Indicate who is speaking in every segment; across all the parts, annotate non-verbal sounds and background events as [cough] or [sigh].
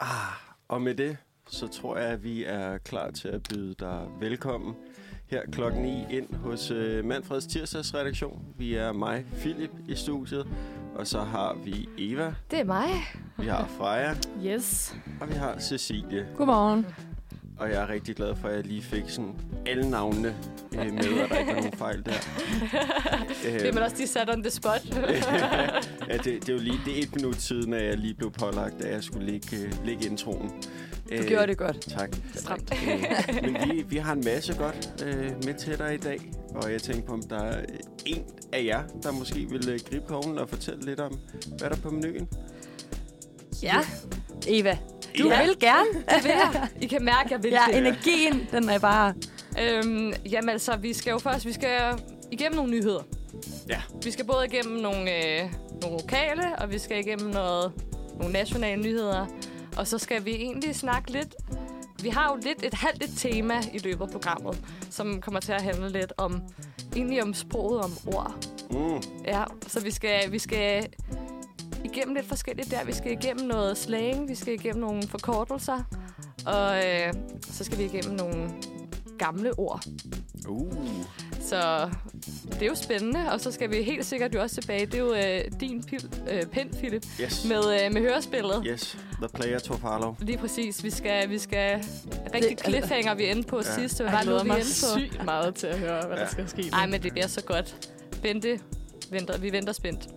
Speaker 1: Ah, og med det, så tror jeg, at vi er klar til at byde dig velkommen her klokken 9 ind hos øh, Manfreds tirsdagsredaktion. Vi er mig, Philip, i studiet, og så har vi Eva,
Speaker 2: Det er mig.
Speaker 1: vi har Freja,
Speaker 3: Yes.
Speaker 1: og vi har Cecilie.
Speaker 3: Godmorgen.
Speaker 1: Øh. Og jeg er rigtig glad for, at jeg lige fik sådan alle navnene øh, med, og der ikke var nogen fejl der.
Speaker 3: [laughs]
Speaker 1: Øhm.
Speaker 3: Det er man også lige sat on the spot.
Speaker 1: [laughs] ja, det, det er jo lige det er et minut siden, at jeg lige blev pålagt, at jeg skulle lægge, øh, lægge introen. Øh,
Speaker 2: Du gjorde det godt.
Speaker 1: Tak.
Speaker 3: Stramt.
Speaker 1: Øh, Men vi, vi har en masse godt øh, med til dig i dag, og jeg tænkte på, om der er en af jer, der måske vil øh, gribe kovlen og fortælle lidt om, hvad der er på menuen.
Speaker 3: ja.
Speaker 2: Eva,
Speaker 1: Du Ja.
Speaker 2: vil gerne.
Speaker 3: Det vil jeg. I kan mærke, at jeg vil
Speaker 2: Ja,
Speaker 3: det.
Speaker 2: energien, den er bare...
Speaker 3: Øhm, jamen altså, vi skal jo først vi skal igennem nogle nyheder.
Speaker 1: Ja.
Speaker 3: Vi skal både igennem nogle, øh, nogle lokale, og vi skal igennem noget, nogle nationale nyheder. Og så skal vi egentlig snakke lidt... Vi har jo lidt et halvt et tema i løbet af programmet, som kommer til at handle lidt om... Egentlig om sproget, om ord.
Speaker 1: Mm,
Speaker 3: Ja, så vi skal, vi skal igennem lidt forskelligt der. Vi skal igennem noget slang, vi skal igennem nogle forkortelser, og øh, så skal vi igennem nogle gamle ord.
Speaker 1: uh,
Speaker 3: Så det er jo spændende, og så skal vi helt sikkert jo også tilbage. Det er jo øh, din pil, øh, pind, Philip,
Speaker 1: yes.
Speaker 3: med, øh, med hørespillet.
Speaker 1: Yes, the player tog farlov.
Speaker 3: Lige præcis. Vi skal, vi skal rigtig
Speaker 2: Det-
Speaker 3: cliffhanger, vi endte på ja.
Speaker 1: Ja.
Speaker 3: sidst. Det var
Speaker 4: Jeg
Speaker 3: bare noget,
Speaker 4: glæder
Speaker 3: vi
Speaker 4: mig
Speaker 3: endte
Speaker 4: sygt meget til at høre, hvad
Speaker 1: Ja.
Speaker 4: der skal ske.
Speaker 3: på.
Speaker 4: nu.
Speaker 3: Nej, men det bliver så godt. Vente. Venter. Vi venter spændt.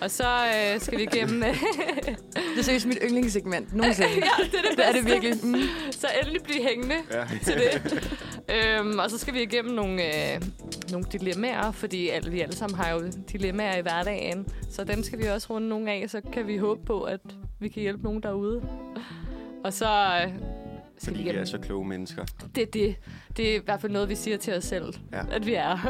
Speaker 3: Og så øh, skal vi igennem... [laughs]
Speaker 2: Det er seriøst mit yndlingssegment nogensinde.
Speaker 3: ja, det er det,
Speaker 2: Det er det
Speaker 3: bedste.
Speaker 2: virkelig. Mm.
Speaker 3: Så endelig blive hængende
Speaker 1: Ja.
Speaker 3: til det. [laughs] øhm, og så skal vi igennem nogle, øh, nogle dilemmaer, fordi alle, vi alle sammen har jo dilemmaer i hverdagen. Så dem skal vi også runde nogle af, så kan vi håbe på, at vi kan hjælpe nogen derude. Og så øh, skal vi
Speaker 1: Fordi vi
Speaker 3: igennem.
Speaker 1: er så kloge mennesker.
Speaker 3: Det, er det, det er i hvert fald noget, vi siger til os selv,
Speaker 1: Ja.
Speaker 3: ja. at vi er. [laughs]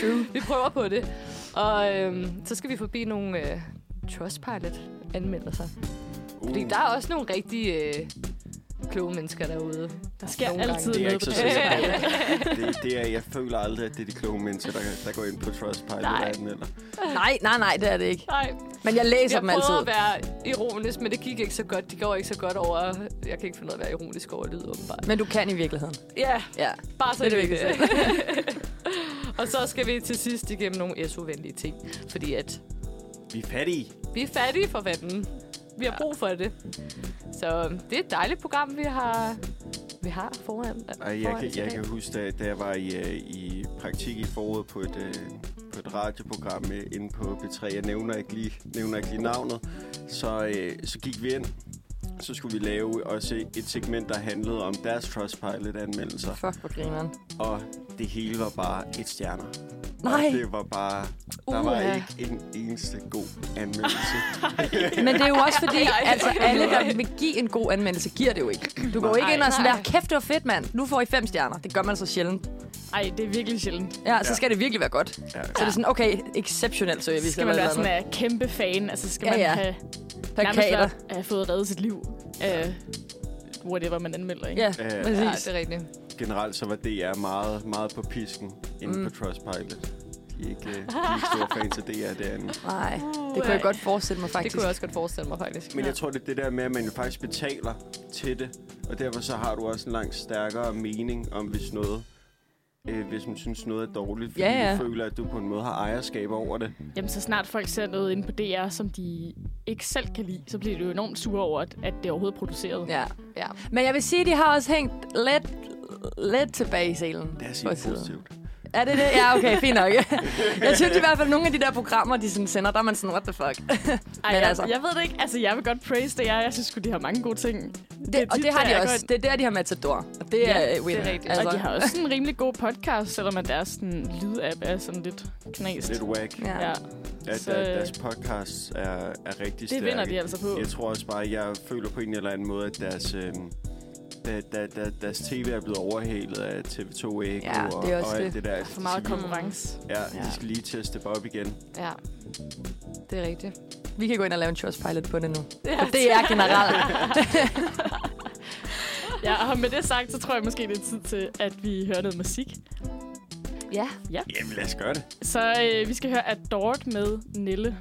Speaker 3: True. Vi prøver på det. Og øhm, så skal vi forbi nogle øh, Trustpilot-anmeldelser.
Speaker 1: Uh,
Speaker 3: Fordi der er også nogle rigtig øh, kloge mennesker derude.
Speaker 4: der sker
Speaker 3: nogle gange.
Speaker 4: altid
Speaker 1: det er jeg
Speaker 4: noget
Speaker 1: ikke
Speaker 4: på
Speaker 1: så
Speaker 4: det.
Speaker 1: sikker
Speaker 3: [laughs]
Speaker 1: på. Det, det er, jeg føler aldrig, at det er de kloge mennesker, der, der går ind på Trustpilot
Speaker 3: Nej.
Speaker 1: og anmelder.
Speaker 2: Nej, nej, nej, det er det ikke.
Speaker 3: Nej,
Speaker 2: Men jeg læser
Speaker 3: jeg
Speaker 2: dem
Speaker 3: prøvede
Speaker 2: altid.
Speaker 3: at være ironisk, men det gik ikke så godt. De går ikke så godt over... Jeg kan ikke finde ud af at være ironisk over lyd, åbenbart.
Speaker 2: Men du kan i virkeligheden.
Speaker 3: Ja,
Speaker 2: Ja.
Speaker 3: bare så
Speaker 2: Det er det
Speaker 3: [laughs] Og så skal vi til sidst igennem nogle SU-venlige ting. Fordi at
Speaker 1: Vi er fattige.
Speaker 3: vi er fattige for vandet. Vi har brug for det. Så det er et dejligt program, vi har, vi har foran,
Speaker 1: Ej,
Speaker 3: foran
Speaker 1: jeg, kan,
Speaker 3: os i
Speaker 1: jeg
Speaker 3: dag.
Speaker 1: kan huske, da, da jeg var i, øh, i praktik i foråret på et, øh, på et radioprogram øh, inde på B3, jeg nævner ikke lige, nævner ikke lige navnet, så, øh, så gik vi ind, så skulle vi lave også et segment, der handlede om deres Trustpilot-anmeldelser,
Speaker 2: Fuck, hvor grineren.
Speaker 1: og det hele var bare et stjerner.
Speaker 2: Nej,
Speaker 1: Og det var bare, der var
Speaker 2: Uha.
Speaker 1: ikke en eneste god
Speaker 2: [laughs]
Speaker 1: anmeldelse.
Speaker 2: men det er jo også fordi,
Speaker 3: Ej, ej.
Speaker 2: altså alle, der vil give en god anmeldelse, giver det jo ikke. Du går ikke
Speaker 3: Nej.
Speaker 2: ind og sådan der,
Speaker 3: Nej.
Speaker 2: kæft, det var fedt, mand. Nu får I fem stjerner. Det gør man så sjældent.
Speaker 4: Ej, det er virkelig sjældent.
Speaker 2: Ja, så
Speaker 1: Ja.
Speaker 2: skal det virkelig være godt.
Speaker 1: Ja,
Speaker 2: Så er det sådan, okay, exceptionel service.
Speaker 4: Skal man være sådan en kæmpe fan? Altså, skal
Speaker 2: Ja,
Speaker 4: man
Speaker 2: ja.
Speaker 4: have, nærmest
Speaker 2: plakater?
Speaker 4: være- have fået reddet sit liv? Uh, whatever man anmelder, ikke?
Speaker 2: Ja,
Speaker 1: Øh,
Speaker 3: Ja,
Speaker 2: præcis.
Speaker 3: det er rigtigt.
Speaker 1: generelt så var DR meget, meget på pisken inde
Speaker 2: Mm.
Speaker 1: på Trustpilot. De er ikke, øh, de er ikke store fans af DR derinde.
Speaker 2: Nej, det kunne jeg godt forestille mig
Speaker 3: Det
Speaker 2: faktisk.
Speaker 3: kunne jeg også godt forestille mig, faktisk.
Speaker 1: Men jeg tror, det er det der med, at man jo faktisk betaler til det, og derfor så har du også en langt stærkere mening om, hvis noget øh, hvis man synes, noget er dårligt, fordi
Speaker 2: Ja, ja.
Speaker 1: du føler, at du på en måde har ejerskab over det.
Speaker 4: Jamen, så snart folk ser noget inde på DR, som de ikke selv kan lide, så bliver de jo enormt sure over, at at det overhovedet er produceret.
Speaker 2: Ja.
Speaker 3: Ja.
Speaker 2: Men jeg vil sige, at de har også hængt lidt, lidt tilbage i selen.
Speaker 1: Det er
Speaker 2: på
Speaker 1: sige
Speaker 2: siden.
Speaker 1: positivt.
Speaker 2: Er det det? Ja, okay, fint
Speaker 1: [laughs]
Speaker 2: nok. jeg synes i hvert fald, at nogle af de der programmer, de sådan sender, der er man sådan, what the fuck.
Speaker 4: Ej,
Speaker 2: Men
Speaker 4: jeg,
Speaker 2: altså-
Speaker 4: altså. jeg ved det ikke. Altså, jeg vil godt praise DR. Jeg synes sgu, de har mange gode ting.
Speaker 2: Det,
Speaker 4: er
Speaker 2: og
Speaker 4: tit,
Speaker 2: det har
Speaker 4: der
Speaker 2: de
Speaker 4: jeg går
Speaker 2: også.
Speaker 4: ind-
Speaker 2: Det er der, de har Matador. Og det
Speaker 3: Ja,
Speaker 2: er
Speaker 3: det er
Speaker 2: øh, winner.
Speaker 3: rigtigt.
Speaker 4: Altså. Og de har også en rimelig god podcast, selvom at deres sådan, lydapp er sådan lidt knæst.
Speaker 1: Lidt whack.
Speaker 2: Ja.
Speaker 4: Ja,
Speaker 1: Ja,
Speaker 4: Så-
Speaker 1: der, deres podcast er, er rigtig
Speaker 4: det
Speaker 1: stærke.
Speaker 4: vinder de altså på.
Speaker 1: Jeg tror også bare, at jeg føler på en eller anden måde, at deres, øh, da, da, da, deres tv er blevet overhalet af TV2 Eko
Speaker 2: Ja,
Speaker 1: og,
Speaker 2: det er også
Speaker 1: og alt det
Speaker 2: det.
Speaker 1: der.
Speaker 4: For meget konkurrence.
Speaker 1: Ja,
Speaker 2: Ja.
Speaker 1: de skal lige til at steppe op igen.
Speaker 3: Ja, det er rigtigt.
Speaker 2: Vi kan gå ind og lave en Trustpilot på det nu. Ja. det er generelt.
Speaker 4: Ja, og med det sagt, så tror jeg måske, det er tid til, at vi hører noget musik.
Speaker 3: Ja,
Speaker 1: Jamen, lad os gøre det.
Speaker 4: Så øh, vi skal høre Adored med Nille.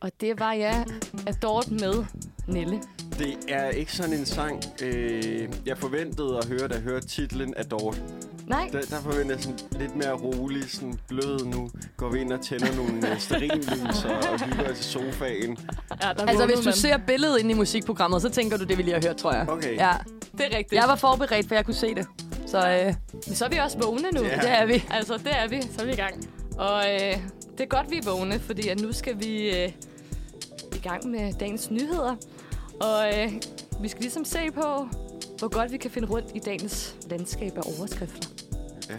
Speaker 3: Og det var jeg adort med Nelle.
Speaker 1: Det er ikke sådan en sang, øh, jeg forventede at høre, da jeg hørte titlen af Dorte.
Speaker 3: Nej,
Speaker 1: Der, der forventer jeg sådan lidt mere rolig, sådan blød nu. Går vi ind og tænder nogle øh, stearinlys og, og hygger os i sofaen.
Speaker 4: Ja,
Speaker 2: Altså,
Speaker 4: der
Speaker 2: hvis
Speaker 4: vågnede
Speaker 2: du
Speaker 4: man.
Speaker 2: ser billedet inde i musikprogrammet, så tænker du, det vil jeg have hørt, tror jeg.
Speaker 1: Okay.
Speaker 2: Ja.
Speaker 3: det er rigtigt.
Speaker 2: Jeg var forberedt, for jeg kunne se det. Så øh,
Speaker 3: Men så er vi også vågne nu.
Speaker 1: Ja.
Speaker 2: det er vi.
Speaker 3: Altså, det er vi.
Speaker 4: Så er vi i gang.
Speaker 3: Og øh, det er godt, vi er vågne, fordi at nu skal vi øh, i gang med dagens nyheder. Og øh, vi skal ligesom se på, hvor godt vi kan finde rundt i dagens landskab af overskrifter.
Speaker 1: Ja.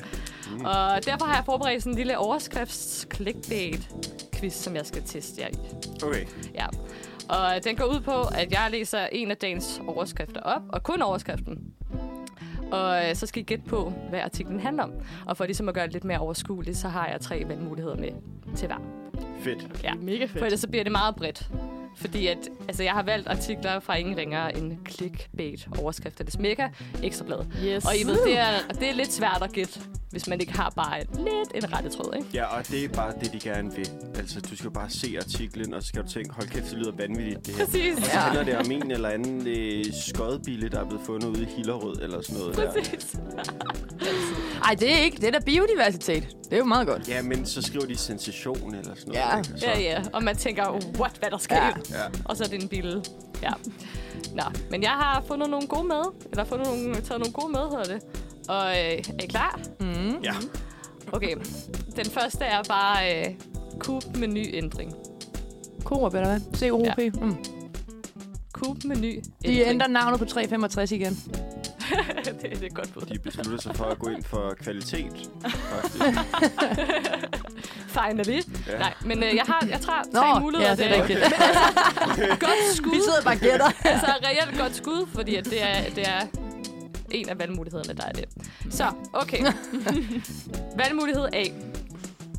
Speaker 3: Mm. Og derfor har jeg forberedt sådan en lille overskrifts-clickbait-quiz, som jeg skal teste jer i.
Speaker 1: Okay.
Speaker 3: Ja. Og den går ud på, at jeg læser en af dagens overskrifter op, og kun overskriften. Og øh, så skal I gætte på, hvad artiklen handler om. Og for ligesom at gøre det lidt mere overskueligt, så har jeg tre valgmuligheder med til hver.
Speaker 1: Fedt.
Speaker 4: Ja, mega fedt.
Speaker 3: For ellers så bliver det meget bredt. Fordi at, altså, jeg har valgt artikler fra ingen ringere end clickbait overskrifter. Det smækker ekstrabladet.
Speaker 4: Yes.
Speaker 3: Og I ved, det er, det er lidt svært at gætte, hvis man ikke har bare lidt en rette tråd, ikke?
Speaker 1: Ja, og det er bare det, de gerne vil. Altså, du skal bare se artiklen, og så skal du tænke, hold kæft, det lyder vanvittigt, det her.
Speaker 3: Præcis.
Speaker 1: Og så handler det om en eller anden øh, skodbille, der er blevet fundet ude i Hillerød eller sådan noget. Der.
Speaker 3: Præcis.
Speaker 2: Ej, det er ikke. Det er da biodiversitet. Det er jo meget godt.
Speaker 1: Ja, men så skriver de sensation eller sådan noget.
Speaker 2: Ja.
Speaker 1: ikke? Og så,
Speaker 3: Ja, ja. Og man tænker, what, hvad der sker?
Speaker 2: Ja.
Speaker 3: Ja.
Speaker 1: Ja.
Speaker 3: Og så er det en bil. Ja. Nå, men jeg har fundet nogle gode med. Eller fundet nogle, taget nogle gode med, hedder det. Og øh, er I klar? Mm-hmm.
Speaker 1: ja.
Speaker 3: Okay. Den første er bare øh, Coop menuændring.
Speaker 2: Coop, eller hvad? COP. Ja. Mm.
Speaker 3: Coop menu.
Speaker 2: De ændrer navnet på 365 igen.
Speaker 3: [laughs] det, det er et godt bud. [laughs]
Speaker 1: De beslutter sig for at gå ind for kvalitet, faktisk.
Speaker 3: Finally.
Speaker 1: Ja.
Speaker 3: Ja. Nej, men øh, jeg har jeg tager
Speaker 2: Nå,
Speaker 3: tre muligheder.
Speaker 2: ja, det er rigtigt.
Speaker 3: [laughs] Godt skud.
Speaker 2: Vi sidder bare og gætter.
Speaker 3: [laughs] altså reelt godt skud, fordi at det er, det er en af valgmulighederne, der er det. Så,
Speaker 1: [laughs]
Speaker 3: okay. Valgmulighed A.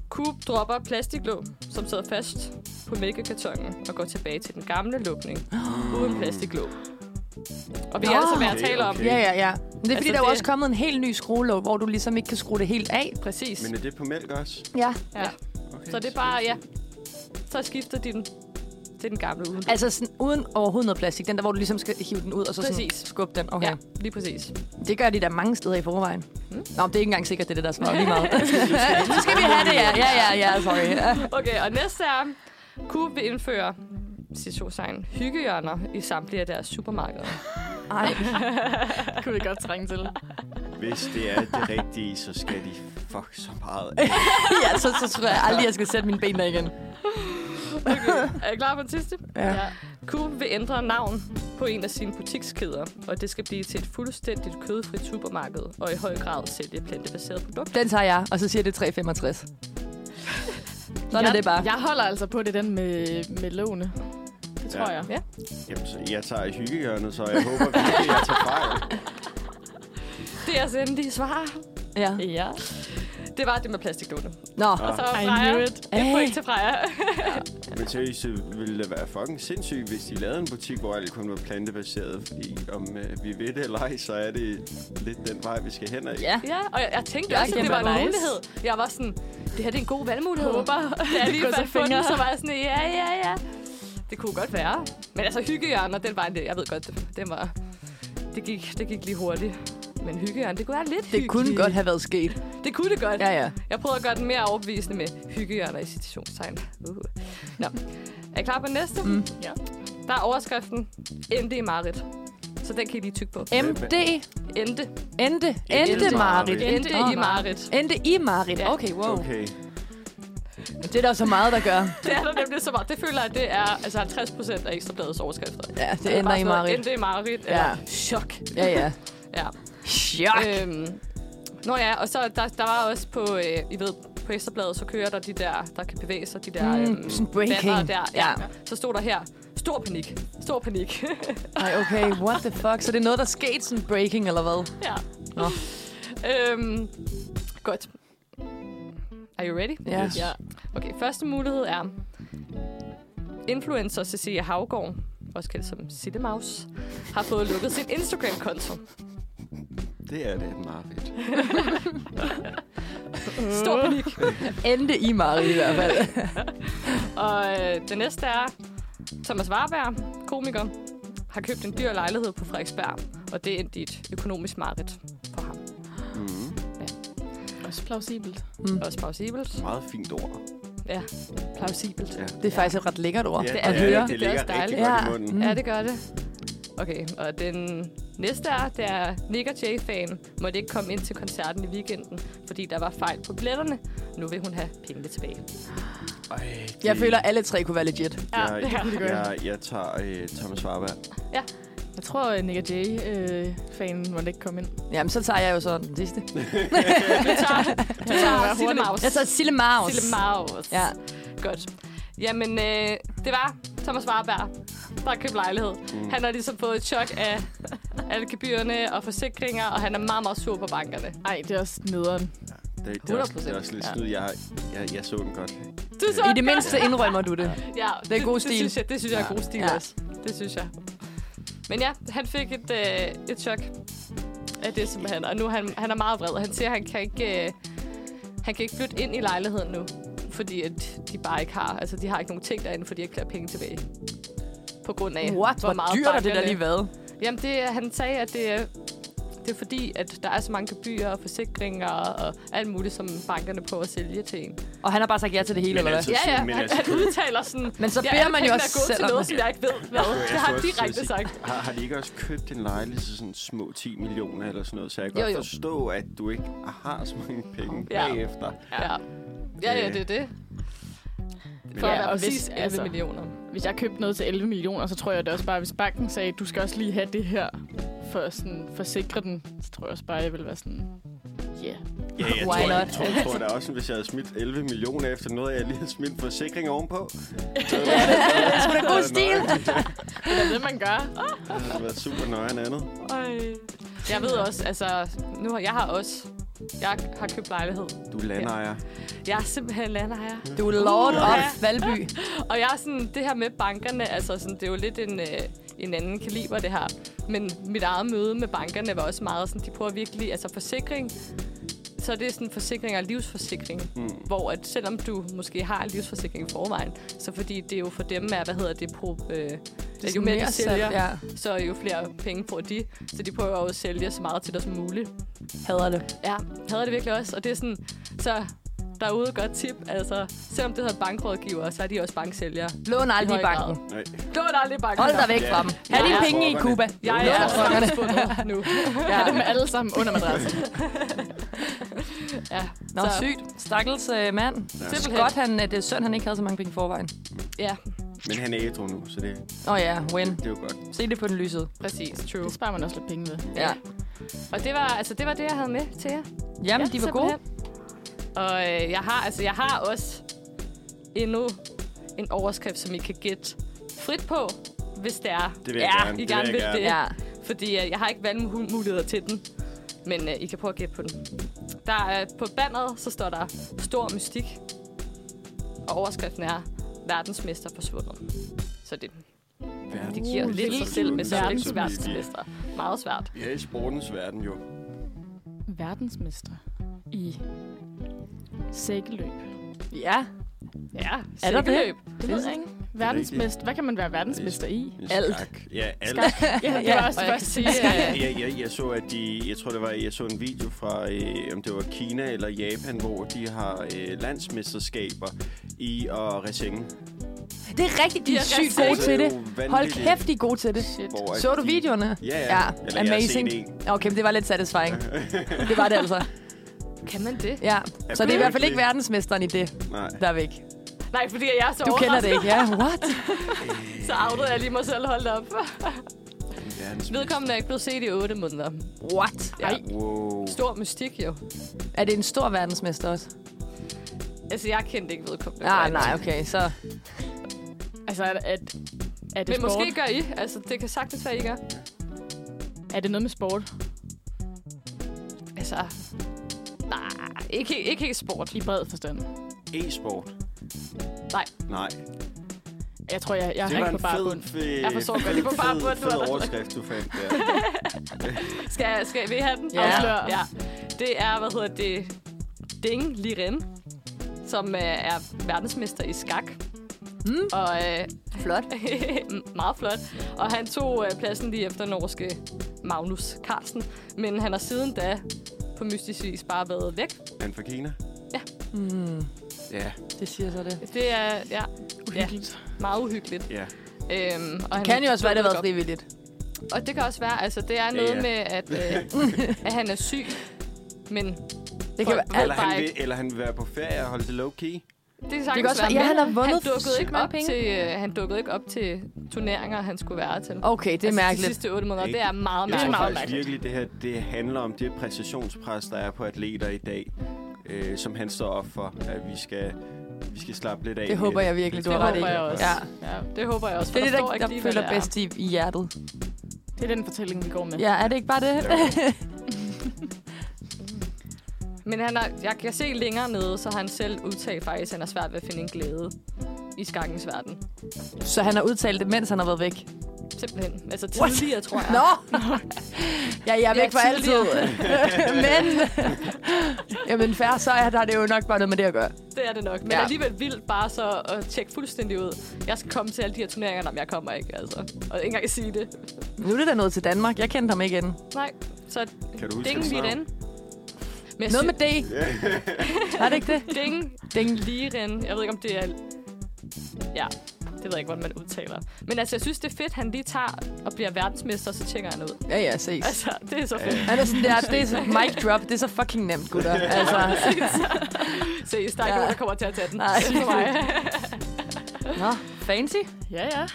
Speaker 3: Coop dropper plastiklåg, som sidder fast på mælkekartongen og går tilbage til den gamle
Speaker 1: [gasps]
Speaker 3: lukning uden plastiklåg. Og vi er
Speaker 2: Nå.
Speaker 3: altså, hvad jeg
Speaker 1: Okay,
Speaker 3: taler om.
Speaker 1: okay.
Speaker 2: [laughs] Ja, ja, ja. Men det er fordi,
Speaker 3: Altså,
Speaker 2: der er jo
Speaker 3: det-
Speaker 2: også kommet en helt ny skruelåg, hvor du ligesom ikke kan skrue det helt af.
Speaker 3: Præcis.
Speaker 1: Men er det på mælk også?
Speaker 2: Ja.
Speaker 3: Ja.
Speaker 1: Okay,
Speaker 3: Så det er bare, ja. Så skifter de den til den gamle uden
Speaker 2: Altså sådan, uden overhovedet noget plastik. Den der, hvor du ligesom skal hive den ud og så sådan
Speaker 3: Præcis.
Speaker 2: skubbe den. Okay.
Speaker 3: Ja,
Speaker 2: Ja.
Speaker 3: lige præcis.
Speaker 2: Det gør de der mange steder i forvejen. Mm. Nå, men det er ikke engang sikkert, det er det, der svarer lige [laughs] meget. så skal vi have det, ja. Ja, ja, ja, [laughs] sorry. Ja.
Speaker 3: Okay, og næste er, Coop vil indføre situationstegn, hyggehjørner i samtlige af deres supermarkeder.
Speaker 2: Ej,
Speaker 4: Det kunne det godt trænge til.
Speaker 1: Hvis det er det rigtige, så skal de fuck så
Speaker 3: [laughs]
Speaker 1: meget af.
Speaker 2: ja, så, så tror jeg aldrig, jeg skal sætte mine ben der igen.
Speaker 3: Er I klar på den sidste?
Speaker 2: Ja.
Speaker 3: Coop vil ændre navn på en af sine butikskæder, og det skal blive til et fuldstændigt kødfrit supermarked, og i høj grad sælge plantebaserede produkter.
Speaker 2: Den tager jeg, og så siger det 365. Sådan er det bare.
Speaker 4: Jeg holder altså på det, den med, med låne. Det tror
Speaker 1: Ja.
Speaker 4: jeg.
Speaker 1: Jamen, så jeg tager i hyggehjørnet, så jeg håber virkelig, jeg tager fejl.
Speaker 3: Det er altså endelige svar.
Speaker 2: Ja.
Speaker 4: Ja.
Speaker 3: Det var det med plastiklåne.
Speaker 2: Nå,
Speaker 3: Og så
Speaker 4: I
Speaker 3: Freja.
Speaker 4: knew it.
Speaker 3: Et
Speaker 2: Hey.
Speaker 3: point til Freja.
Speaker 1: Men seriøst, så ville det være fucking sindssygt, hvis de lavede en butik, hvor alt kun var plantebaseret. Fordi om øh, vi ved det eller ej, så er det lidt den vej, vi skal hen ad.
Speaker 2: ja.
Speaker 3: Ja, og jeg, jeg tænkte
Speaker 2: Ja,
Speaker 3: ja, også, at det
Speaker 2: kæmpe
Speaker 3: var
Speaker 2: nice.
Speaker 3: en nice. mulighed. Jeg var sådan, det her det er en god valgmulighed.
Speaker 4: Håber,
Speaker 3: da jeg lige
Speaker 4: går
Speaker 3: fandt
Speaker 4: til
Speaker 3: på den,
Speaker 4: fingre.
Speaker 3: så var jeg sådan, ja, ja, ja. Det kunne godt være. Men altså, hyggehjørner, den var en Jeg ved godt, det, den var, det, gik, det gik lige hurtigt. Men hyggehjørner, det kunne være lidt
Speaker 2: Det kunne
Speaker 3: hyggeligt.
Speaker 2: godt have været sket.
Speaker 3: Det kunne det godt.
Speaker 2: Ja, ja.
Speaker 3: Jeg prøvede at gøre den mere overbevisende med hyggehjørner i citationstegn. Uh. Nå. Er I klar på den næste? Mm.
Speaker 4: Ja.
Speaker 3: Der er overskriften Ende i Marit. Så den kan I lige tykke på.
Speaker 2: MD.
Speaker 3: Ende.
Speaker 2: Ende. Ende, Marit.
Speaker 3: Ende
Speaker 2: Åh, nej.
Speaker 3: i Marit.
Speaker 2: Endte i Marit.
Speaker 3: Ja.
Speaker 2: Okay, wow.
Speaker 1: Okay.
Speaker 2: Det er der så meget, der gør.
Speaker 3: Det er der nemlig så meget. Det føler jeg, at det er altså 50 procent af ekstrabladets overskrifter. Det
Speaker 2: Ja, det
Speaker 3: er
Speaker 2: ender
Speaker 3: bare
Speaker 2: i
Speaker 3: sådan noget,
Speaker 2: Marit.
Speaker 3: Endte i Marit.
Speaker 2: Ja.
Speaker 3: Ja. Chok.
Speaker 2: Ja, ja. Øh,
Speaker 3: Ja.
Speaker 2: Chok.
Speaker 3: Øhm, nå ja, og så der, der var også på, øh, I ved, på Ekstrabladet, så kører der de der, der kan bevæge sig, de der mm, øhm,
Speaker 2: sådan breaking.
Speaker 3: bannere der. Ja.
Speaker 2: Ja.
Speaker 3: ja. Så stod der her, stor panik, stor panik.
Speaker 2: Ej, okay, what the fuck. Så det er noget, der skete sådan breaking, eller hvad?
Speaker 3: ja.
Speaker 2: Nå.
Speaker 3: Øhm, godt. Are you ready?
Speaker 2: Ja.
Speaker 1: Yes.
Speaker 3: Ja. Okay, første mulighed er influencer Cecilia Havgård, også kendt som Sillemaus, har fået lukket sin Instagram-konto.
Speaker 1: Det er det, Marit.
Speaker 3: Mm. Stor panik.
Speaker 2: Endte i Marit i hvert fald.
Speaker 3: Og øh, det næste er, Thomas Warberg, komiker, har købt en dyr lejlighed på Frederiksberg. Og det er dit økonomisk mareridt for ham.
Speaker 1: Mm.
Speaker 4: Også plausibelt.
Speaker 3: Også plausibelt.
Speaker 1: Meget fint ord.
Speaker 3: Ja, plausibelt.
Speaker 1: Ja.
Speaker 2: Det er faktisk et ret lækkert ord
Speaker 3: det
Speaker 1: ja,
Speaker 3: er
Speaker 2: at
Speaker 3: det.
Speaker 2: høre.
Speaker 1: Det
Speaker 3: Det er
Speaker 1: ligger
Speaker 3: også
Speaker 1: rigtig
Speaker 2: dejligt.
Speaker 1: godt i
Speaker 2: Ja.
Speaker 1: munden.
Speaker 2: Mm.
Speaker 3: Ja, det gør det. Okay, og den næste er, det er Nick og Jay-fan måtte ikke komme ind til koncerten i weekenden, fordi der var fejl på billetterne. Nu vil hun have pengene tilbage.
Speaker 1: Ej, det-
Speaker 2: Jeg føler, at alle tre kunne være legit.
Speaker 4: Ja, det kan vi
Speaker 1: jeg,
Speaker 4: godt.
Speaker 1: jeg, jeg tager øh, Thomas Warberg.
Speaker 4: Jeg tror, at Nick og Jay-fanen måtte ikke komme ind.
Speaker 2: Jamen, så tager jeg jo så den sidste.
Speaker 3: Du [laughs] tager, du tager Sille Maus.
Speaker 2: Jeg tager Sille Maus.
Speaker 3: Sille Maus.
Speaker 2: Ja.
Speaker 3: Godt. Jamen, øh, det var Thomas Warberg, der købte lejlighed. Mm. Han har ligesom fået et chok af [laughs] alle gebyrerne og forsikringer, og han er meget, meget sur på bankerne.
Speaker 4: Ej, det er også nederen.
Speaker 1: Det, det, er også,
Speaker 3: 100%.
Speaker 1: det er også lidt
Speaker 4: Ja.
Speaker 1: snyd. Jeg, jeg, jeg så den godt.
Speaker 3: Du så
Speaker 2: I det mindste indrømmer du det.
Speaker 3: Ja,
Speaker 2: Det er god
Speaker 3: det,
Speaker 2: stil.
Speaker 3: Det synes jeg, det synes jeg er
Speaker 2: Ja.
Speaker 3: god stil
Speaker 2: Ja.
Speaker 3: ja. også. Det synes jeg. Men ja, han fik et, øh, et chok af det, som han... Og nu er han, han er meget vred. Han siger, at han kan ikke... Øh, han kan ikke flytte ind i lejligheden nu, fordi at de bare ikke har... Altså, de har ikke nogen ting derinde, fordi de ikke har penge tilbage. På grund af,
Speaker 2: What? Hvor dyrt har det der
Speaker 3: bankerne-
Speaker 2: lige været?
Speaker 3: Jamen, det, er- han sagde, at det, er- det er fordi, at der er så mange gebyrer og forsikringer og alt muligt, som bankerne prøver at sælge til en.
Speaker 2: Og han har bare sagt ja til det hele,
Speaker 1: Men
Speaker 2: eller hvad?
Speaker 1: altså-
Speaker 3: Ja, ja,
Speaker 1: Men
Speaker 3: han,
Speaker 1: altså-
Speaker 3: han udtaler sådan...
Speaker 2: Men så
Speaker 3: Ja,
Speaker 2: beder
Speaker 3: alle
Speaker 2: man jo
Speaker 3: pengene
Speaker 2: også
Speaker 3: er gået
Speaker 2: selv
Speaker 3: til
Speaker 2: om
Speaker 3: noget,
Speaker 2: det.
Speaker 3: som jeg ikke ved hvad.
Speaker 1: Jeg
Speaker 3: Det har
Speaker 1: skulle
Speaker 3: han
Speaker 1: også til at
Speaker 3: direkte
Speaker 1: sige,
Speaker 3: sagt.
Speaker 1: Har, har de ikke også købt en lejlighed til sådan små 10 millioner eller sådan noget? Så jeg kan
Speaker 3: Jo,
Speaker 1: godt
Speaker 3: jo.
Speaker 1: forstå, at du ikke har så mange penge
Speaker 3: Ja.
Speaker 1: bagefter.
Speaker 3: Ja. Ja, ja, det er det. For
Speaker 4: Ja,
Speaker 3: at være
Speaker 4: og hvis-
Speaker 3: præcis 11
Speaker 4: altså-
Speaker 3: millioner.
Speaker 4: Hvis jeg købte noget til 11 millioner, så tror jeg det også bare, hvis banken sagde, du skal også lige have det her for sådan forsikre den, så tror jeg også bare, jeg ville være sådan, ja. Yeah.
Speaker 1: Ja, jeg
Speaker 2: Why
Speaker 1: tror, jeg,
Speaker 2: not?
Speaker 1: tror, tror da også, at hvis jeg havde smidt 11 millioner efter noget, jeg lige havde smidt en forsikring ovenpå. Det
Speaker 2: Det er sgu da god stil.
Speaker 4: Det er det, man gør.
Speaker 1: havde været super nøje end andet.
Speaker 3: Ej. Jeg ved også, altså... Nu har jeg har også... Jeg har købt lejlighed.
Speaker 1: Du er landejer.
Speaker 3: Jeg er simpelthen landejer.
Speaker 2: Du er Lord
Speaker 3: Ja.
Speaker 2: of Valby.
Speaker 3: Og jeg er sådan... Det her med bankerne, altså sådan, det er jo lidt en, øh, en anden kaliber, det her. Men mit eget møde med bankerne var også meget sådan... De prøver virkelig... Altså forsikring... Så er det sådan forsikring og livsforsikring.
Speaker 1: Mm.
Speaker 3: hvor at selvom du måske har en livsforsikring i forvejen, så fordi det jo for dem er, hvad hedder det, pro, øh, det jo mere de sælger, ja.
Speaker 2: ja.
Speaker 3: så jo flere penge får de. Så de prøver jo at sælge så meget til dig som muligt.
Speaker 2: Hader det.
Speaker 3: Ja, havde det virkelig også. Og det er sådan, så derude et godt tip. Altså, selvom det hedder bankrådgiver, så er de også banksælgere.
Speaker 2: Lån aldrig
Speaker 3: I
Speaker 2: i
Speaker 3: høj
Speaker 2: banken.
Speaker 1: Nej.
Speaker 3: Lån aldrig banken.
Speaker 2: Hold dig væk
Speaker 1: Ja.
Speaker 2: fra dem. Ha'
Speaker 3: Jeg
Speaker 2: dine
Speaker 3: er
Speaker 2: penge i
Speaker 1: rockerne.
Speaker 2: Cuba.
Speaker 1: Lån
Speaker 3: Jeg er
Speaker 1: aldrig banken.
Speaker 3: forsvundet nu.
Speaker 4: Jeg har dem alle sammen under madrassen.
Speaker 3: Ja,
Speaker 2: Nå,
Speaker 3: så,
Speaker 2: sygt. Stakkels øh, mand.
Speaker 3: Simpelthen.
Speaker 2: Godt, han, at det er synd, han ikke havde så mange penge i forvejen.
Speaker 3: Ja,
Speaker 1: Men han er ædru nu, så det,
Speaker 2: Åh oh, ja, win.
Speaker 1: det er jo godt.
Speaker 2: Se det på den lysede.
Speaker 3: præcis. True.
Speaker 4: Det sparer man også lidt penge ved.
Speaker 2: Ja.
Speaker 3: Og det var, altså, det var det, jeg havde med til jer.
Speaker 2: Jamen, de var gode.
Speaker 3: simpelthen. Og øh, jeg har altså, jeg har også endnu en overskrift, som I kan gætte frit på, hvis det er.
Speaker 1: Det vil jeg
Speaker 3: ja,
Speaker 1: gerne.
Speaker 3: I
Speaker 1: Det
Speaker 3: gerne
Speaker 1: vil
Speaker 3: vil
Speaker 1: jeg
Speaker 3: det.
Speaker 2: Ja.
Speaker 3: Fordi øh, jeg har ikke valgmuligheder til den. Men øh, I kan prøve at gætte på den. Der er, på banneret, så står der stor mystik. Og overskriften er verdensmester forsvundet. Så det, det giver
Speaker 4: Uh,
Speaker 3: uh, lidt sig selv med
Speaker 4: så
Speaker 1: Verdensmester,
Speaker 3: verdens
Speaker 1: som vi- vi-
Speaker 3: verdensmester. Meget svært.
Speaker 1: Vi er i sportens verden jo.
Speaker 4: Verdensmestre i sækkeløb.
Speaker 2: Ja.
Speaker 3: Ja,
Speaker 2: Er der det? [laughs]
Speaker 3: cirkeløb.
Speaker 4: Det ved jeg ikke. Verdensmester. Hvad kan man være verdensmester i?
Speaker 2: Alt.
Speaker 1: Skak. Ja, alt.
Speaker 4: Ja, det
Speaker 2: Ja,
Speaker 4: var også
Speaker 3: og
Speaker 4: det
Speaker 3: jeg
Speaker 4: første,
Speaker 3: kan sige,
Speaker 4: jeg sige.
Speaker 3: at-
Speaker 1: Jeg, jeg, jeg så, at de, jeg tror, det var, jeg så en video fra, øh, om det var Kina eller Japan, hvor de har øh, landsmesterskaber i at resenge.
Speaker 2: [laughs] Det er rigtigt, de
Speaker 3: De
Speaker 2: er
Speaker 3: er
Speaker 2: sygt
Speaker 3: rigtig
Speaker 2: gode
Speaker 1: gode.
Speaker 2: til det.
Speaker 1: Det er jo vanvittigt.
Speaker 2: Hold kæft, de er gode til det.
Speaker 4: [laughs] Shit.
Speaker 1: Hvor at
Speaker 2: Så du
Speaker 1: de-
Speaker 2: videoerne?
Speaker 1: Ja, ja.
Speaker 2: Ja,
Speaker 1: Eller jeg har
Speaker 2: amazing.
Speaker 1: [laughs] set
Speaker 2: Okay, men det var lidt satisfying. Det var det altså.
Speaker 3: Kan man det?
Speaker 2: Ja. Så det er i hvert fald ikke verdensmesteren i det,
Speaker 1: Nej.
Speaker 2: der er væk.
Speaker 3: Nej, fordi jeg er så
Speaker 2: Du kender det ikke, ja? What?
Speaker 3: overrasket, så outede jeg lige mig selv holdt op.
Speaker 1: Verdensmester.
Speaker 3: Vedkommende er ikke blevet set i 8 måneder.
Speaker 2: What?
Speaker 3: Ja.
Speaker 2: Ej.
Speaker 1: Wow.
Speaker 3: Stor mystik jo.
Speaker 2: Er det en stor verdensmester også?
Speaker 3: Altså, jeg kendte ikke vedkommende.
Speaker 2: Ah, nej, okay, så...
Speaker 4: Altså, at, at, er, det
Speaker 3: Men
Speaker 4: sport?
Speaker 3: måske gør I. Altså, det kan sagtens være, I gør.
Speaker 4: er det noget med sport?
Speaker 3: Altså, nej, ikke, helt- ikke helt sport.
Speaker 4: I bred forstand.
Speaker 1: E-sport.
Speaker 3: Nej.
Speaker 1: Nej.
Speaker 4: Jeg tror, jeg, jeg
Speaker 1: Det
Speaker 4: er
Speaker 1: var
Speaker 4: ikke
Speaker 1: en
Speaker 4: på barbund.
Speaker 1: fed, fed,
Speaker 3: Jeg forstår godt,
Speaker 1: fed,
Speaker 3: det var bare
Speaker 1: fed,
Speaker 3: bund, du
Speaker 1: fed
Speaker 3: var-
Speaker 1: overskrift, du fandt der.
Speaker 3: Skal, jeg- skal vi have den?
Speaker 2: Ja.
Speaker 3: Afslør. ja. Det er, hvad hedder det, Ding Liren, som øh, er verdensmester i skak.
Speaker 2: Mm.
Speaker 3: Og øh, [laughs]
Speaker 2: Flot.
Speaker 3: meget flot. Og han tog øh, pladsen lige efter norske Magnus Carlsen. Men han har siden da på mystisk vis bare været væk.
Speaker 1: Han fra Kina?
Speaker 2: Mm.
Speaker 1: Ja,
Speaker 2: Det siger så det.
Speaker 3: Det er ja,
Speaker 4: Uhyggeligt.
Speaker 3: meget uhyggeligt.
Speaker 1: ja.
Speaker 3: Øhm, og han
Speaker 2: Kan jo også være, det har
Speaker 3: dukkede
Speaker 2: været
Speaker 3: ikke
Speaker 2: frivilligt.
Speaker 3: op. Og det kan også være, altså det er
Speaker 1: Ja,
Speaker 3: noget
Speaker 1: ja.
Speaker 3: med, at, øh,
Speaker 1: [laughs]
Speaker 3: at han er syg. Men
Speaker 2: Det kan
Speaker 3: Folk-
Speaker 2: være alt.
Speaker 1: Eller
Speaker 3: bare
Speaker 1: han, vil,
Speaker 3: ikke.
Speaker 1: eller han vil være på ferie og holde det low-key.
Speaker 3: det
Speaker 2: Det
Speaker 3: kan
Speaker 2: kan
Speaker 3: sagtens
Speaker 2: også
Speaker 3: være,
Speaker 2: være- ja,
Speaker 3: men
Speaker 2: han har vundet
Speaker 3: han dukkede ikke
Speaker 2: mange
Speaker 3: op
Speaker 2: penge.
Speaker 3: til, øh, han dukkede ikke op til turneringer, han skulle være til.
Speaker 2: Okay, det er
Speaker 3: Altså, de
Speaker 2: mærkeligt.
Speaker 3: sidste otte måneder,
Speaker 1: Ikke?
Speaker 3: det er meget
Speaker 1: Jeg tror
Speaker 3: mærkeligt.
Speaker 1: faktisk virkelig, det her det handler om det præcisionspres, der er på atleter i dag, øh, som han står op for, at vi skal, vi skal slappe lidt af.
Speaker 2: Det
Speaker 1: med [laughs]
Speaker 2: håber jeg virkelig, du
Speaker 4: Det
Speaker 2: har ret i.
Speaker 4: håber jeg også.
Speaker 2: Ja.
Speaker 4: Ja.
Speaker 3: Det håber jeg
Speaker 2: Det
Speaker 3: også, for
Speaker 2: er det,
Speaker 3: der, står
Speaker 2: der,
Speaker 3: ikke
Speaker 2: der
Speaker 3: lige, hvad
Speaker 2: føler
Speaker 3: det er.
Speaker 2: bedst i, i hjertet.
Speaker 4: Det er den fortælling, vi går med.
Speaker 2: Ja, er det ikke bare det?
Speaker 3: Men han er, jeg kan se længere nede, så har han selv udtalt faktisk, at han har svært ved at finde en glæde i skakkens verden.
Speaker 2: så han har udtalt det, mens han har været væk.
Speaker 3: Simpelthen. Altså
Speaker 2: What?
Speaker 3: tidligere, tror jeg.
Speaker 2: Nå! ja, jeg er
Speaker 3: Ja,
Speaker 2: væk for altid.
Speaker 3: tidligere.
Speaker 2: [laughs] Men... [laughs] Jamen færre, så er der det jo nok bare noget med det at gøre.
Speaker 3: Det er det nok. Men
Speaker 2: Ja.
Speaker 3: ja. alligevel vildt bare så at tjekke fuldstændig ud. Jeg skal komme til alle de her turneringer, når jeg kommer ikke, altså. Og ikke engang sige det.
Speaker 2: Nu er det da nået til Danmark. Jeg kendte ham ikke inden.
Speaker 3: Nej, så
Speaker 1: Kan du huske
Speaker 3: ding
Speaker 1: hans
Speaker 3: lige
Speaker 1: navn?
Speaker 3: den. Men
Speaker 2: Noget med D. Var det ikke det?
Speaker 3: [laughs] ding,
Speaker 2: Ding.
Speaker 3: lige den. Jeg ved ikke, om det er... Ja, det ved jeg ikke, hvordan man udtaler. Men altså, jeg synes, det er fedt, han lige tager og bliver verdensmester, og så tjekker han ud.
Speaker 2: Ja, ja, ses.
Speaker 3: Altså, det er så fedt.
Speaker 2: Han er sådan der, det er så, mic drop, det er så fucking nemt, gutter. Altså,
Speaker 3: Seriøst, der er
Speaker 2: Ja.
Speaker 3: ikke nogen, der kommer til at tage den.
Speaker 2: Nej. Uh,
Speaker 3: Ikke for mig.
Speaker 2: [laughs] nå, fancy.
Speaker 4: Ja, ja.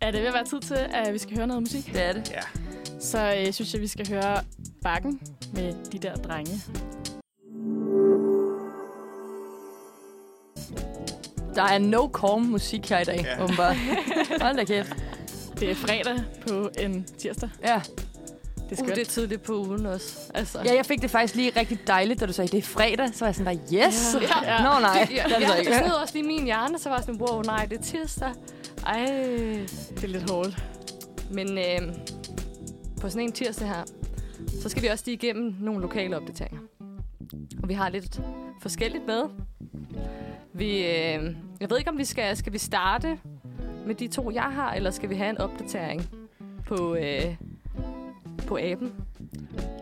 Speaker 4: Er det ved at være tid til, at vi skal høre noget musik?
Speaker 2: Det er det.
Speaker 1: Ja.
Speaker 4: Så øh, synes jeg, vi skal høre Bakken med de der drenge.
Speaker 2: Der er no calm musik her i dag,
Speaker 1: Ja.
Speaker 2: ja. åbenbart. Hold da kæft.
Speaker 4: Det er fredag på en tirsdag.
Speaker 2: Ja.
Speaker 4: Det er
Speaker 3: Uh,
Speaker 4: skønt.
Speaker 3: det er tidligt på ugen også. Altså.
Speaker 2: ja, jeg fik det faktisk lige rigtig dejligt, da du sagde, det er fredag. Så var jeg sådan der, yes. Ja.
Speaker 4: Ja.
Speaker 2: Nå nej,
Speaker 3: Ja,
Speaker 2: [laughs] det er det så
Speaker 3: ja,
Speaker 2: ikke.
Speaker 3: det snød også lige min hjerne, så var jeg sådan, wow, nej, det er tirsdag. Ej.
Speaker 4: det er lidt hårdt.
Speaker 3: Men øh, på sådan en tirsdag her, så skal vi også lige igennem nogle lokale opdateringer. Og vi har lidt forskelligt med. Vi, øh, jeg ved ikke, om vi skal, skal vi starte med de to, jeg har, eller skal vi have en opdatering på, øh, på aben?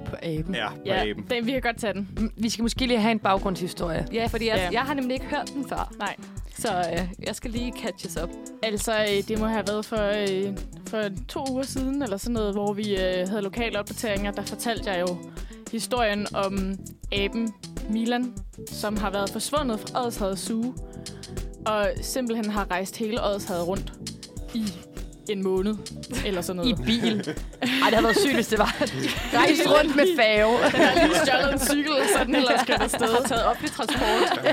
Speaker 2: På aben.
Speaker 1: Ja, på
Speaker 4: Ja,
Speaker 1: aben.
Speaker 4: den, vi kan godt tage den.
Speaker 2: Vi skal måske lige have en baggrundshistorie.
Speaker 3: Ja, fordi jeg,
Speaker 4: Ja.
Speaker 3: ja. jeg har nemlig ikke hørt den før,
Speaker 4: Nej.
Speaker 3: så øh, jeg skal lige catches op.
Speaker 4: Altså, øh, det må have været for, øh, for to uger siden, eller sådan noget, hvor vi øh, havde lokale opdateringer. Der fortalte jeg jo historien om aben Milan, som har været forsvundet fra Odshavet Zoo, og simpelthen har rejst hele Odshavet rundt i en måned, eller sådan
Speaker 2: I
Speaker 4: noget.
Speaker 2: bil. Ej, det havde været sygt, hvis det var. Rejse rundt med fave.
Speaker 4: Han har lige stjålet en cykel, så den ellers skal afsted.
Speaker 3: har [laughs] taget op i transport.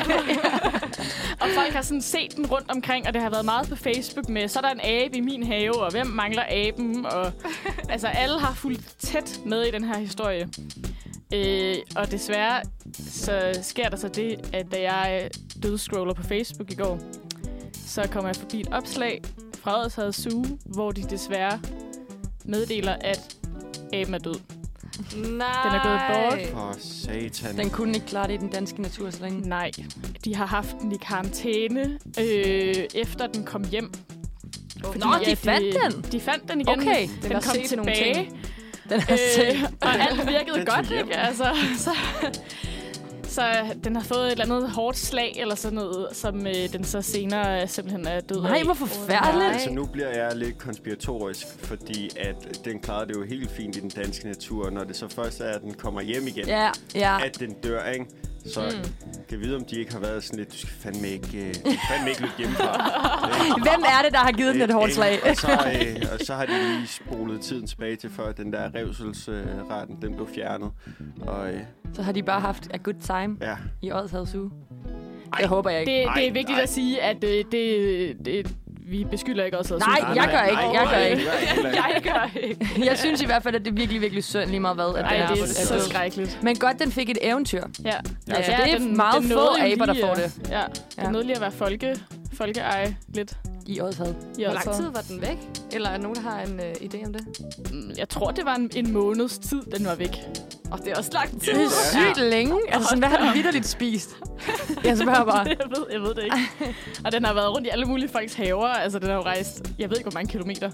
Speaker 4: Og folk har sådan set den rundt omkring, og det har været meget på Facebook med, så er der en abe i min have, og hvem mangler aben? Og, altså, alle har fulgt tæt med i den her historie. Øh, og desværre så sker der så det, at da jeg øh, dødscroller på Facebook i går, så kommer jeg forbi et opslag fra Odshavet Zoo, hvor de desværre meddeler, at aben er død.
Speaker 3: Nej.
Speaker 4: Den er gået bort.
Speaker 1: For satan.
Speaker 2: Den kunne ikke klare det i den danske natur så længe.
Speaker 4: Nej, de har haft den i karantæne, øh, efter den kom hjem.
Speaker 2: Nå, de
Speaker 4: at
Speaker 2: fandt den?
Speaker 4: De fandt den igen.
Speaker 2: Okay.
Speaker 4: den,
Speaker 3: Den
Speaker 4: den
Speaker 3: har
Speaker 4: kom
Speaker 3: set nogle
Speaker 4: tilbage.
Speaker 3: ting.
Speaker 2: Den er øh.
Speaker 4: Øh, og alt virkede
Speaker 1: Den tog
Speaker 4: godt,
Speaker 1: hjem.
Speaker 4: ikke? Altså, så, så den har fået et eller andet hårdt slag, eller sådan noget, som øh, den så senere simpelthen er død
Speaker 2: Nej,
Speaker 4: af.
Speaker 2: hvor forfærdeligt.
Speaker 1: Altså, nu bliver jeg lidt konspiratorisk, fordi at den klarede det jo helt fint i den danske natur. Når det så først er, at den kommer hjem igen,
Speaker 2: Ja, ja.
Speaker 1: at den dør, ikke? Så mm. kan vide, om de ikke har været sådan lidt, du skal fandme ikke, øh, du skal fandme ikke løbe
Speaker 2: [laughs]
Speaker 1: hjemmefra.
Speaker 2: Hvem er det, der har givet den et hårdt slag?
Speaker 1: Og så, øh, og så har de lige spolet tiden tilbage til før den der revselsretten, den blev fjernet. Og øh,
Speaker 2: Så har de bare haft a good time
Speaker 1: ja,
Speaker 2: i Odshavs uge. Det håber jeg ikke.
Speaker 4: Det, det
Speaker 1: Nej,
Speaker 4: er vigtigt
Speaker 1: nej.
Speaker 4: at sige, at øh, det, det, vi beskylder ikke
Speaker 1: [laughs]
Speaker 4: også.
Speaker 2: Nej, jeg gør ikke, jeg gør ikke.
Speaker 4: jeg gør ikke. [laughs]
Speaker 2: Jeg synes i hvert fald, at det er virkelig, virkelig synd lige meget hvad. At
Speaker 4: Ej,
Speaker 2: den
Speaker 4: det er
Speaker 2: er
Speaker 4: så skrækkeligt.
Speaker 2: Men godt, den fik et eventyr.
Speaker 4: Ja.
Speaker 1: Ja.
Speaker 2: Altså, det er meget få
Speaker 4: nåede jo
Speaker 2: aber, der
Speaker 4: lige
Speaker 2: får
Speaker 4: at-
Speaker 2: det.
Speaker 4: øh, Ja,
Speaker 2: Ja.
Speaker 4: det nåede lige at være folke, folkeeje lidt.
Speaker 2: I Odshav.
Speaker 4: I
Speaker 3: Hvor lang
Speaker 4: Odsherred.
Speaker 3: tid var den væk? Eller er der nogen, der har en øh, idé om det?
Speaker 4: Mm, Jeg tror, det var en, en måneds tid, den var væk.
Speaker 3: Og det er også lang tid.
Speaker 2: Det er sygt længe. Altså, sådan, hvad har du vidderligt spist? [laughs] Jeg spørger bare.
Speaker 4: jeg, ved, jeg ved [laughs] det ikke. Og den har været rundt i alle mulige folks haver. Altså, den har jo rejst, jeg ved ikke, hvor mange kilometer,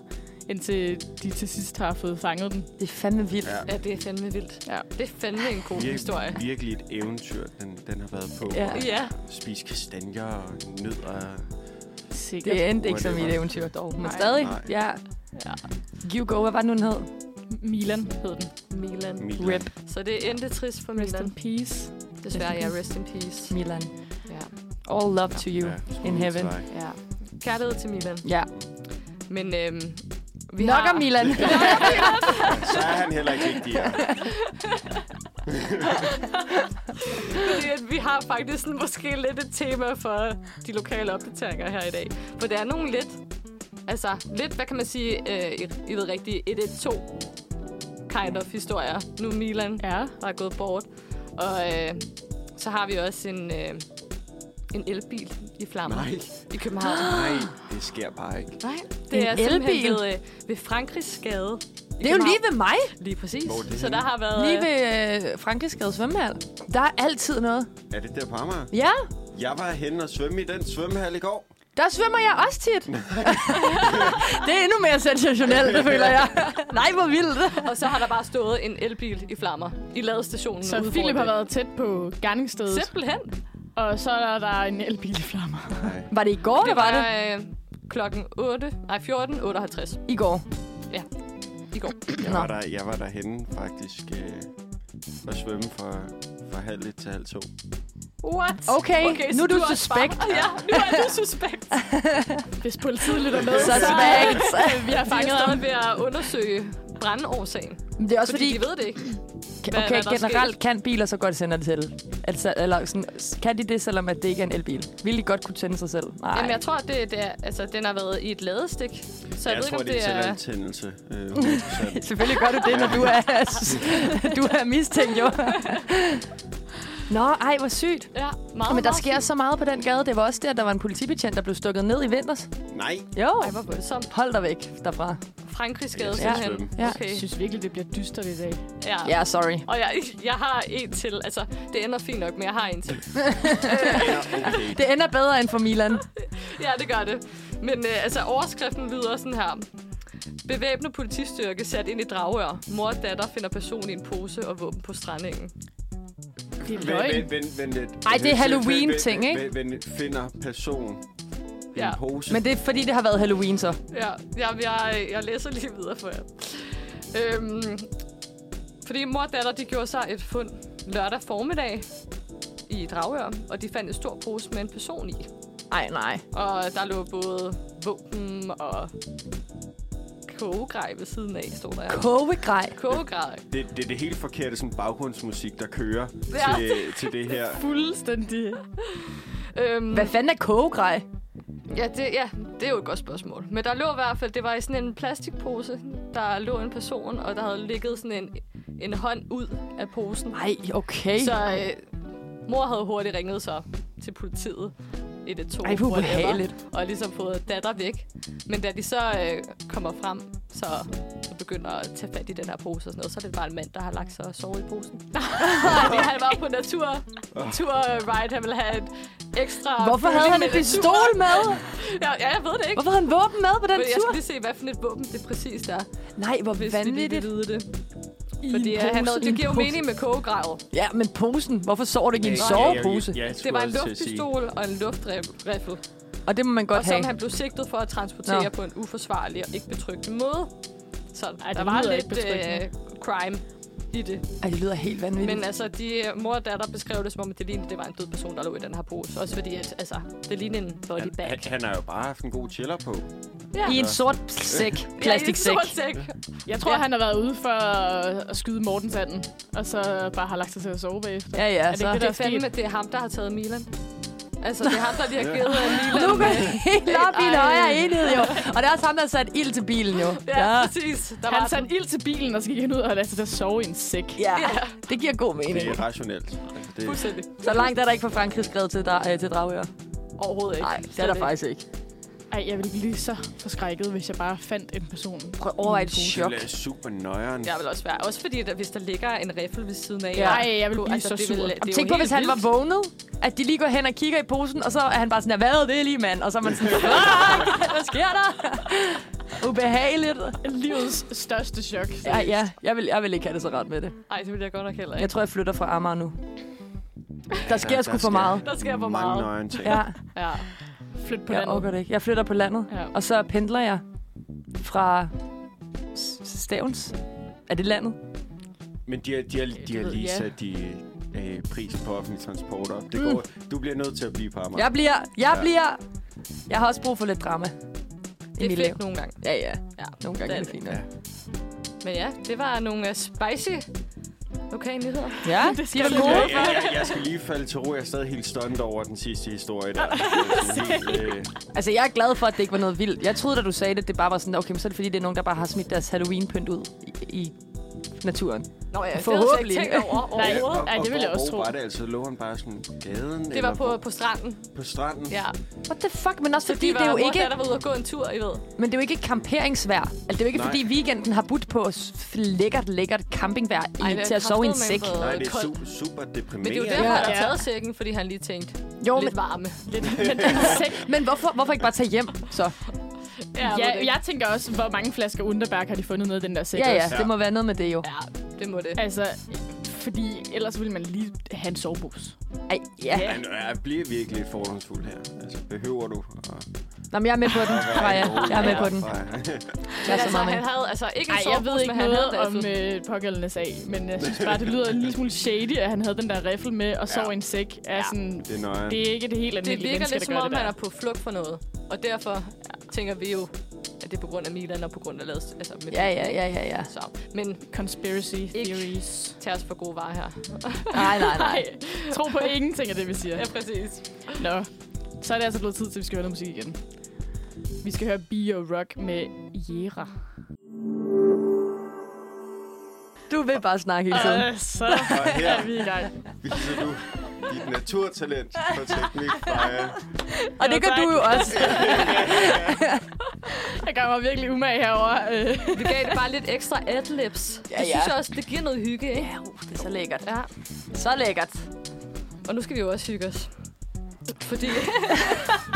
Speaker 4: indtil de til sidst har fået fanget den.
Speaker 2: Det er fandme vildt.
Speaker 1: Ja.
Speaker 3: Ja, det er fandme vildt.
Speaker 4: Ja.
Speaker 3: Det er fandme en god historie.
Speaker 1: Vir- virkelig et eventyr, den, den har været på.
Speaker 2: Ja.
Speaker 3: Ja.
Speaker 1: Spise kastanjer og nødder.
Speaker 4: Sikkert.
Speaker 2: Det endte ikke som i et eventyr dog, men
Speaker 4: Nej.
Speaker 2: stadig.
Speaker 1: Nej.
Speaker 2: Ja.
Speaker 4: Ja.
Speaker 2: You go, hvad var det nu, den hed?
Speaker 4: Milan hed den.
Speaker 3: Milan.
Speaker 1: Milan.
Speaker 2: Rip.
Speaker 3: Så det endte trist for
Speaker 4: Rest in
Speaker 3: Milan.
Speaker 4: peace.
Speaker 3: Desværre, ja. Rest in peace.
Speaker 2: Milan.
Speaker 3: Ja.
Speaker 2: All love to you.
Speaker 1: skud
Speaker 2: in
Speaker 1: ud til
Speaker 2: heaven.
Speaker 1: dig.
Speaker 3: ja. Kærlighed til Milan.
Speaker 2: Ja.
Speaker 3: Men øhm, vi
Speaker 2: Vi Nok
Speaker 3: har...
Speaker 2: om [laughs] Milan.
Speaker 1: Ja, så er han heller ikke vigtigere.
Speaker 3: Fordi at vi har faktisk sådan, måske lidt et tema for de lokale opdateringer her i dag. For der er nogle lidt, altså lidt, hvad kan man sige, øh, I- I ved rigtigt, 112 kind of historier. Nu er Milan,
Speaker 4: Ja.
Speaker 3: der er gået bort. Og øh, så har vi også en, øh, en elbil i flammer
Speaker 1: Nej,
Speaker 3: i København.
Speaker 2: [gasps]
Speaker 1: nej, det sker bare ikke.
Speaker 3: Nej,
Speaker 2: En
Speaker 3: det er simpelthen
Speaker 2: elbil?
Speaker 3: ved, øh, ved Frankrigs gade.
Speaker 2: Det er jo lige ved mig.
Speaker 3: Lige præcis.
Speaker 1: Hvor er det
Speaker 3: så
Speaker 1: henne?
Speaker 3: der har været...
Speaker 2: Lige
Speaker 3: øh,
Speaker 2: ved øh, Frankrigsgade svømmehal. Der er altid noget.
Speaker 1: Er det der på Amager?
Speaker 2: Ja,
Speaker 1: Jeg var henne og svømme i den svømmehal i går.
Speaker 2: der svømmer jeg også [laughs] tit. det er endnu mere sensationelt, det føler jeg. Nej, hvor vildt.
Speaker 3: Og så har der bare stået en elbil i flammer i ladestationen. ude
Speaker 4: Så
Speaker 3: foran
Speaker 4: Philip har
Speaker 3: det.
Speaker 4: været tæt på gerningsstedet,
Speaker 3: Simpelthen.
Speaker 4: og så er der en elbil i flammer.
Speaker 1: Nej.
Speaker 2: Var det i går, det var det?
Speaker 3: Øh, klokken 8, nej 14.58
Speaker 2: I går.
Speaker 3: i går.
Speaker 1: Jeg
Speaker 2: Nå.
Speaker 1: var, der, jeg var derhenne faktisk øh, og svømme fra, fra halv et til halv to.
Speaker 3: What?
Speaker 2: Okay, nu
Speaker 3: så
Speaker 2: er du
Speaker 3: også
Speaker 2: suspekt.
Speaker 3: bare- [laughs] Ja, nu
Speaker 2: [laughs]
Speaker 3: er du suspekt.
Speaker 4: Hvis politiet lytter med,
Speaker 2: Så tilbage. [laughs]
Speaker 4: vi har
Speaker 3: Fanget
Speaker 4: fanget ham.
Speaker 3: stadig ved at undersøge brandårsagen.
Speaker 2: Det er Altså, også fordi,
Speaker 3: Fordi, fordi de ved det ikke. hvad-
Speaker 2: okay,
Speaker 3: hvad der er
Speaker 2: generelt kan biler så godt sende det til. Altså, eller sådan, kan de det, selvom at det ikke er en elbil? Vil de godt kunne tænde sig selv? Nej.
Speaker 3: Jamen, jeg tror, det, det er, altså, den har været i et ladestik. Så jeg,
Speaker 1: jeg
Speaker 3: ved
Speaker 1: tror,
Speaker 3: ikke, om det
Speaker 1: er
Speaker 3: er...
Speaker 1: selvantændelse. Øh, [laughs] 100%.
Speaker 2: [laughs] Selvfølgelig gør du det, når du er,
Speaker 3: [laughs]
Speaker 2: du er mistænkt, jo. Nå, ej, hvor sygt.
Speaker 3: Ja, meget,
Speaker 2: Men der
Speaker 3: meget
Speaker 2: sker så meget på den gade. Det var også der, der var en politibetjent, der blev stukket ned i vinters.
Speaker 1: nej,
Speaker 2: Jo,
Speaker 3: Ej, hvor voldsomt.
Speaker 2: hold dig væk derfra.
Speaker 3: Frankrig skade
Speaker 1: Jeg skal
Speaker 3: simpelthen.
Speaker 1: svømme.
Speaker 2: Ja.
Speaker 3: Okay.
Speaker 4: Jeg synes virkelig, det bliver dystert i dag.
Speaker 3: Ja.
Speaker 2: Ja, sorry.
Speaker 3: Og jeg, jeg har en til. Altså, det ender fint nok, men jeg har en til.
Speaker 1: ja, okay.
Speaker 2: Det ender bedre end for Milan.
Speaker 3: Ja, det gør det. Men øh, altså, overskriften lyder sådan her. Bevæbnet politistyrke sat ind i dragør. Mor og datter finder person i en pose og våben på strandingen.
Speaker 4: Det er
Speaker 1: Vent,
Speaker 4: løgn.
Speaker 1: vent, vent, vent lidt. Altså,
Speaker 2: Ej, det er
Speaker 1: Vent,
Speaker 2: Halloween-ting,
Speaker 1: vent,
Speaker 2: ikke?
Speaker 1: Vent, vent, vent, finder person i
Speaker 3: Ja.
Speaker 1: en pose.
Speaker 2: Men det er fordi, det har været Halloween, så.
Speaker 3: Ja, jeg, jeg, øh, jeg læser lige videre for jer. Øhm, fordi mor og datter, de gjorde sig et fund lørdag formiddag i Dragør, og de fandt en stor pose med en person i.
Speaker 2: Ej, nej.
Speaker 3: Og der lå både våben og kogegrej ved siden af, stod der.
Speaker 2: Kogegrej.
Speaker 3: Kogegrej.
Speaker 1: Det, det er det helt forkerte sådan baggrundsmusik, der kører
Speaker 3: Ja.
Speaker 1: til, til det her.
Speaker 4: Fuldstændig.
Speaker 3: Øhm,
Speaker 2: Hvad fanden er kogegrej?
Speaker 3: Ja det, ja, det er jo et godt spørgsmål. Men der lå i hvert fald, det var i sådan en plastikpose, der lå en person, og der havde ligget sådan en, en hånd ud af posen.
Speaker 2: Nej, okay.
Speaker 3: Så øh, mor havde hurtigt ringet så til politiet. Et af to.
Speaker 2: Ej, hvor ubehageligt.
Speaker 3: Og ligesom fået datter væk. Men da de så øh, kommer frem, så begynder at tage fat i den her pose og sådan noget, så er det bare en mand, der har lagt sig og sovet i posen. [laughs] Fordi han var på natur, naturride, han ville have et ekstra...
Speaker 2: Hvorfor havde
Speaker 3: føling
Speaker 2: han
Speaker 3: med
Speaker 2: en pistol
Speaker 3: naturen.
Speaker 2: med?
Speaker 3: Ja, ja, jeg ved det ikke.
Speaker 2: Hvorfor havde han våben med på den
Speaker 3: Men jeg
Speaker 2: tur?
Speaker 3: skal lige se, hvad for et våben det præcis er,
Speaker 2: Nej, hvor
Speaker 3: hvis vi
Speaker 2: vanvittigt.
Speaker 3: lige vide det.
Speaker 4: I
Speaker 3: Fordi
Speaker 4: en
Speaker 3: øh, han
Speaker 4: pose,
Speaker 3: havde,
Speaker 4: i
Speaker 3: det
Speaker 4: en
Speaker 3: giver jo
Speaker 4: pose.
Speaker 3: mening med kogegravet.
Speaker 2: Ja, men posen. Hvorfor sover du ikke i en
Speaker 1: Ja, ja, ja,
Speaker 2: sovepose?
Speaker 1: ja, jeg skulle
Speaker 3: Det var en
Speaker 1: også til at sige.
Speaker 3: luftpistol og en luftrifle,
Speaker 2: Og det må man
Speaker 3: og
Speaker 2: godt have.
Speaker 3: som han blev sigtet for at transportere
Speaker 2: Nå.
Speaker 3: på en uforsvarlig og ikke betryggende måde. Så Ej,
Speaker 4: det
Speaker 3: der var
Speaker 4: lyder
Speaker 3: lidt
Speaker 4: ikke betryggende.
Speaker 3: øh, crime i det.
Speaker 2: Ej, det lyder helt vanvittigt.
Speaker 3: Men altså, de øh, mor og datter beskrev det som om, at det lignede, at det var en død person, der lå i den her pose. Også fordi, at, altså, det lignede en body
Speaker 1: Han,
Speaker 3: bag.
Speaker 1: han, han har jo bare haft en god chiller på.
Speaker 3: Ja.
Speaker 2: I en sort sæk. Plastiksæk.
Speaker 3: Ja, i en stor sæk.
Speaker 4: Jeg tror,
Speaker 3: Ja.
Speaker 4: ja. han har været ude for at skyde Mortensanden, og så bare har lagt sig til at sove bagefter.
Speaker 2: Ja, ja,
Speaker 4: det
Speaker 2: så.
Speaker 4: ikke
Speaker 3: Det
Speaker 4: Der
Speaker 3: er
Speaker 4: er
Speaker 3: fandme, det er ham, der har taget Milan. Altså, det er ham, der lige har givet øh, Milan.
Speaker 2: Nu går det helt op i en
Speaker 3: Ej.
Speaker 2: højere enhed, jo. Og det er også ham, der har sat ild til bilen, jo.
Speaker 3: Ja, ja, præcis. Der var
Speaker 4: Han satte ild til bilen, og så gik han ud og lagde sig til at sove i en sæk.
Speaker 2: ja.
Speaker 3: Ja.
Speaker 2: Det giver god mening.
Speaker 1: Det er rationelt. Altså, det,
Speaker 3: den fuldstændig.
Speaker 2: Så langt er der ikke fra Frankrig skrevet til, dra- øh, til Dragør.
Speaker 3: Overhovedet ikke.
Speaker 2: Nej, det er
Speaker 3: Slet
Speaker 2: der
Speaker 3: ikke.
Speaker 2: faktisk ikke.
Speaker 4: Ej, Ej, jeg ville blive så forskrækket, hvis jeg bare fandt en person.
Speaker 2: Prøv at overveje et chok.
Speaker 1: Det er super nøjeren.
Speaker 3: Jeg vil også være. Også fordi, der, hvis der ligger en riffel ved siden af.
Speaker 2: Ja.
Speaker 3: jer,
Speaker 4: Ej, jeg ville blive så
Speaker 3: det
Speaker 4: sur.
Speaker 3: vil- det er jo
Speaker 2: Tænk på,
Speaker 3: helt
Speaker 2: hvis han var
Speaker 3: vildt.
Speaker 2: vågnet, at de lige går hen og kigger i posen, og så er han bare sådan, "Ja, hvad er det lige, mand? Og så er man sådan, "Ah, hvad sker der? [laughs] Ubehageligt.
Speaker 4: Livets største chok.
Speaker 2: Ej, ja, jeg vil, jeg vil ikke have det så rart med det.
Speaker 3: Ej, det ville jeg godt nok heller
Speaker 2: Jeg
Speaker 3: ikke.
Speaker 2: tror, jeg flytter fra Amager nu. Der sker sgu for
Speaker 1: skal
Speaker 2: meget.
Speaker 3: Der sker for
Speaker 1: Mange
Speaker 3: meget.
Speaker 1: nøjeren ting.
Speaker 2: Ja,
Speaker 4: Ja. Flyt på
Speaker 2: jeg
Speaker 4: landet.
Speaker 2: overgår det ikke. Jeg flytter på landet,
Speaker 4: Ja.
Speaker 2: og så pendler jeg fra S- Stavns. Er det landet?
Speaker 1: Men de har, de har, de har
Speaker 3: ved-
Speaker 1: lige
Speaker 3: ja.
Speaker 1: sat de, øh, prisen på offentlige transporter. op. Det går,
Speaker 2: Mm.
Speaker 1: du bliver nødt til at blive på Amager.
Speaker 2: Jeg bliver, jeg
Speaker 1: Ja.
Speaker 2: bliver. Jeg har også brug for lidt drama i
Speaker 3: Det er
Speaker 2: mit liv.
Speaker 3: fedt nogle gange.
Speaker 2: Ja, ja.
Speaker 3: Ja,
Speaker 2: Nogle gange er
Speaker 3: er
Speaker 2: det fint. nok.
Speaker 3: Men ja, det var nogle uh, spicy lokale nyheder.
Speaker 2: Ja, det skal du
Speaker 1: Ja, ja, ja, jeg skal lige falde til ro. Jeg er stadig helt stunt over den sidste historie
Speaker 3: [laughs]
Speaker 1: der. Det er sådan helt, øh,
Speaker 2: Altså, jeg er glad for, at det ikke var noget vildt. Jeg troede, da du sagde det, det bare var sådan, okay, men så er det fordi, det er nogen, der bare har smidt deres Halloween-pynt ud i, i naturen.
Speaker 3: Nå ja,
Speaker 2: Forhåbentlig.
Speaker 3: Det havde
Speaker 2: [laughs]
Speaker 3: jeg ikke tænkt over
Speaker 4: Nej.
Speaker 3: overhovedet.
Speaker 4: Ej, det ville jeg
Speaker 1: hvor-
Speaker 4: også
Speaker 1: hvor
Speaker 4: tro.
Speaker 1: Var det altså? Lå han bare sådan på gaden?
Speaker 3: Det var
Speaker 1: eller
Speaker 3: på, på stranden.
Speaker 1: på stranden?
Speaker 3: Ja.
Speaker 2: What the fuck? Men også
Speaker 3: Så
Speaker 2: fordi, det er jo ikke,
Speaker 3: Der, der var ude og gå en tur, I ved.
Speaker 2: men det er jo ikke camperingsvejr. Altså, det er jo ikke,
Speaker 1: Nej.
Speaker 2: fordi weekenden har budt på s- f- lækkert, lækkert campingvejr
Speaker 3: Ej,
Speaker 2: i,
Speaker 3: det
Speaker 2: til
Speaker 3: er
Speaker 2: at sove i en sæk.
Speaker 3: kraftedeme været
Speaker 1: Nej, det er
Speaker 3: koldt.
Speaker 1: su- super deprimerende.
Speaker 3: Men det er jo derfor,
Speaker 2: Ja.
Speaker 3: han har
Speaker 4: Ja.
Speaker 3: taget sækken, fordi han lige tænkte,
Speaker 2: Jo, men, [laughs]
Speaker 3: lidt varme.
Speaker 4: Lidt, men den sæk.
Speaker 2: men hvorfor, hvorfor ikke bare tage hjem, så?
Speaker 3: [laughs] må
Speaker 4: [laughs] Ja,
Speaker 3: det-
Speaker 4: jeg tænker også, hvor mange flasker Underberg har de fundet nede i den der sæk
Speaker 2: Ja,
Speaker 4: også?
Speaker 2: ja, det må være noget med det jo.
Speaker 3: ja, det må det.
Speaker 4: Altså, fordi ellers ville man lige have en sovepose.
Speaker 2: Ej, ja.
Speaker 1: Men jeg bliver virkelig fordomsfuld her. Altså, behøver du? at-
Speaker 2: Nå, men jeg er med på den, Freja. Jeg er med på den. Jeg er så
Speaker 3: altså,
Speaker 2: meget
Speaker 3: han
Speaker 2: med.
Speaker 3: havde altså ikke en
Speaker 4: Ej, jeg ved
Speaker 3: sovepose,
Speaker 4: ikke
Speaker 3: men han havde altså.
Speaker 4: noget om
Speaker 3: riffel.
Speaker 4: øh, pågældende sag, men jeg synes bare, det lyder en lille smule shady, at han havde den der riffel med og sov i en sæk. Er sådan,
Speaker 1: [laughs] Det er nøjeren.
Speaker 4: det er ikke det helt
Speaker 3: Det
Speaker 4: almindelige
Speaker 3: virker
Speaker 4: menneske,
Speaker 3: lidt
Speaker 4: der
Speaker 3: som
Speaker 4: gør
Speaker 3: om,
Speaker 4: det der.
Speaker 3: han er på flugt for noget. Og derfor tænker vi jo, at det er på grund af Milan og på grund af Lads. Altså, med
Speaker 2: Ja, ja, ja, ja, ja.
Speaker 3: Så. Men
Speaker 4: Conspiracy
Speaker 3: Ikke.
Speaker 4: theories.
Speaker 3: tag os for gode varer her.
Speaker 2: Nej, nej, nej.
Speaker 4: Nej, tro på ingenting af det, vi siger.
Speaker 3: Ja, præcis.
Speaker 4: Nå, så er det altså blevet tid til, at vi skal høre noget musik igen. Vi skal høre Bio Rock med Jera.
Speaker 2: Du vil bare snakke hele tiden.
Speaker 4: Øh, så
Speaker 1: Og her
Speaker 4: er vi i gang.
Speaker 1: viser du dit naturtalent for teknik, Freja.
Speaker 2: Og det
Speaker 4: Jo,
Speaker 2: gør
Speaker 4: tak.
Speaker 2: du jo også.
Speaker 4: Jeg gør mig virkelig umage herovre. Øh,
Speaker 3: [laughs] Vi gav det bare lidt ekstra adlibs. Ja,
Speaker 2: Ja,
Speaker 3: ja. Det
Speaker 2: ja.
Speaker 3: synes jeg også, det giver noget hygge, ikke?
Speaker 2: Ja, uh, det er så lækkert.
Speaker 3: Ja.
Speaker 2: Så lækkert.
Speaker 3: Og nu skal vi jo også hygge os. Fordi...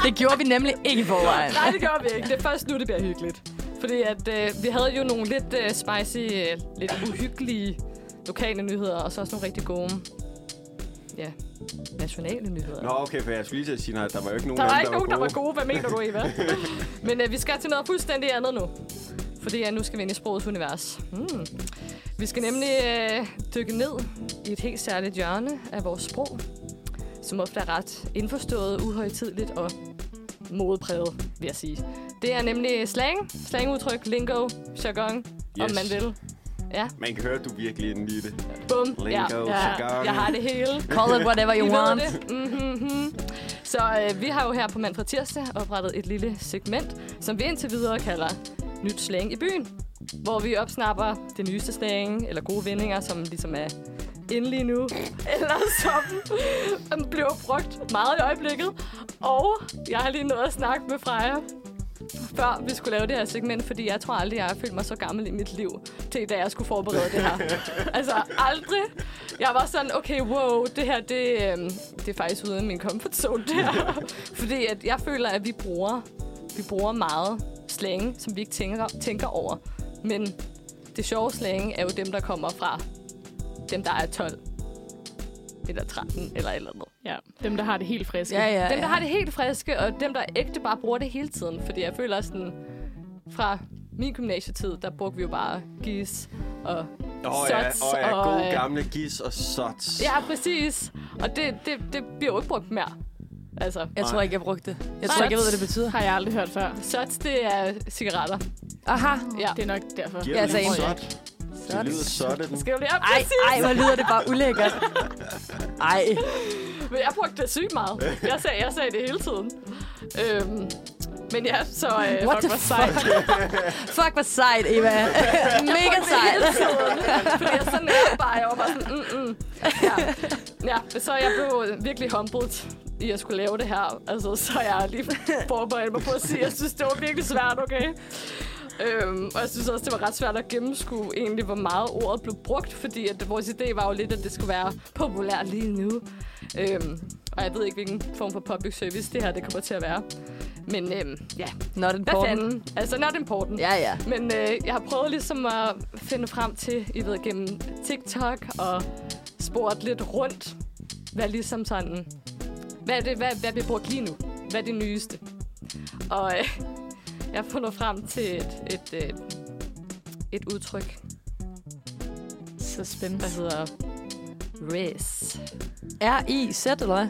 Speaker 2: Det gjorde vi nemlig ikke i forvejen.
Speaker 3: Nej, det gør vi ikke. Det er først nu, det bliver hyggeligt. Fordi at, øh, vi havde jo nogle lidt øh, spicy, øh, lidt uhyggelige lokale nyheder, og så også nogle rigtig gode, ja, nationale nyheder.
Speaker 1: Nå, okay, for jeg skulle lige til at sige, nej, der var jo ikke nogen
Speaker 3: Der
Speaker 1: af
Speaker 3: var
Speaker 1: dem,
Speaker 3: ikke nogen, der var
Speaker 1: gode.
Speaker 3: gode. Hvad mener du, [laughs] Eva? Men øh, vi skal til noget fuldstændig andet nu. Fordi ja, nu skal vi ind i sprogets univers. Hmm. Vi skal nemlig øh, dykke ned i et helt særligt hjørne af vores sprog, som ofte er ret indforstået, uhøjtidligt og modepræget, vil jeg sige. Det er nemlig slang, slangudtryk, lingo, jargon, yes. om
Speaker 1: Yes.
Speaker 3: man vil.
Speaker 1: Man kan høre, at du er virkelig er inde i det.
Speaker 3: Bum.
Speaker 1: Lingo,
Speaker 3: ja.
Speaker 1: jargon.
Speaker 3: Jeg har det hele.
Speaker 2: Call it whatever you
Speaker 3: I
Speaker 2: want.
Speaker 3: ved det. Mm-hmm. Så øh, vi har jo her på Manfred Tirsdag oprettet et lille segment, som vi indtil videre kalder Nyt Slang i byen, hvor vi opsnapper det nyeste slang, eller gode vendinger, som ligesom er inde lige nu, [laughs] eller som som [laughs] bliver brugt meget i øjeblikket. Og jeg har lige nået at snakke med Freja, før vi skulle lave det her segment, fordi jeg tror aldrig, jeg har følt mig så gammel i mit liv, til da jeg skulle forberede det her. altså aldrig. Jeg var sådan, okay, wow, det her, det, øhm, det er faktisk uden min comfort zone, det
Speaker 2: [laughs]
Speaker 3: her. fordi at jeg føler, at vi bruger, vi bruger meget slange, som vi ikke tænker, tænker over. Men det sjove slange er jo dem, der kommer fra dem, der er 12 eller 13 eller et eller andet.
Speaker 4: ja, dem, der har det helt friske.
Speaker 2: Ja, ja,
Speaker 3: Dem, der
Speaker 2: ja.
Speaker 3: har det helt friske, og dem, der ægte bare bruger det hele tiden. Fordi jeg føler sådan, fra min gymnasietid, der brugte vi jo bare gis og...
Speaker 1: Åh oh, ja,
Speaker 3: Sots
Speaker 1: oh, ja,
Speaker 3: og,
Speaker 1: gode
Speaker 3: øh,
Speaker 1: gamle gis og sots.
Speaker 3: Ja, præcis. Og det, det, det bliver jo ikke brugt mere. Altså,
Speaker 2: Jeg tror ikke, jeg brugte det. Jeg tror ikke, jeg ved, hvad det betyder.
Speaker 4: Har jeg aldrig hørt før.
Speaker 3: shots, det er cigaretter.
Speaker 2: Aha.
Speaker 3: Ja. altså
Speaker 4: Det er nok derfor.
Speaker 1: Giver
Speaker 2: Ja,
Speaker 1: den
Speaker 2: så
Speaker 1: en
Speaker 2: en-
Speaker 1: sot. Det lyder sådan.
Speaker 3: Skal jo lige op,
Speaker 2: Ej,
Speaker 3: præcis.
Speaker 2: ej, hvor lyder det bare ulækkert. Ej.
Speaker 3: Men jeg brugte det sygt meget. Jeg sagde, jeg sagde det hele tiden. Øhm, men ja, så... Øh,
Speaker 2: What the
Speaker 4: hvor
Speaker 2: fuck? Fuck, hvor
Speaker 3: [laughs]
Speaker 2: sejt, Eva. Mega sejt.
Speaker 3: hele tiden. Fordi jeg sådan er bare, jeg var bare sådan, mm, mm. Ja, så jeg blev virkelig humblet i at skulle lave det her. Altså, så jeg lige forberedt mig på at sige, at jeg synes, det var virkelig svært, okay? Øhm, og jeg synes også, det var ret svært at gennemskue egentlig, hvor meget ordet blev brugt, fordi at vores idé var jo lidt, at det skulle være populært lige nu. Øhm, og jeg ved ikke, hvilken form for public service det her det kommer til at være. Men øhm, ja,
Speaker 2: Not
Speaker 3: hvad
Speaker 2: important.
Speaker 3: fanden? Altså, not important.
Speaker 2: Ja, ja.
Speaker 3: Men øh, jeg har prøvet ligesom at finde frem til, I ved, gennem TikTok og spurgt lidt rundt, hvad ligesom sådan, hvad er det, hvad, hvad bliver brugt lige nu? Hvad er det nyeste? Og øh, jeg har fundet frem til et, et, øh, et udtryk,
Speaker 4: Så
Speaker 3: der
Speaker 4: spændende.
Speaker 3: hedder res.
Speaker 2: R-I-Z, eller hvad?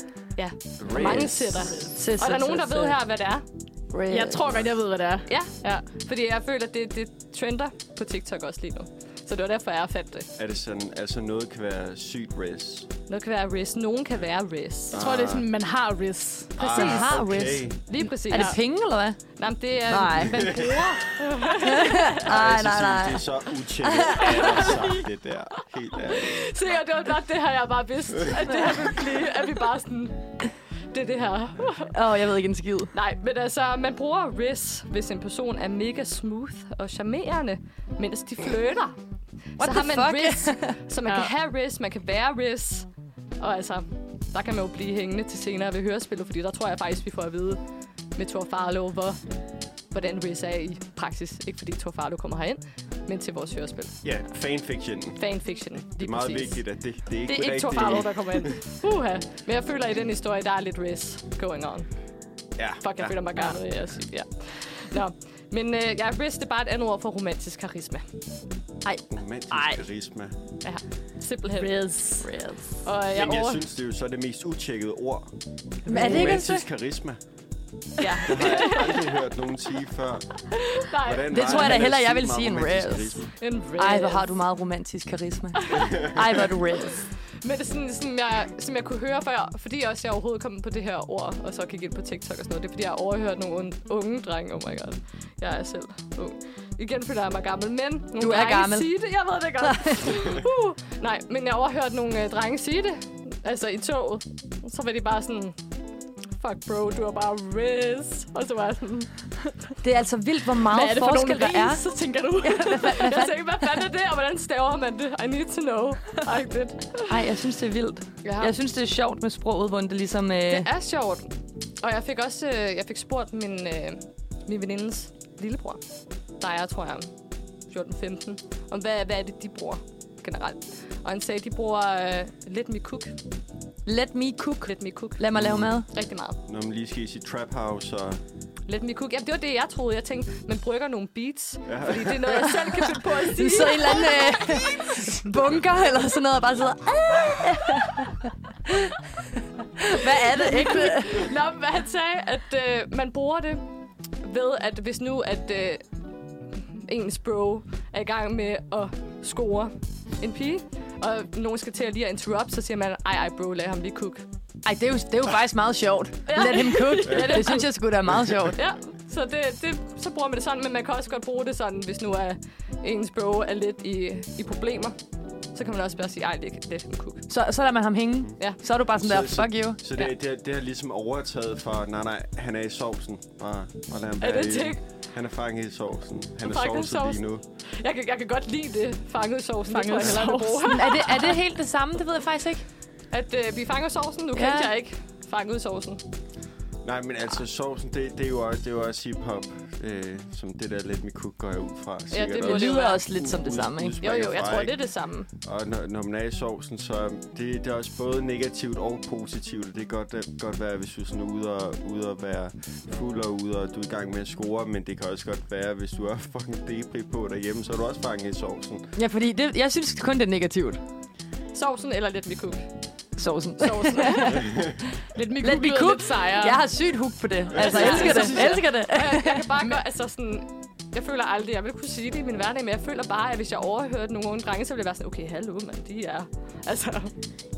Speaker 3: Mange sætter.
Speaker 2: Z,
Speaker 3: Og der er nogen, der ved her, hvad det er.
Speaker 2: øh,
Speaker 4: Jeg tror godt, jeg ved, hvad det er.
Speaker 3: Ja,
Speaker 4: Ja.
Speaker 3: fordi jeg føler, at det, det trender på TikTok også lige nu. Så det var derfor, jeg fandt det.
Speaker 1: Er det sådan, altså noget kan være sygt res?
Speaker 3: Noget kan være res. Nogen kan være res.
Speaker 4: Jeg tror, det er sådan, man har ris.
Speaker 2: Præcis.
Speaker 1: Ah,
Speaker 2: Har
Speaker 1: okay.
Speaker 2: res.
Speaker 3: Lige præcis.
Speaker 2: Er det penge, eller hvad?
Speaker 3: Nej, Øhm, men det er...
Speaker 2: Nej.
Speaker 3: Man bruger...
Speaker 2: Nej,
Speaker 1: jeg
Speaker 2: nej,
Speaker 1: synes,
Speaker 2: nej.
Speaker 1: Det er så utjekket, at jeg har sagt det der. Helt ærligt.
Speaker 3: Se, og det var godt det her, jeg bare vidste, at det her ville blive. At vi bare sådan... Det er det her.
Speaker 2: Åh, oh, jeg ved ikke en skid.
Speaker 3: Nej, men altså, man bruger ris, hvis en person er mega smooth og charmerende, mens de flytter. så
Speaker 2: What
Speaker 3: har
Speaker 2: the
Speaker 3: man
Speaker 2: fuck?
Speaker 3: ris, så man
Speaker 4: Ja.
Speaker 3: kan have ris, man kan være ris. Og altså, der kan man jo blive hængende til senere ved hørespillet, fordi der tror jeg faktisk, vi får at vide med Thor Farlow, hvor, hvordan ris er i praksis. Ikke fordi Thor Farlow kommer herind, men til vores hørespil.
Speaker 1: Ja, fanfictionen.
Speaker 3: Fanfiction. Lige
Speaker 1: Det er meget
Speaker 3: præcis.
Speaker 1: vigtigt, at det, det er ikke
Speaker 3: Det er ikke Thor
Speaker 1: rigtigt.
Speaker 3: Farlow, der kommer ind. Uha. Men jeg føler, i den historie, der er lidt ris going on.
Speaker 1: Ja,
Speaker 3: Fuck, jeg
Speaker 1: ja.
Speaker 3: føler mig garnet i at sige det. Ja. Nå. Men øh, ja, ris, det er bare et andet ord for romantisk karisma.
Speaker 1: Romantisk
Speaker 3: Ej.
Speaker 1: karisma.
Speaker 3: Ja, simpelthen.
Speaker 4: Riz.
Speaker 3: Ris. Og jeg,
Speaker 1: Men jeg
Speaker 3: over...
Speaker 1: synes, det er jo så det mest utjekkede ord.
Speaker 2: Men er det ikke en
Speaker 1: Romantisk karisma.
Speaker 3: Ja.
Speaker 1: Det har jeg aldrig hørt nogen sige før.
Speaker 3: Nej,
Speaker 1: Hvordan
Speaker 2: Det
Speaker 1: har
Speaker 2: tror jeg da
Speaker 1: han
Speaker 2: hellere,
Speaker 1: ellers
Speaker 2: jeg vil
Speaker 1: sygt
Speaker 2: sige en
Speaker 1: meget romantisk
Speaker 2: res.
Speaker 1: karisma?
Speaker 3: en ris.
Speaker 2: Ej, hvor har du meget romantisk karisma. Ej, hvor er du red.
Speaker 3: Men det er sådan, sådan jeg, som jeg kunne høre før, fordi også jeg overhovedet kom på det her ord, og så gik ind på TikTok og sådan noget. Det er, fordi jeg har overhørt nogle unge, unge drenge. Oh my god. Jeg er selv ung. Igen føler jeg mig gammel, men nogle
Speaker 2: Du er
Speaker 3: drenge
Speaker 2: gammel.
Speaker 3: sige det. Jeg ved det godt. [laughs] uh, nej, men jeg overhørte nogle øh, drenge sige det. Altså i toget. Så var de bare sådan, fuck bro, du er bare riz. Og så var jeg sådan,
Speaker 2: Det er altså vildt, hvor
Speaker 4: Hvad
Speaker 2: meget
Speaker 4: er det for
Speaker 2: forskel
Speaker 4: nogle
Speaker 2: der er.
Speaker 4: ris, så tænker du?
Speaker 3: jeg tænkte, hvad fanden er det, og hvordan staver man det? I need to know. Ej, det.
Speaker 2: Ej, jeg synes, det er vildt.
Speaker 3: Ja.
Speaker 2: Jeg synes, det er sjovt med sproget, hvor det ligesom... Øh...
Speaker 3: Det er sjovt. Og jeg fik også øh, jeg fik spurgt min, øh, min venindes lillebror, der er, tror jeg, 14-15, om hvad, hvad er det, de bruger generelt. Og han sagde, at de bruger øh, let me cook.
Speaker 2: Let me cook.
Speaker 3: Let me cook.
Speaker 2: Lad mig lave mad.
Speaker 3: Rigtig meget.
Speaker 1: Når man lige skal i sit trap house og...
Speaker 3: Let me cook. Jamen, det var det, jeg troede. Jeg tænkte, man brygger nogle beats.
Speaker 1: Ja.
Speaker 3: Fordi det er noget, jeg selv kan finde på at
Speaker 2: Du
Speaker 3: sige.
Speaker 2: sidder i en eller anden øh, bunker eller sådan noget, og bare sidder... "Ah." Hvad er det, ikke?
Speaker 3: Nå, men hvad han sagde, at øh, man bruger det ved, at hvis nu, at øh, ens bro er i gang med at score en pige, og nogen skal til at lige at interrupt, så siger man, ej, ej, bro, lad ham lige cook.
Speaker 2: Ej, det er, jo, det er jo faktisk meget sjovt. Let him cook. Det synes jeg sgu da er meget sjovt.
Speaker 3: Ja, så, det, det, så bruger man det sådan, men man kan også godt bruge det sådan, hvis nu er ens bro er lidt i, i problemer. Så kan man også bare sige, ej, let, let ham cook.
Speaker 2: Så, så lader man ham hænge.
Speaker 3: Ja.
Speaker 2: Så er du bare sådan der,
Speaker 1: Så- så-
Speaker 2: fuck you.
Speaker 1: Så det, det, det har ligesom overtaget for, nej, nej, han er i sovsen. Bare, bare lad ham
Speaker 3: Er
Speaker 1: være
Speaker 3: det
Speaker 1: i,
Speaker 3: ting?
Speaker 1: han er fanget i sovsen. Han er
Speaker 3: Fanget i
Speaker 1: sovset lige
Speaker 3: sovsen.
Speaker 1: nu.
Speaker 3: Jeg kan, jeg kan godt lide det, fanget sovsen. Det
Speaker 4: Fanget
Speaker 3: tror jeg hellere, jeg vil bruge.
Speaker 4: sovsen.
Speaker 2: Er det, er det helt det samme? Det ved jeg faktisk ikke.
Speaker 3: At øh, vi fanger sovsen, nu ja. kendte jeg ikke fanget sovsen.
Speaker 1: Nej, men
Speaker 2: Ah.
Speaker 1: altså sovsen, det, det er jo også, det er jo også hip-hop, øh, som det der lidt med cook går jeg ud fra. sikkert
Speaker 3: det må
Speaker 2: Det
Speaker 1: også.
Speaker 3: jo
Speaker 2: lyder
Speaker 3: være-
Speaker 2: også lidt som det samme, ikke?
Speaker 3: Jo,
Speaker 1: udspringer
Speaker 3: jo, jeg
Speaker 1: fra,
Speaker 3: tror,
Speaker 1: ikke?
Speaker 3: det er det samme.
Speaker 1: Og når, når man er i sovsen, så er det, det er også både negativt og positivt. Det kan godt, øh, godt være, hvis du er sådan ude og, ude og være fuld og ude, og du er i gang med at score, men det kan også godt være, hvis du er [laughs] fucking depri på derhjemme, så er du også fanget i sovsen.
Speaker 2: Ja, fordi det, jeg synes kun, det er negativt.
Speaker 3: Sovsen eller lidt vi cook?
Speaker 2: Sovsen.
Speaker 3: [laughs] Sovsen.
Speaker 4: Lidt mikro,
Speaker 2: Let me cook.
Speaker 4: lidt sejere.
Speaker 2: Jeg har sygt hook på det. Altså, jeg
Speaker 3: Ja,
Speaker 2: elsker
Speaker 3: så
Speaker 2: det.
Speaker 3: synes
Speaker 2: Jeg
Speaker 3: jeg.
Speaker 2: elsker det.
Speaker 3: jeg, jeg kan bare gøre, altså sådan... Jeg føler aldrig, jeg vil kunne sige det i min hverdag, men jeg føler bare, at hvis jeg overhørte nogle unge drenge, så ville jeg være sådan, okay, hallo, mand, de er... Altså,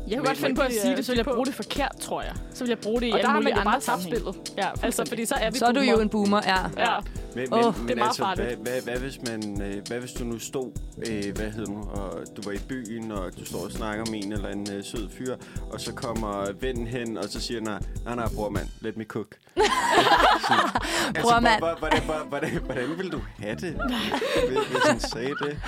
Speaker 4: Jeg kunne godt finde på at
Speaker 3: de,
Speaker 4: sige
Speaker 3: øh,
Speaker 4: det, så ville
Speaker 3: de
Speaker 4: jeg
Speaker 3: på.
Speaker 4: bruge det forkert, tror jeg. Så ville jeg bruge det i
Speaker 3: og der
Speaker 4: alle
Speaker 3: har man
Speaker 4: mulige
Speaker 3: jo
Speaker 4: andre
Speaker 3: bare tabt
Speaker 4: sammenhænge.
Speaker 3: spillet.
Speaker 4: Ja,
Speaker 3: Altså,
Speaker 4: altså,
Speaker 3: fordi så er vi
Speaker 2: Så er du
Speaker 3: boomer.
Speaker 2: jo en boomer, ja.
Speaker 3: Ja.
Speaker 1: Men, altså,
Speaker 2: Åh,
Speaker 4: det er meget farligt.
Speaker 1: Hvad, hvad, hvad, hvis man, øh, hvad hvis du nu stod, øh, hvad hedder nu, og du var i byen, og du står og snakker med en eller en øh, sød fyr, og så kommer vennen hen, og så siger nej, nej, nej, bror mand, let me cook. Sådan. altså,
Speaker 2: Bror mand.
Speaker 1: hvor- hvor- Hvordan, hvordan, hvordan, hvordan vil du have det, hvis, hvis han sagde det?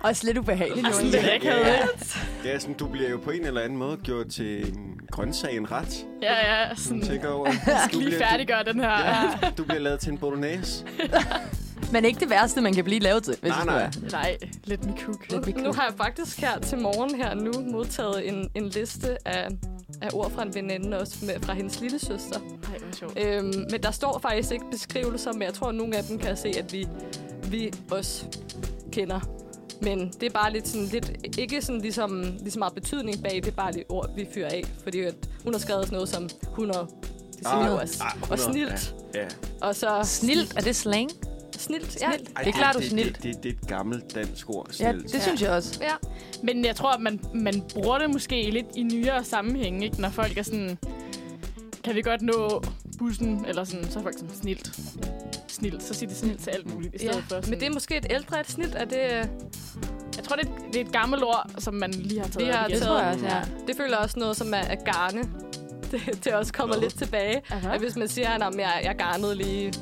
Speaker 2: Også lidt ubehageligt,
Speaker 4: Sådan
Speaker 2: Jonas.
Speaker 4: lidt
Speaker 1: Ja.
Speaker 4: akavet, Altså, ikke?
Speaker 1: Ja, sådan, du bliver jo på en eller anden måde gjort til en grøntsag, en ret.
Speaker 4: Ja, ja. Sådan,
Speaker 1: Sådan, tænker over. Du
Speaker 4: skal lige
Speaker 1: bliver-
Speaker 4: færdiggøre den her. Ja.
Speaker 1: Ja, du bliver lavet til en bolognese.
Speaker 2: Men ikke det værste, man kan blive lavet til, hvis
Speaker 1: Nej,
Speaker 2: det
Speaker 1: nej.
Speaker 2: skulle
Speaker 4: [laughs] Nej, lidt mit kuk.
Speaker 2: være.
Speaker 3: Nu har jeg faktisk her til morgen her nu modtaget en, en liste af, af ord fra en veninde, også med, fra hendes lille søster.
Speaker 4: Nej, hvor sjovt.
Speaker 3: Øhm, men der står faktisk ikke beskrivelser, men jeg tror, at nogle af dem kan jeg se, at vi, vi også kender. Men det er bare lidt sådan lidt, ikke sådan ligesom, ligesom meget betydning bag, det er bare lidt ord, vi fyrer af. Fordi at hun har skrevet sådan noget som 100, det siger
Speaker 1: Ah,
Speaker 3: vi jo også.
Speaker 1: ah,
Speaker 3: og
Speaker 1: 100,
Speaker 3: snilt.
Speaker 1: Ja.
Speaker 3: Og så
Speaker 2: Snilt, er det slang?
Speaker 3: snilt, ja.
Speaker 2: Snilt.
Speaker 1: Ej,
Speaker 2: Det er klart, du er
Speaker 1: det,
Speaker 2: snilt.
Speaker 1: Det, det, det, er et gammelt dansk ord,
Speaker 2: Ja,
Speaker 1: snilt.
Speaker 2: det synes jeg også.
Speaker 3: ja.
Speaker 4: Men jeg tror, at man, man bruger det måske lidt i nyere sammenhæng, ikke? Når folk er sådan, kan vi godt nå bussen, eller sådan, så er folk sådan, snilt. Snilt, så siger de snilt til alt muligt i stedet
Speaker 3: ja.
Speaker 4: for. Sådan,
Speaker 3: Men det er måske et ældre et snilt, er det... øh,
Speaker 4: jeg tror, det er, et- det er et gammelt ord, som man lige har taget
Speaker 3: Vi har
Speaker 4: op igen.
Speaker 3: taget-
Speaker 2: jeg også, ja.
Speaker 3: Det føler jeg også noget, som er, er garne. [laughs] Det, det også kommer
Speaker 1: Hvad?
Speaker 3: lidt tilbage.
Speaker 4: Aha.
Speaker 3: At hvis man siger, at jeg, jeg garnede lige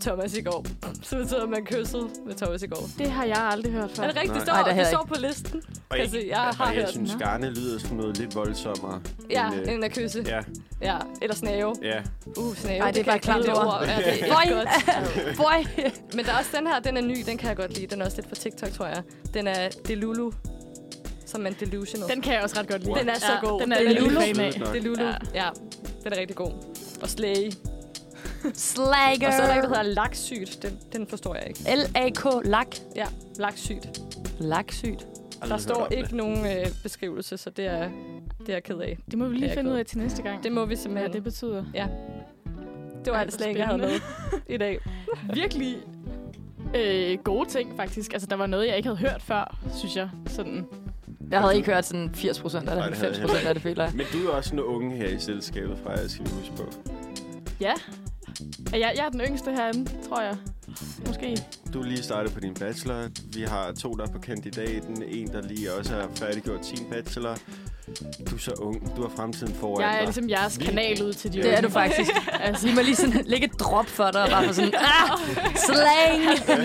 Speaker 3: Thomas i går, så betyder det, at man kyssede med Thomas i går.
Speaker 4: Det har jeg aldrig hørt før.
Speaker 3: Er det rigtigt?
Speaker 1: Nej.
Speaker 3: Det står,
Speaker 2: Nej, det har
Speaker 3: det
Speaker 2: jeg
Speaker 3: står på listen.
Speaker 1: Og
Speaker 3: Altså,
Speaker 1: ikke-
Speaker 3: jeg har
Speaker 1: og jeg
Speaker 3: hørt
Speaker 1: synes,
Speaker 4: den,
Speaker 1: garne lyder som noget lidt voldsommere.
Speaker 3: Ja,
Speaker 1: end, øh,
Speaker 3: end at kysse. Ja.
Speaker 1: ja,
Speaker 3: ja. Eller snave.
Speaker 1: ja.
Speaker 3: Uh, snave.
Speaker 2: Ej, det er
Speaker 3: kan
Speaker 2: bare
Speaker 3: jeg ikke lide,
Speaker 2: klamt ord.
Speaker 3: Ja, det er
Speaker 2: Boy.
Speaker 3: ikke godt.
Speaker 2: [laughs] Boy.
Speaker 3: Men der er også den her, den er ny, den kan jeg godt lide. Den er også lidt fra TikTok, tror jeg. Den er Delulu, som er en delusional.
Speaker 4: Den kan jeg også ret godt lide.
Speaker 1: Den
Speaker 3: er så god.
Speaker 4: Den er
Speaker 3: Den
Speaker 4: jeg
Speaker 3: er
Speaker 4: lidt
Speaker 3: lulu.
Speaker 4: fan af.
Speaker 1: Nok.
Speaker 3: Delulu,
Speaker 4: Ja.
Speaker 3: ja. ja. Den er rigtig god. Og slay.
Speaker 2: Slagger.
Speaker 3: Og så er der en, der hedder laksygt. Den, den forstår jeg ikke.
Speaker 2: L-A-K, lak.
Speaker 3: Ja, laksygt.
Speaker 2: Laksygt.
Speaker 1: Aldrig
Speaker 3: Der
Speaker 1: hørt
Speaker 3: står
Speaker 1: om det.
Speaker 3: ikke nogen øh, beskrivelse, så det er, det er jeg ked af.
Speaker 4: Det må vi
Speaker 3: Det
Speaker 4: lige
Speaker 3: er
Speaker 4: finde ud
Speaker 3: godt.
Speaker 4: af til næste gang.
Speaker 3: Det må vi
Speaker 4: hvad
Speaker 3: simpelthen.
Speaker 4: det
Speaker 3: Det,
Speaker 4: betyder.
Speaker 3: det var
Speaker 4: Ej,
Speaker 3: alt
Speaker 4: hvor
Speaker 3: slang, jeg havde med
Speaker 4: spændende.
Speaker 3: i dag.
Speaker 4: Virkelig øh, gode ting, faktisk. Altså, der var noget, jeg ikke havde hørt før, synes jeg. Sådan.
Speaker 2: Jeg havde ikke hørt sådan 80 procent af det,
Speaker 1: Nej, det havde jeg
Speaker 2: 90 procent af det, føler jeg.
Speaker 1: Men du er også en unge her i selskabet, fra jeg skal vi huske på.
Speaker 4: Ja. Jeg, jeg er den yngste herinde, tror jeg. Måske.
Speaker 1: Du er lige startet på din bachelor. Vi har to, der er på kandidaten. En, der lige også har færdiggjort sin bachelor. Du er så ung. Du har fremtiden foran
Speaker 4: Jeg er
Speaker 1: dig.
Speaker 4: ligesom jeres
Speaker 1: Vi-
Speaker 4: kanal ud til de
Speaker 2: Det er
Speaker 4: unge.
Speaker 2: du
Speaker 4: [laughs]
Speaker 2: faktisk. Altså, I må lige sådan lægge et drop for dig, og bare få sådan, ah, slang,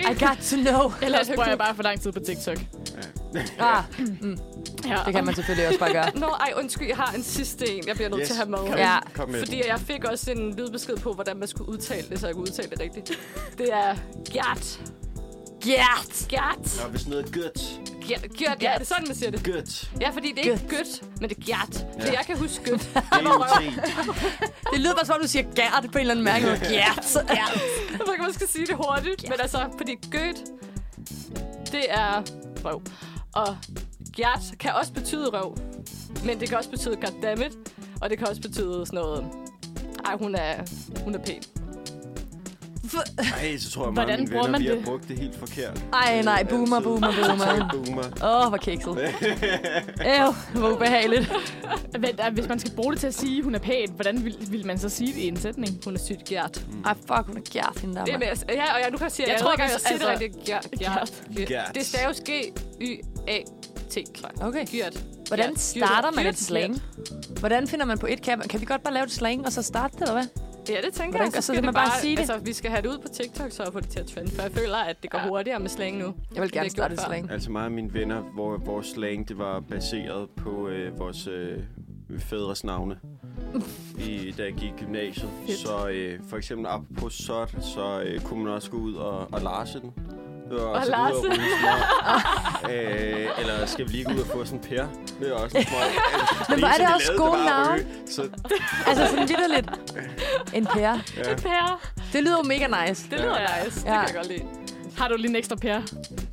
Speaker 2: [laughs] I got to know.
Speaker 4: Ellers bruger jeg bare for lang tid på TikTok.
Speaker 2: Ah,
Speaker 4: Ja.
Speaker 2: det kan man selvfølgelig også bare gøre.
Speaker 3: Nå, ej, undskyld, jeg har en sidste en, jeg bliver nødt
Speaker 1: Yes.
Speaker 3: til at have med.
Speaker 1: Kom,
Speaker 2: Ja.
Speaker 1: kom med.
Speaker 3: Fordi jeg fik også en lydbesked på, hvordan man skulle udtale det, så jeg kunne udtale det rigtigt. Det er gjert.
Speaker 2: Gert.
Speaker 3: Gjert.
Speaker 1: Nå, hvis noget er godt,
Speaker 3: Gjert, ja, det er sådan, man siger det.
Speaker 1: godt.
Speaker 3: [laughs] Ja, fordi det er ikke gødt, men det er gjert. Så
Speaker 1: Ja.
Speaker 3: jeg kan huske gødt.
Speaker 1: Det
Speaker 2: Det lyder bare som om, du siger Gert på en eller anden mærke. måde. Gert.
Speaker 3: [laughs] Så kan man skal sige det hurtigt, men altså, fordi gødt, det er røv. Og gjert kan også betyde røv, men det kan også betyde goddammit, og det kan også betyde sådan noget, ej, hun er, hun er pæn.
Speaker 1: Ej, så tror jeg, mange af
Speaker 4: Hvordan
Speaker 1: mine
Speaker 4: bruger
Speaker 1: venner,
Speaker 4: man
Speaker 1: vi har
Speaker 4: det?
Speaker 1: brugt det helt forkert.
Speaker 2: Ej, nej, boomer, boomer,
Speaker 1: [laughs]
Speaker 2: boomer.
Speaker 1: Total boomer.
Speaker 2: Åh, oh, hvor kikset. Æv, hvor ubehageligt.
Speaker 4: [laughs] Vent, ah, hvis man skal bruge det til at sige, at hun er pæn, hvordan vil, vil man så sige det i en sætning?
Speaker 3: Hun er sygt gjert.
Speaker 2: Ej, fuck, hun er Gert, hende der,
Speaker 3: Det er
Speaker 2: mand.
Speaker 3: med, ja, og jeg, nu kan jeg sige, at
Speaker 4: Jeg
Speaker 3: jeg,
Speaker 4: tror,
Speaker 3: tror, at jeg
Speaker 4: hvis-
Speaker 3: siger det
Speaker 4: altså-
Speaker 3: rigtigt. Gjert. Gjert.
Speaker 1: Gjert.
Speaker 3: Det staves G-Y-A-T.
Speaker 2: Okay.
Speaker 3: Gjert.
Speaker 2: Hvordan
Speaker 3: Gjert.
Speaker 2: starter man
Speaker 3: Gjert.
Speaker 2: et slang? Hvordan finder man på et kan, kan vi godt bare lave et slang, og så starte det, eller hvad?
Speaker 3: Ja, det tænker
Speaker 2: Hvordan
Speaker 3: jeg.
Speaker 2: gør- så
Speaker 3: skal
Speaker 2: kan man bare sige det?
Speaker 3: Altså, vi skal have det ud på TikTok, så få det til at trende, for jeg føler, at det går hurtigere med slang nu.
Speaker 2: Jeg vil
Speaker 3: Det har
Speaker 2: gerne
Speaker 3: jeg
Speaker 2: starte
Speaker 3: gjort
Speaker 2: et
Speaker 3: før.
Speaker 2: slang.
Speaker 1: Altså mange af mine venner, hvor vores slang det var baseret på øh, vores øh, fædres navne. I, da jeg gik i gymnasiet.
Speaker 4: Fedt.
Speaker 1: Så øh, for eksempel op på SOT, så øh, kunne man også gå ud og, og larse den. Det var også ud og
Speaker 3: larse.
Speaker 1: rulle smøg. øh, eller skal vi lige gå ud og få sådan en pære? Det er også en smøg. Altså,
Speaker 2: Men hvor er
Speaker 1: eneste,
Speaker 2: det
Speaker 1: de
Speaker 2: også
Speaker 1: lavede,
Speaker 2: gode
Speaker 1: var at
Speaker 2: navne.
Speaker 1: ryge. Så,
Speaker 2: Altså sådan lidt. En pære.
Speaker 1: ja.
Speaker 4: Pære.
Speaker 2: Det lyder jo mega nice.
Speaker 3: Det lyder
Speaker 4: Ja.
Speaker 3: nice. Det
Speaker 2: Ja.
Speaker 3: kan jeg godt lide.
Speaker 4: Har du lige en ekstra pære?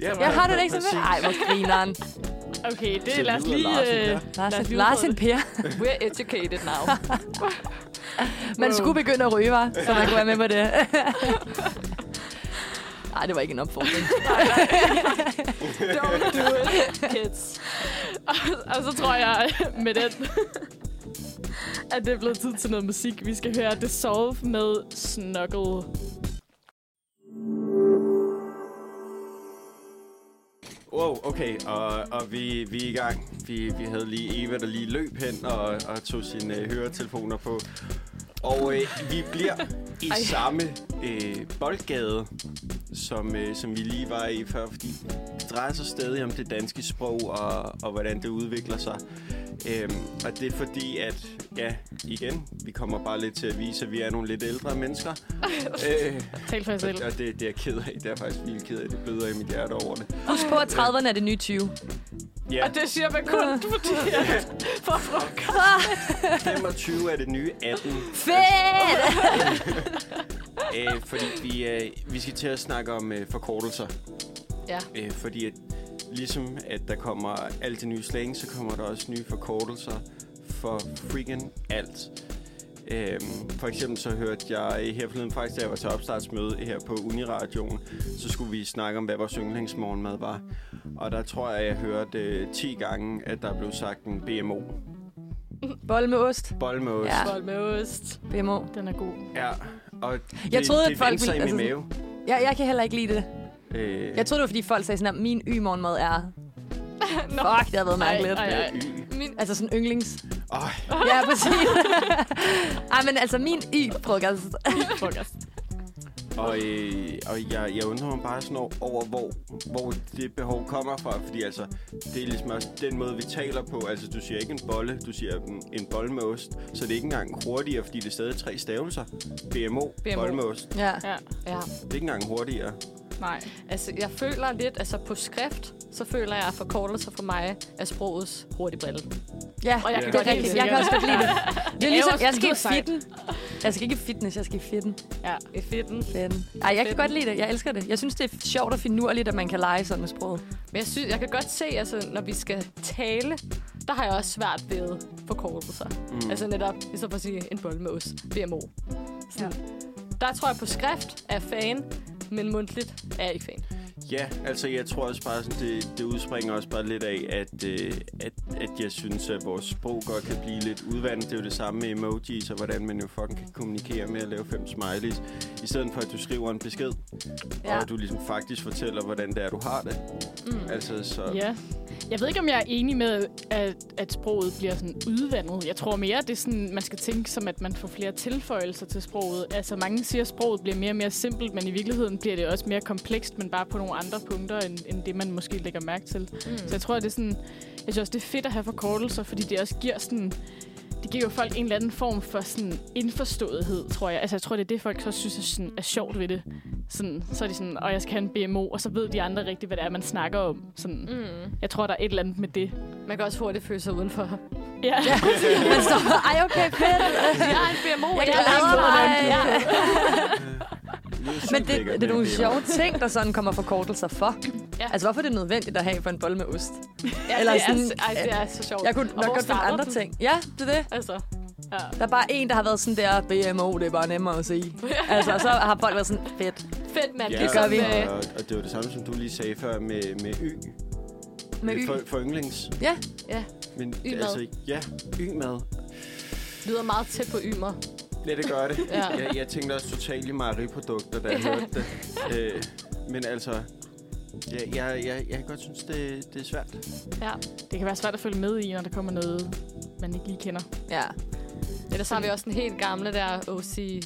Speaker 1: ja,
Speaker 2: Jeg har det ikke så
Speaker 1: præcis.
Speaker 2: med. Ej, hvor grineren.
Speaker 4: Okay, det
Speaker 1: Skal
Speaker 4: lad os
Speaker 1: vi ud og
Speaker 4: lige...
Speaker 1: larse en pære?
Speaker 4: øh,
Speaker 2: Lars,
Speaker 4: lad os lige
Speaker 2: Lars
Speaker 4: udfordre
Speaker 2: en pære.
Speaker 3: We're educated
Speaker 2: [laughs]
Speaker 3: now.
Speaker 2: Man skulle begynde at ryge, var, så man kunne være med på det. Ej, det var ikke en opfordring.
Speaker 3: Don't do it, kids.
Speaker 4: Og så tror jeg med den, at det er blevet tid til noget musik. Vi skal høre Dissolve med Snuggle.
Speaker 1: Wow, okay, og, og vi, vi er i gang. Vi, vi havde lige Eva, der lige løb hen og, og tog sine øh, høretelefoner på. Og øh, vi bliver i Ej. samme øh, boldgade, som, øh, som vi lige var i før, fordi det drejer sig stadig om det danske sprog og, og hvordan det udvikler sig. Øhm, og det er fordi, at ja, igen, vi kommer bare lidt til at vise, at vi er nogle lidt ældre mennesker. øh,
Speaker 4: Tal for jer selv.
Speaker 1: og, og det, det er jeg ked af. Det er jeg faktisk vildt ked af. Det bløder i mit hjerte over det.
Speaker 2: Husk på, at 30'erne er det nye 20.
Speaker 1: Ja,
Speaker 3: Og det siger man [laughs] kun, fordi... For frugt.
Speaker 1: 25 er det nye 18.
Speaker 2: Fedt!
Speaker 1: øh, fordi vi, øh, vi skal til at snakke om øh, forkortelser.
Speaker 3: Ja.
Speaker 1: Øh, fordi at, ligesom at der kommer alt det nye slang, så kommer der også nye forkortelser for freaking alt. Øhm, for eksempel så hørte jeg her forleden faktisk, da jeg var til opstartsmøde her på Uniradioen, så skulle vi snakke om, hvad vores yndlingsmorgenmad var. Og der tror jeg, jeg hørte øh, 10 gange, at der blev sagt en BMO.
Speaker 2: Bolle med ost.
Speaker 1: Bolle med ost.
Speaker 2: Ja.
Speaker 4: Bold med ost.
Speaker 2: BMO.
Speaker 4: Den er god.
Speaker 1: ja. Og det,
Speaker 2: troede,
Speaker 1: det
Speaker 2: at folk
Speaker 1: vendte sig
Speaker 2: ville-
Speaker 1: i min
Speaker 2: altså
Speaker 1: mave.
Speaker 2: Ja, jeg kan heller ikke lide det.
Speaker 1: Øh,
Speaker 2: Jeg troede, det var, fordi folk sagde sådan, at min y-morgenmad er...
Speaker 3: Nå.
Speaker 2: Fuck, det har været mærkeligt.
Speaker 4: Ej, ej, ej.
Speaker 1: Y.
Speaker 3: Min,
Speaker 2: Altså sådan yndlings.
Speaker 1: Øj,
Speaker 2: Ja, præcis. [laughs] Ej, men altså min y-frokost.
Speaker 4: Frokost.
Speaker 1: og, øh, og jeg, jeg undrer mig bare sådan over- over, hvor, hvor det behov kommer fra. Fordi altså, det er ligesom også den måde, vi taler på. Altså, du siger ikke en bolle, du siger en, en bolle med ost. Så det er ikke engang hurtigere, fordi det er stadig tre stavelser. BMO, BMO. bolle med ost. Det
Speaker 2: Ja.
Speaker 4: Ja,
Speaker 3: ja.
Speaker 1: er ikke engang hurtigere.
Speaker 4: nej.
Speaker 3: Altså, jeg føler lidt, altså på skrift, så føler jeg, at forkortelser for mig altså, er sprogets hurtigbrille.
Speaker 2: Ja,
Speaker 4: Og jeg
Speaker 1: kan
Speaker 2: det
Speaker 1: godt
Speaker 2: er
Speaker 4: lide
Speaker 2: rigtigt.
Speaker 4: det.
Speaker 2: Jeg kan også godt lide det. Det er ligesom,
Speaker 4: også
Speaker 2: jeg skal i
Speaker 4: sejt.
Speaker 2: fitten. Jeg skal ikke i fitness, jeg skal i fitten.
Speaker 4: Ja.
Speaker 3: I fitten.
Speaker 2: Fitten. Ej, jeg kan godt lide det. Jeg elsker det. Jeg synes, det er sjovt og finurligt, at man kan lege sådan med sproget.
Speaker 3: Men jeg, synes, jeg kan godt se, altså, når vi skal tale, der har jeg også svært ved forkortelser. Mm. Altså netop, i stedet for at sige en bold med os, BMO. Sådan. Der tror jeg på skrift er jeg fan, men mundtligt er jeg ikke fan.
Speaker 1: Ja, altså jeg tror også bare, sådan, det, det udspringer også bare lidt af, at, øh, at, at jeg synes, at vores sprog godt kan blive lidt udvandet. Det er jo det samme med emojis, og hvordan man jo fucking kan kommunikere med at lave fem smileys, i stedet for at du skriver en besked, ja.
Speaker 3: Ja.
Speaker 2: [laughs]
Speaker 1: og du ligesom faktisk fortæller, hvordan det er, du har det. Mm. Altså, så...
Speaker 4: Ja. Jeg ved ikke, om jeg er enig med, at, at sproget bliver sådan udvandet. Jeg tror mere, det er sådan, man skal tænke som, at man får flere tilføjelser til sproget. Altså, mange siger, at sproget bliver mere og mere simpelt, men i virkeligheden bliver det også mere komplekst, men bare på nogle andre punkter, end, end det, man måske lægger mærke til. Mm. Så jeg tror, det er sådan... Jeg synes også, det er fedt at have forkortelser, fordi det også giver sådan... Det giver jo folk en eller anden form for sådan indforståethed, tror jeg. Altså, jeg tror, det er det, folk så synes er, sådan, er sjovt ved det. Sådan, så er de sådan, og jeg skal have en BMO, og så ved de andre rigtigt, hvad det er, man snakker om. Sådan.
Speaker 3: Mm.
Speaker 4: Jeg tror, der er et eller andet med det.
Speaker 3: Man kan også hurtigt føle sig udenfor.
Speaker 4: Ja. ja.
Speaker 2: Man står, ej, okay, fedt.
Speaker 3: [laughs] jeg er en BMO,
Speaker 2: Jeg
Speaker 3: og jeg
Speaker 2: glæder mig.
Speaker 3: er ikke ja.
Speaker 2: Men det, det, det er nogle sjove ting, der sådan kommer forkortelser for.
Speaker 3: Ja.
Speaker 2: Altså, hvorfor er det nødvendigt at have for en bolle med ost?
Speaker 3: Ja,
Speaker 2: Eller
Speaker 3: Eller det,
Speaker 2: sådan-
Speaker 3: sådan, er, ej, det er så sjovt.
Speaker 2: Jeg kunne
Speaker 3: Og
Speaker 2: nok
Speaker 3: hvor
Speaker 2: godt finde
Speaker 3: starter
Speaker 2: andre
Speaker 3: den?
Speaker 2: ting. Ja, det er det.
Speaker 3: Altså, ja.
Speaker 2: Der er bare en, der har været sådan der, BMO, det er bare nemmere at sige. altså, og så har folk været sådan, fedt.
Speaker 3: Fedt, mand.
Speaker 1: Ja,
Speaker 3: Ja,
Speaker 1: det
Speaker 3: ligesom,
Speaker 1: gør
Speaker 2: vi.
Speaker 1: vi.
Speaker 3: Øh,
Speaker 1: Og, og det var det samme, som du lige sagde før med, med y.
Speaker 2: Med
Speaker 1: Øh,
Speaker 2: y.
Speaker 1: For, for yndlings.
Speaker 2: Ja,
Speaker 3: ja,
Speaker 1: Men
Speaker 3: Y-mad.
Speaker 1: altså, ja, y-mad.
Speaker 3: lyder meget tæt på ymer.
Speaker 1: Ja, det gør det.
Speaker 3: Ja.
Speaker 1: ja. jeg, jeg tænkte også totalt i mejeriprodukter, da jeg hørte det. Øh, men altså, jeg, jeg, jeg, jeg kan godt synes, det, det er svært.
Speaker 3: Ja.
Speaker 4: Det kan være svært at følge med i, når der kommer noget, man ikke lige kender.
Speaker 2: ja.
Speaker 3: Ellers har vi også den helt gamle der OC,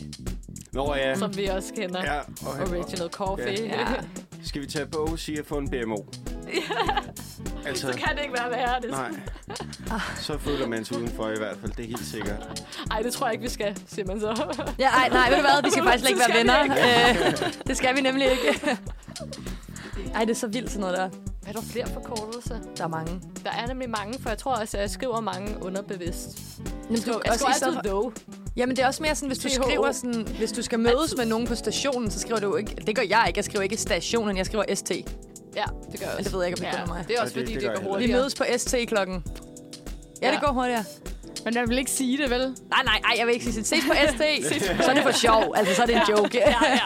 Speaker 1: Nå ja,
Speaker 3: som vi også kender.
Speaker 1: ja okay.
Speaker 3: Original coffee.
Speaker 2: Ja.
Speaker 1: skal vi tage på og sige at få en BMO? altså,
Speaker 3: [laughs] så kan det ikke være værre. Det.
Speaker 1: nej. Så føler man sig udenfor i hvert fald, det er helt sikkert.
Speaker 3: Ej, det tror jeg ikke, vi skal, siger man så.
Speaker 2: Ja, ej, nej, ved du hvad? Vi skal faktisk slet [laughs] ikke
Speaker 3: Det
Speaker 2: være
Speaker 3: skal
Speaker 2: venner. Øh, det skal vi nemlig ikke. Ej, det er så vildt sådan noget der.
Speaker 3: er der flere forkortelser?
Speaker 2: Der er mange.
Speaker 3: Der er nemlig mange, for jeg tror også, at jeg skriver mange underbevidst.
Speaker 2: Men
Speaker 3: Jeg skriver, jeg skriver altid
Speaker 2: for...
Speaker 3: though.
Speaker 2: Jamen, det er også mere sådan, hvis du
Speaker 3: THO.
Speaker 2: skriver sådan... Hvis du skal mødes med nogen på stationen, så skriver du jo ikke... Det gør jeg ikke. Jeg skriver ikke stationen, jeg skriver ST.
Speaker 3: Ja, det gør jeg
Speaker 2: Men
Speaker 3: også.
Speaker 2: det ved jeg ikke, om det ja. mig.
Speaker 3: Altså, Det er også
Speaker 1: Ja, det-
Speaker 3: fordi,
Speaker 1: det
Speaker 3: det,
Speaker 1: gør
Speaker 3: det
Speaker 1: jeg
Speaker 3: går
Speaker 2: Vi
Speaker 3: hurtigere.
Speaker 2: mødes på ST klokken. Ja, det
Speaker 3: Ja.
Speaker 2: går hurtigere.
Speaker 4: Men jeg vil ikke sige det, vel?
Speaker 2: Nej, nej, nej, jeg vil ikke sige det. [laughs] Ses på ST. så er det for sjov. Altså, så er det en joke.
Speaker 4: Ja, ja.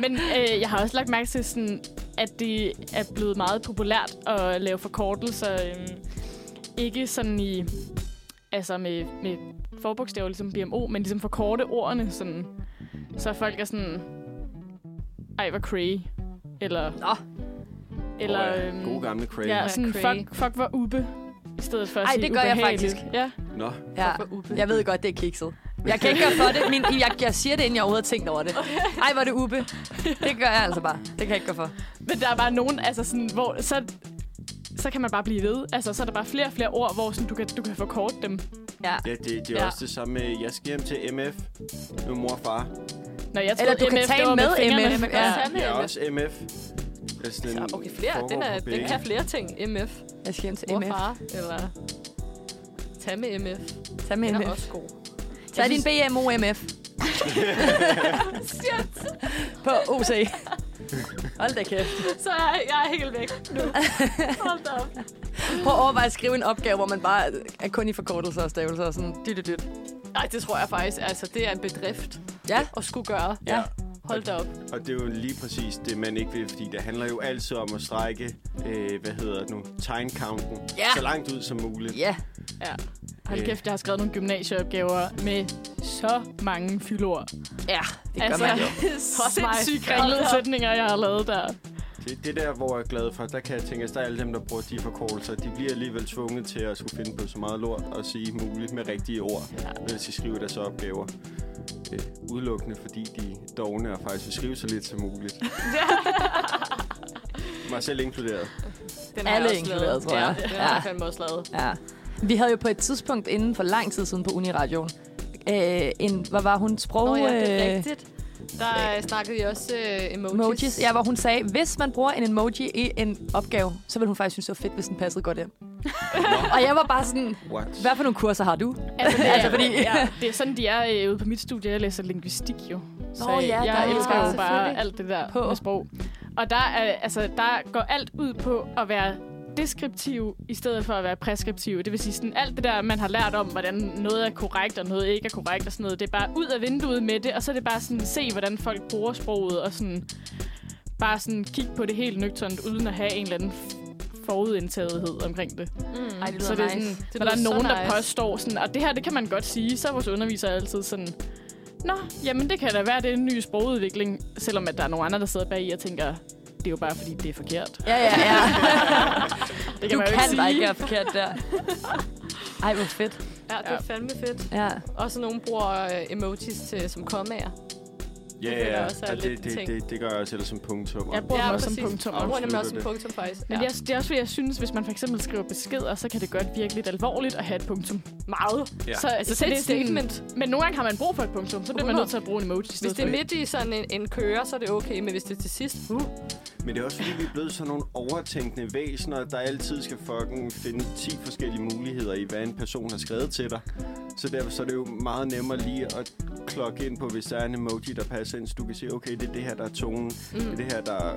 Speaker 4: Men øh, jeg har også lagt mærke til, sådan, at det er blevet meget populært at lave forkortelser. Øh, ikke sådan øhm, i altså med, med forbogstaver, ligesom BMO, men ligesom forkorte ordene, sådan, så folk er sådan, ej, hvor cray, eller...
Speaker 2: Nå.
Speaker 4: Eller...
Speaker 1: Åh, ja.
Speaker 4: øhm,
Speaker 1: Gode gamle Craig.
Speaker 4: Ja,
Speaker 1: Ja.
Speaker 4: og sådan,
Speaker 3: cray.
Speaker 4: fuck, fuck, hvor ube, i stedet for at
Speaker 2: Ej,
Speaker 4: sige
Speaker 2: det gør jeg
Speaker 4: ubehageligt.
Speaker 2: faktisk.
Speaker 4: Ja.
Speaker 1: Nå,
Speaker 2: Ja. Jeg ved godt, det er kikset. Jeg kan ikke gøre for det. Min, jeg, jeg siger det, inden jeg overhovedet har tænkt over det. Ej, hvor er det uppe. Det gør jeg altså bare. Det kan jeg ikke gøre for.
Speaker 4: Men der er bare nogen, altså sådan, hvor så, så kan man bare blive ved. Altså, så er der bare flere og flere ord, hvor sådan, du, kan, du kan forkorte dem.
Speaker 2: Ja.
Speaker 1: ja, det, det er
Speaker 4: Ja.
Speaker 1: ja. også det samme med, jeg skal hjem til MF. Nu er mor og far.
Speaker 4: Når jeg
Speaker 2: Eller du
Speaker 4: troede,
Speaker 2: kan
Speaker 4: MF,
Speaker 2: tale
Speaker 4: det var
Speaker 2: med
Speaker 4: fingrene.
Speaker 2: MF,
Speaker 4: Man kan
Speaker 2: ja.
Speaker 4: også tale med
Speaker 1: Jeg er
Speaker 4: MF.
Speaker 1: også MF. Det er sådan,
Speaker 3: Så, okay, flere. Den,
Speaker 1: foregår
Speaker 3: er,
Speaker 1: på begge.
Speaker 3: den kan flere ting. MF.
Speaker 2: Jeg skal hjem til
Speaker 3: Mor,
Speaker 2: MF.
Speaker 3: far, eller... Tag med MF.
Speaker 2: Tag med
Speaker 3: Den er
Speaker 2: MF.
Speaker 3: også god.
Speaker 2: Tag din [laughs] BMOMF. På OC. Hold da kæft.
Speaker 3: Så er jeg, jeg er helt væk
Speaker 4: [laughs]
Speaker 3: nu. Hold da op.
Speaker 2: Prøv at overveje at skrive en opgave, hvor man bare er kun i forkortelser og stavelser og sådan dyt, dyt, dyt.
Speaker 3: Nej, det tror jeg faktisk. Altså, det er en bedrift
Speaker 2: Ja.
Speaker 3: at skulle gøre.
Speaker 2: Ja.
Speaker 3: Hold da op.
Speaker 1: Og det er jo lige præcis det, man ikke vil, fordi det handler jo altid om at strække, øh, hvad hedder det nu, timecounten,
Speaker 2: Ja.
Speaker 1: så langt ud som muligt.
Speaker 2: Ja.
Speaker 4: Ja. Hold kæft, jeg har skrevet nogle gymnasieopgaver med så mange fyldord.
Speaker 2: Ja, det gør
Speaker 4: Altså,
Speaker 2: man
Speaker 3: [laughs]
Speaker 2: jo.
Speaker 4: sindssygt kringlede sætninger, jeg har lavet der.
Speaker 1: Det, det der, hvor jeg er glad for, der kan jeg tænke, at der er alle dem, der bruger de forkortelser, de bliver alligevel tvunget til at skulle finde på så meget lort og sige muligt med rigtige ord, når de skal skrive deres opgaver. Øh, udelukkende, fordi de er dogne og faktisk vil skrive så lidt som
Speaker 3: [laughs]
Speaker 1: muligt. Mig selv inkluderet.
Speaker 3: Den
Speaker 2: Alle
Speaker 3: også
Speaker 2: inkluderet,
Speaker 3: lavet.
Speaker 2: tror jeg.
Speaker 3: Ja, den
Speaker 2: Ja.
Speaker 3: har jeg fandme også lavet.
Speaker 2: Ja. Vi havde jo på et tidspunkt inden for lang tid siden på Uniradioen, øh, en, hvad var hun, sprog...
Speaker 3: Nå ja, det
Speaker 2: øh,
Speaker 3: er rigtigt. Der øh, snakkede I også øh, emojis.
Speaker 2: Emojis. Ja, hvor hun sagde, hvis man bruger en emoji i en opgave, så ville hun faktisk synes, det var fedt, hvis den passede godt ind. og jeg var bare sådan,
Speaker 1: What?
Speaker 2: hvad for nogle kurser har du?
Speaker 4: Altså, det er,
Speaker 2: Altså, fordi-
Speaker 4: ja, det er sådan, de er øh, ude på mit studie. Jeg læser linguistik jo. Så
Speaker 2: Nå, ja,
Speaker 4: jeg
Speaker 2: der er-
Speaker 4: elsker jo bare
Speaker 2: selvfølgelig.
Speaker 4: alt det der
Speaker 2: På.
Speaker 4: på. med sprog. Og der, er, altså, der går alt ud på at være deskriptiv i stedet for at være præskriptiv. Det vil sige, sådan, alt det der, man har lært om, hvordan noget er korrekt og noget ikke er korrekt og sådan noget, det er bare ud af vinduet med det, og så er det bare sådan, se, hvordan folk bruger sproget, og sådan, bare sådan kigge på det helt nøgternt, uden at have en eller anden f- forudindtagethed omkring det.
Speaker 3: Mm.
Speaker 2: Ej, det
Speaker 4: Så det er sådan,
Speaker 2: nice.
Speaker 4: når der er
Speaker 3: lyder så
Speaker 4: nogen, der
Speaker 3: nice.
Speaker 4: påstår sådan, og det her, det kan man godt sige, så er vores underviser altid sådan, Nå, jamen det kan da være, det er en ny sprogudvikling, selvom at der er nogle andre, der sidder bag i og tænker, det er jo bare fordi, det er forkert.
Speaker 2: Ja, ja, [laughs] ja.
Speaker 4: [laughs] Det
Speaker 2: du
Speaker 4: man jo
Speaker 2: kan
Speaker 4: sige.
Speaker 2: bare ikke gøre forkert der. Ej, hvor fedt.
Speaker 3: Ja, det er fandme fedt.
Speaker 2: Ja.
Speaker 3: Også nogen bruger øh, emojis til, som kommaer.
Speaker 1: Ja,
Speaker 3: Det føler
Speaker 1: ja,
Speaker 3: jeg også er
Speaker 1: og det,
Speaker 3: lidt
Speaker 1: det,
Speaker 3: ting.
Speaker 1: det, det gør jeg også ellers som punktum.
Speaker 4: Jeg bruger
Speaker 3: Ja,
Speaker 4: dem også som
Speaker 3: præcis.
Speaker 4: punktum.
Speaker 1: Og
Speaker 3: Jeg bruger nemlig også
Speaker 1: Afslutter
Speaker 3: som punktum, faktisk.
Speaker 4: Men det er, det er også fordi, jeg synes, hvis man for eksempel skriver beskeder, så kan det godt virke lidt alvorligt at have et punktum.
Speaker 3: meget.
Speaker 1: Ja.
Speaker 4: Så, altså,
Speaker 3: Sæt et
Speaker 4: sådan-
Speaker 3: statement.
Speaker 4: Men nogle gange har man brug for et punktum, så bliver man
Speaker 3: 100.
Speaker 4: nødt til at bruge en emoji. i
Speaker 3: Hvis
Speaker 4: stedet
Speaker 3: det er
Speaker 4: for.
Speaker 3: midt i sådan en, en kører, så er det okay, men hvis det er til sidst, uh,
Speaker 1: Men det er også fordi, vi er blevet sådan nogle overtænkende væsener, der altid skal fucking finde 10 forskellige muligheder i, hvad en person har skrevet til dig. Så derfor så er det jo meget nemmere lige at klokke ind på, hvis der er en emoji, der passer ind, så du kan se, okay, det er det her, der er tonen, mm. det er det her, der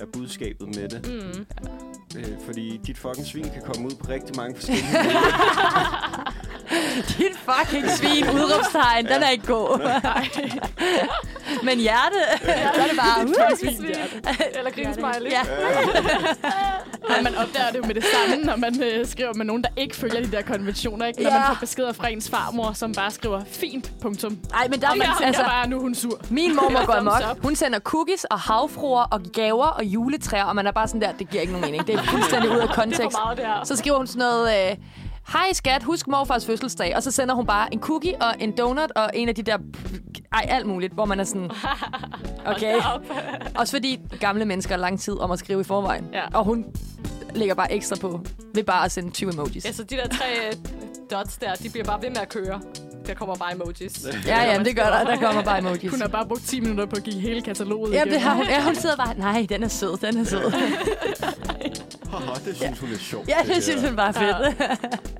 Speaker 1: er budskabet med det. Mm. Øh, fordi dit fucking svin kan komme ud på rigtig mange
Speaker 2: [laughs]
Speaker 1: forskellige måder.
Speaker 2: Dit fucking svin, udråbstegn, den er ikke [laughs] god. Men hjerte, så er det [laughs] bare... Uh,
Speaker 4: Svin, ja.
Speaker 3: eller grinsmiley.
Speaker 2: ja.
Speaker 4: Og man opdager det jo med det samme, når man øh, skriver med nogen, der ikke følger de der konventioner. Ikke? Når
Speaker 2: Ja.
Speaker 4: man får beskeder fra ens farmor, som bare skriver, fint, punktum.
Speaker 2: Ej, men der er
Speaker 4: Og man
Speaker 2: man,
Speaker 4: tænker
Speaker 2: altså,
Speaker 4: altså, bare, nu er hun sur.
Speaker 2: Min mormor går
Speaker 4: Thumbs
Speaker 2: amok. Hun sender cookies og havfruer og gaver og juletræer, og man er bare sådan der, det giver ikke nogen mening. Det er [laughs] fuldstændig ud af kontekst.
Speaker 4: meget, det her.
Speaker 2: Så skriver hun sådan noget, øh, hej skat, husk morfars fødselsdag, og så sender hun bare en cookie og en donut og en af de der, ej, alt muligt, hvor man er [laughs] sådan, okay. [laughs] Også fordi gamle mennesker har lang tid om at skrive i forvejen,
Speaker 4: Ja.
Speaker 2: og hun lægger bare ekstra på ved bare at sende 20 emojis.
Speaker 3: Altså, de der tre øh, dots der, de bliver bare ved med at køre. Der kommer bare emojis.
Speaker 2: Ja, ja, det gør der. Der kommer [laughs] bare emojis.
Speaker 4: Hun har bare brugt 10 minutter på at give hele kataloget
Speaker 2: Ja,
Speaker 4: igennem.
Speaker 2: det har [laughs] hun. Ja, hun sidder bare, nej, den er sød, den er sød.
Speaker 1: Haha, det synes hun er sjovt.
Speaker 2: Ja, det synes hun bare er fedt.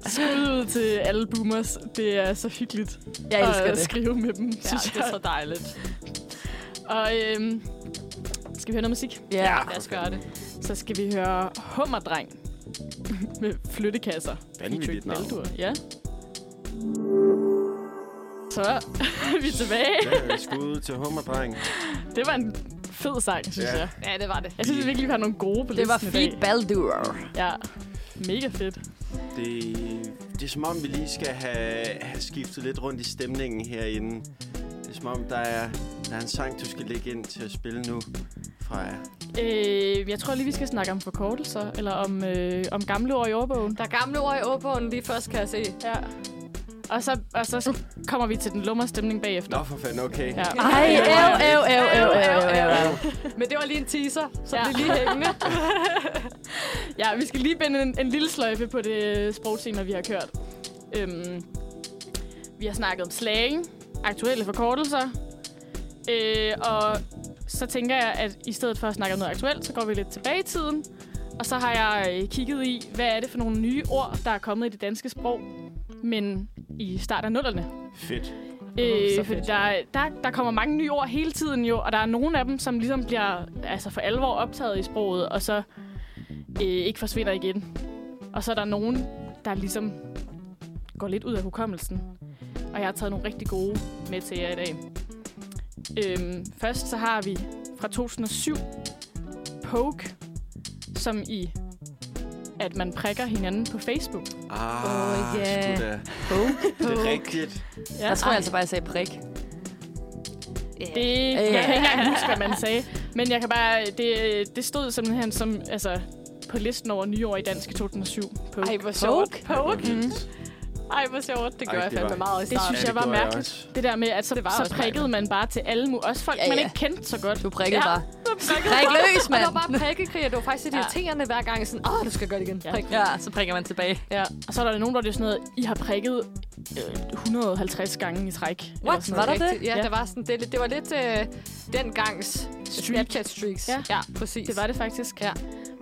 Speaker 4: Skud ud til alle boomers. Det er så hyggeligt
Speaker 2: Jeg elsker
Speaker 4: at
Speaker 2: det.
Speaker 4: skrive med dem, ja,
Speaker 3: Ja,
Speaker 4: synes
Speaker 3: det er
Speaker 4: jeg.
Speaker 3: så dejligt.
Speaker 4: Og øhm, skal vi høre noget musik?
Speaker 2: Ja.
Speaker 3: Lad os gøre det.
Speaker 4: Så skal vi høre Hummerdreng [laughs] med flyttekasser.
Speaker 1: Vanvittigt navn.
Speaker 4: Baldur, ja. Så er vi tilbage.
Speaker 1: Ja, skud til hummerdreng.
Speaker 4: Det var en fed sang, synes
Speaker 1: Ja.
Speaker 4: jeg.
Speaker 3: Ja, det var det.
Speaker 4: Jeg synes virkelig, vi har nogle gode på
Speaker 2: Det var
Speaker 4: listen i dag.
Speaker 2: feed Baldur.
Speaker 4: Ja, mega fedt.
Speaker 1: Det, det er som om, vi lige skal have, have skiftet lidt rundt i stemningen herinde. Det er som om, der er, der er en sang, du skal lægge ind til at spille nu, Freja.
Speaker 4: Øh, jeg tror lige, vi skal snakke om forkortelser, eller om, øh, om gamle ord i ordbogen.
Speaker 3: Der er gamle ord i åbogen lige først, kan jeg se.
Speaker 4: Ja. Og så, og så kommer vi til den lummer stemning bagefter.
Speaker 1: Nå for fanden, okay.
Speaker 4: Ja.
Speaker 2: Ej, æv, æv, æv, æv, æv, æv, æv.
Speaker 3: Men det var lige en teaser, så
Speaker 4: Ja.
Speaker 3: ja. det er lige hængende.
Speaker 4: [laughs] ja, vi skal lige binde en, en lille sløjfe på det øh, sprogtema, vi har kørt. Øhm, vi har snakket om slang, aktuelle forkortelser, øh, og så tænker jeg, at i stedet for at snakke om noget aktuelt, så går vi lidt tilbage i tiden, og så har jeg øh, kigget i, hvad er det for nogle nye ord, der er kommet i det danske sprog, men i start af nullerne.
Speaker 1: Fedt.
Speaker 4: Øh,
Speaker 3: så
Speaker 4: fordi
Speaker 3: fedt.
Speaker 4: der, der, der kommer mange nye ord hele tiden jo, og der er nogle af dem, som ligesom bliver altså for alvor optaget i sproget, og så øh, ikke forsvinder igen. Og så er der nogen, der ligesom går lidt ud af hukommelsen. Og jeg har taget nogle rigtig gode med til jer i dag. Øhm, først så har vi fra 2007 Poke, som i at man prikker hinanden på Facebook.
Speaker 1: Ah,
Speaker 3: Åh, ja.
Speaker 1: sgu da. Det er rigtigt.
Speaker 4: Ja,
Speaker 2: Jeg tror jeg altså bare, jeg sagde prik.
Speaker 3: Det,
Speaker 4: Det,
Speaker 2: Ja.
Speaker 4: jeg kan ikke engang huske, hvad man sagde. Men jeg kan bare, det, det stod simpelthen som, altså, på listen over nyår i dansk i 2007. På.
Speaker 3: ej, hvor sjovt. Poke.
Speaker 1: Det var vildt.
Speaker 3: Ej, hvor sjovt. Det
Speaker 1: Ej,
Speaker 3: gør jeg
Speaker 1: det
Speaker 3: fandme
Speaker 1: var-
Speaker 3: meget i
Speaker 4: Det
Speaker 3: starten.
Speaker 4: synes
Speaker 1: Ja, det
Speaker 4: jeg var
Speaker 1: gjorde jeg
Speaker 4: mærkeligt.
Speaker 1: også.
Speaker 4: det der med, at så,
Speaker 3: Det var
Speaker 4: så
Speaker 3: også
Speaker 4: prikkede man bare til alle mu- Også folk,
Speaker 2: Ja,
Speaker 4: ja, man
Speaker 2: ja.
Speaker 4: ikke kendte så godt.
Speaker 2: Du prikkede
Speaker 4: Ja.
Speaker 2: bare.
Speaker 4: Så prikkede
Speaker 2: Prik løs,
Speaker 3: [laughs] Og
Speaker 2: mand.
Speaker 3: der var bare prikkekrig, og det var faktisk lidt
Speaker 4: Ja.
Speaker 3: irriterende hver gang. Sådan, åh, du skal gøre det igen.
Speaker 4: Ja.
Speaker 3: Prik.
Speaker 2: Ja, så prikker man tilbage.
Speaker 3: ja.
Speaker 4: Og så er der nogen, hvor det er sådan noget, I har prikket øh, 150 gange i træk. eller
Speaker 2: What?
Speaker 4: sådan
Speaker 2: Var
Speaker 4: noget.
Speaker 2: der det?
Speaker 3: Rigtigt. Ja,
Speaker 4: Ja.
Speaker 3: der var sådan, det, er lidt- det var lidt øh, dengangs Snapchat streaks.
Speaker 4: Ja.
Speaker 3: ja, præcis.
Speaker 4: Det var det faktisk.
Speaker 3: Ja.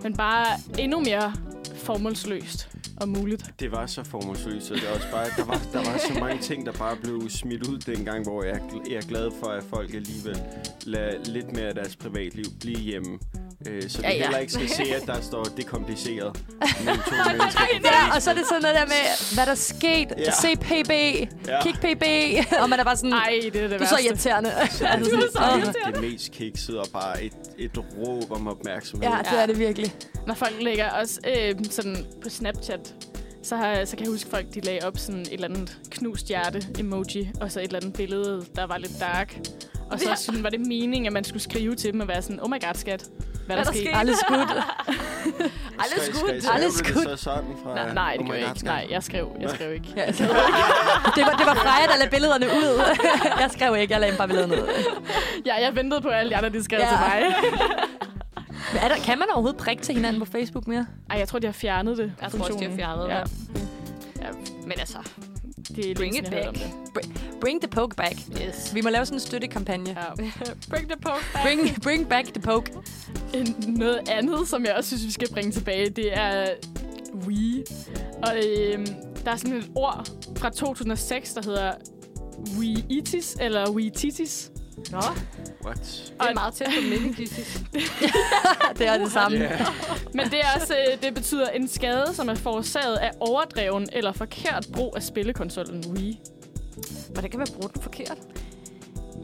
Speaker 4: Men bare endnu mere formålsløst og muligt.
Speaker 3: Mm.
Speaker 1: Det var så formålsløst, og det var også bare, der, var, der var så mange ting, der bare blev smidt ud dengang, hvor jeg, jeg er glad for, at folk alligevel lader lidt mere af deres privatliv blive hjemme. Øh, så vi
Speaker 2: Ja,
Speaker 1: ja,
Speaker 2: ja.
Speaker 1: ja. heller ikke skal se, at der står, det er kompliceret. mellem to mennesker.
Speaker 2: Ja, og så er det sådan noget der med, hvad der skete.
Speaker 1: Ja.
Speaker 2: Se PB.
Speaker 1: Ja.
Speaker 2: Kig PB. [laughs] Og man er bare sådan,
Speaker 4: Ej, det er det
Speaker 2: du er så irriterende. [laughs]
Speaker 1: det,
Speaker 2: sådan, åh.
Speaker 1: det, det, det mest kiksede og bare et, et råb om opmærksomhed.
Speaker 2: Ja, det er det virkelig.
Speaker 4: Når folk lægger også øh, sådan på Snapchat, så, har, så kan jeg huske, folk de lagde op sådan et eller andet knust hjerte-emoji, og så et eller andet billede, der var lidt dark. Og så
Speaker 3: Ja.
Speaker 4: sådan, var det meningen, at man skulle skrive til dem og være sådan, oh my god, skat, hvad er der
Speaker 3: der
Speaker 4: sket?
Speaker 3: sket?
Speaker 2: Alle skudt.
Speaker 1: [laughs]
Speaker 3: Alles
Speaker 1: Skal-
Speaker 3: good.
Speaker 1: skal- skal-
Speaker 2: Alles
Speaker 1: blev det
Speaker 2: good.
Speaker 1: så sådan fra...
Speaker 4: Nej, nej, det
Speaker 1: oh my God,
Speaker 4: gjorde jeg ikke.
Speaker 1: skal-
Speaker 4: Nej, jeg skrev, jeg skrev ikke.
Speaker 2: Ja, [laughs] jeg skrev ikke. det, var, det var Freja, der lagde billederne ud. [laughs] jeg skrev ikke, jeg lagde bare billederne ud.
Speaker 4: Ja, jeg ventede på at alle de andre, de skrev
Speaker 2: Ja.
Speaker 4: til
Speaker 3: [laughs]
Speaker 4: mig.
Speaker 2: Men Er der, kan man overhovedet prikke til hinanden på Facebook mere?
Speaker 4: Ej, jeg tror, de har fjernet det.
Speaker 3: Jeg tror også, de har
Speaker 4: funktionen.
Speaker 3: fjernet
Speaker 4: ja.
Speaker 3: det.
Speaker 4: Ja,
Speaker 3: Men altså,
Speaker 4: det er
Speaker 3: Bring
Speaker 4: længe,
Speaker 3: it
Speaker 4: siden, jeg har hørt om
Speaker 3: back.
Speaker 4: det.
Speaker 2: Bring the poke back.
Speaker 3: yes.
Speaker 2: Vi må lave sådan en støttekampagne.
Speaker 4: Ja.
Speaker 3: Bring the poke back.
Speaker 2: Bring, bring back the poke.
Speaker 4: En- Noget andet, som jeg også synes, vi skal bringe tilbage, det er we. Og øhm, der er sådan et ord fra 2006, der hedder we-itis eller we-titis.
Speaker 3: Nå,
Speaker 1: What?
Speaker 3: det er meget tæt på minikisis.
Speaker 2: [laughs] det er det samme.
Speaker 1: Yeah.
Speaker 4: Men [laughs] det, er også, øh, det betyder en skade, som er forårsaget af overdreven eller forkert brug af spillekonsollen Wii.
Speaker 3: Hvordan kan man bruge den forkert?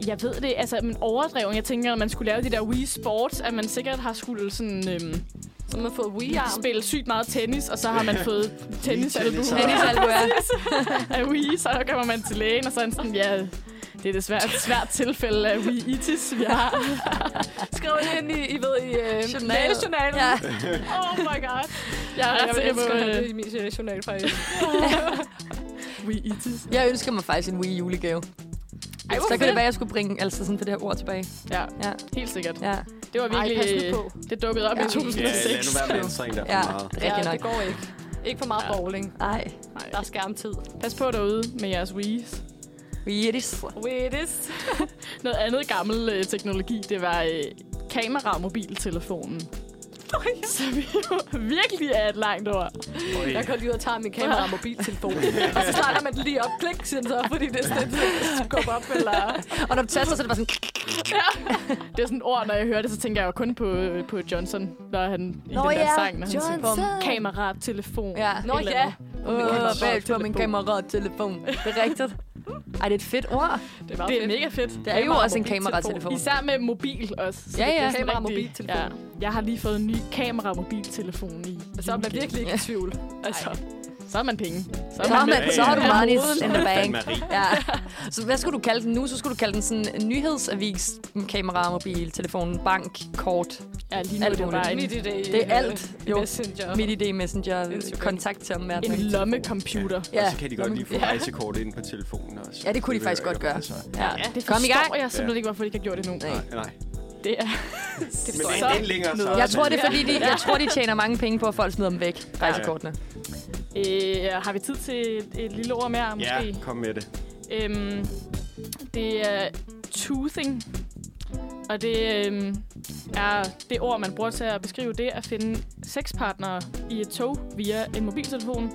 Speaker 4: Jeg ved det, altså, men overdreven, jeg tænker, at man skulle lave de der Wii Sports, at man sikkert har skulle sådan, øhm,
Speaker 3: Så man får Wii-arm.
Speaker 4: spille sygt meget tennis, og så har [laughs] man fået tennisalbu
Speaker 1: tennis.
Speaker 2: Tennisalbu er.
Speaker 4: af Wii, så kommer man til lægen, og så er han sådan, ja, det er desværre et svært tilfælde af Wii-itis, vi har.
Speaker 3: Skriv det ind i, I ved, i øh,
Speaker 2: Journal.
Speaker 3: lægejournalen.
Speaker 2: Ja.
Speaker 4: Oh my god. Jeg,
Speaker 3: Ej,
Speaker 4: jeg,
Speaker 3: Jeg vil
Speaker 4: jeg, jeg
Speaker 3: elske at have
Speaker 4: må,
Speaker 3: det i min øh, journal, faktisk.
Speaker 4: Wii-itis.
Speaker 2: Jeg ønsker mig faktisk en Wii julegave.
Speaker 4: Ej,
Speaker 2: Så kan det være, at jeg skulle bringe altså sådan for det her ord tilbage.
Speaker 4: Ja,
Speaker 2: Ja,
Speaker 4: helt sikkert.
Speaker 2: ja,
Speaker 4: Det var
Speaker 3: Ej, pas
Speaker 4: virkelig...
Speaker 3: nu på.
Speaker 4: det dukkede op
Speaker 2: Ja.
Speaker 4: i
Speaker 1: Ja, lad
Speaker 4: 2006.
Speaker 1: nu være med at anstrenge dig
Speaker 2: ja.
Speaker 1: for meget.
Speaker 2: Rigtig
Speaker 3: ja,
Speaker 2: nok.
Speaker 3: det går ikke. Ikke for meget
Speaker 4: Ja.
Speaker 3: bowling.
Speaker 2: Nej,
Speaker 3: Der er skærmtid.
Speaker 4: Pas på derude med jeres Wii's.
Speaker 2: Wii it is.
Speaker 3: Wait is.
Speaker 4: Noget andet gammel øh, teknologi, det var øh, kamera og mobiltelefonen.
Speaker 3: [laughs]
Speaker 4: Så vi [laughs] virkelig er et langt ord.
Speaker 1: Oj.
Speaker 3: Jeg går lige ud og tager min kamera og mobiltelefon. [laughs] og så starter man den lige op. Klik, siger den så, fordi det er sådan, at skubbe op eller...
Speaker 2: Og når du taster, så er det bare sådan...
Speaker 4: Det er sådan et ord, når jeg hører det, så tænker jeg jo kun på, øh, på Johnson, når han i
Speaker 2: Nå
Speaker 4: den der
Speaker 2: ja,
Speaker 4: sang, når han
Speaker 2: Johnson.
Speaker 4: siger, kamera, telefon.
Speaker 2: Ja.
Speaker 3: Nå
Speaker 4: Et eller
Speaker 3: ja,
Speaker 4: andet.
Speaker 2: Åh, bag på min
Speaker 4: Telefon.
Speaker 2: kamera-telefon. Det er rigtigt. Ej, det er et fedt ord.
Speaker 3: det er meget
Speaker 4: Det er
Speaker 3: fedt.
Speaker 4: mega fedt.
Speaker 2: Det er jo
Speaker 4: Kamera-
Speaker 2: også en
Speaker 4: mobiltelefon.
Speaker 2: kamera-telefon.
Speaker 4: Især med mobil også. Så
Speaker 2: Ja,
Speaker 4: det
Speaker 2: ja.
Speaker 4: bliver sådan
Speaker 3: Kamera-
Speaker 4: rigtig-
Speaker 3: mobiltelefon.
Speaker 4: Ja. Jeg har lige fået en ny kamera-mobiltelefon i
Speaker 3: Så er man virkelig ikke i tvivl. Altså,
Speaker 4: Altså. så har man penge. Så
Speaker 2: Så har,
Speaker 4: lidt-
Speaker 2: man, så har du
Speaker 1: Ja, ja.
Speaker 2: money in the bank.
Speaker 1: Fandme rig.
Speaker 2: Ja. Så hvad skulle du kalde den nu? Så skulle du kalde den sådan en nyhedsavis, kamera, mobil, telefon, bank, kort,
Speaker 4: Ja, lige nu er
Speaker 2: Alt
Speaker 4: det jo
Speaker 2: muligt.
Speaker 4: bare en,
Speaker 3: Midt i det.
Speaker 2: Det er alt, jo.
Speaker 3: Messenger.
Speaker 2: midt i det, messenger,
Speaker 3: Instagram.
Speaker 2: kontakt til omverdenen.
Speaker 4: en lommecomputer.
Speaker 1: Ja. Og
Speaker 2: Ja.
Speaker 1: så kan de godt lige få rejsekort ind på telefonen også.
Speaker 2: Ja, det kunne de
Speaker 1: ved
Speaker 2: faktisk
Speaker 1: jeg
Speaker 2: godt gøre.
Speaker 1: altså.
Speaker 2: Ja.
Speaker 4: Det
Speaker 2: Kom i gang.
Speaker 4: forstår jeg simpelthen ikke, hvorfor de ikke har gjort det nu.
Speaker 2: Nej.
Speaker 1: Nej, nej.
Speaker 4: Det er
Speaker 3: Det
Speaker 1: Men
Speaker 3: forstår
Speaker 1: det
Speaker 3: jeg
Speaker 1: er
Speaker 3: ikke.
Speaker 1: lidt længere så.
Speaker 2: Jeg tror, det er fordi, de, jeg tror, de tjener mange penge på, at folk smider dem væk, rejsekortene.
Speaker 4: Øh, har vi tid til et, et lille ord mere,
Speaker 1: Ja,
Speaker 4: måske?
Speaker 1: kom med det.
Speaker 4: Øhm, det er toothing, og det øhm, er det ord, man bruger til at beskrive det at finde sexpartnere i et tog via en mobiltelefon.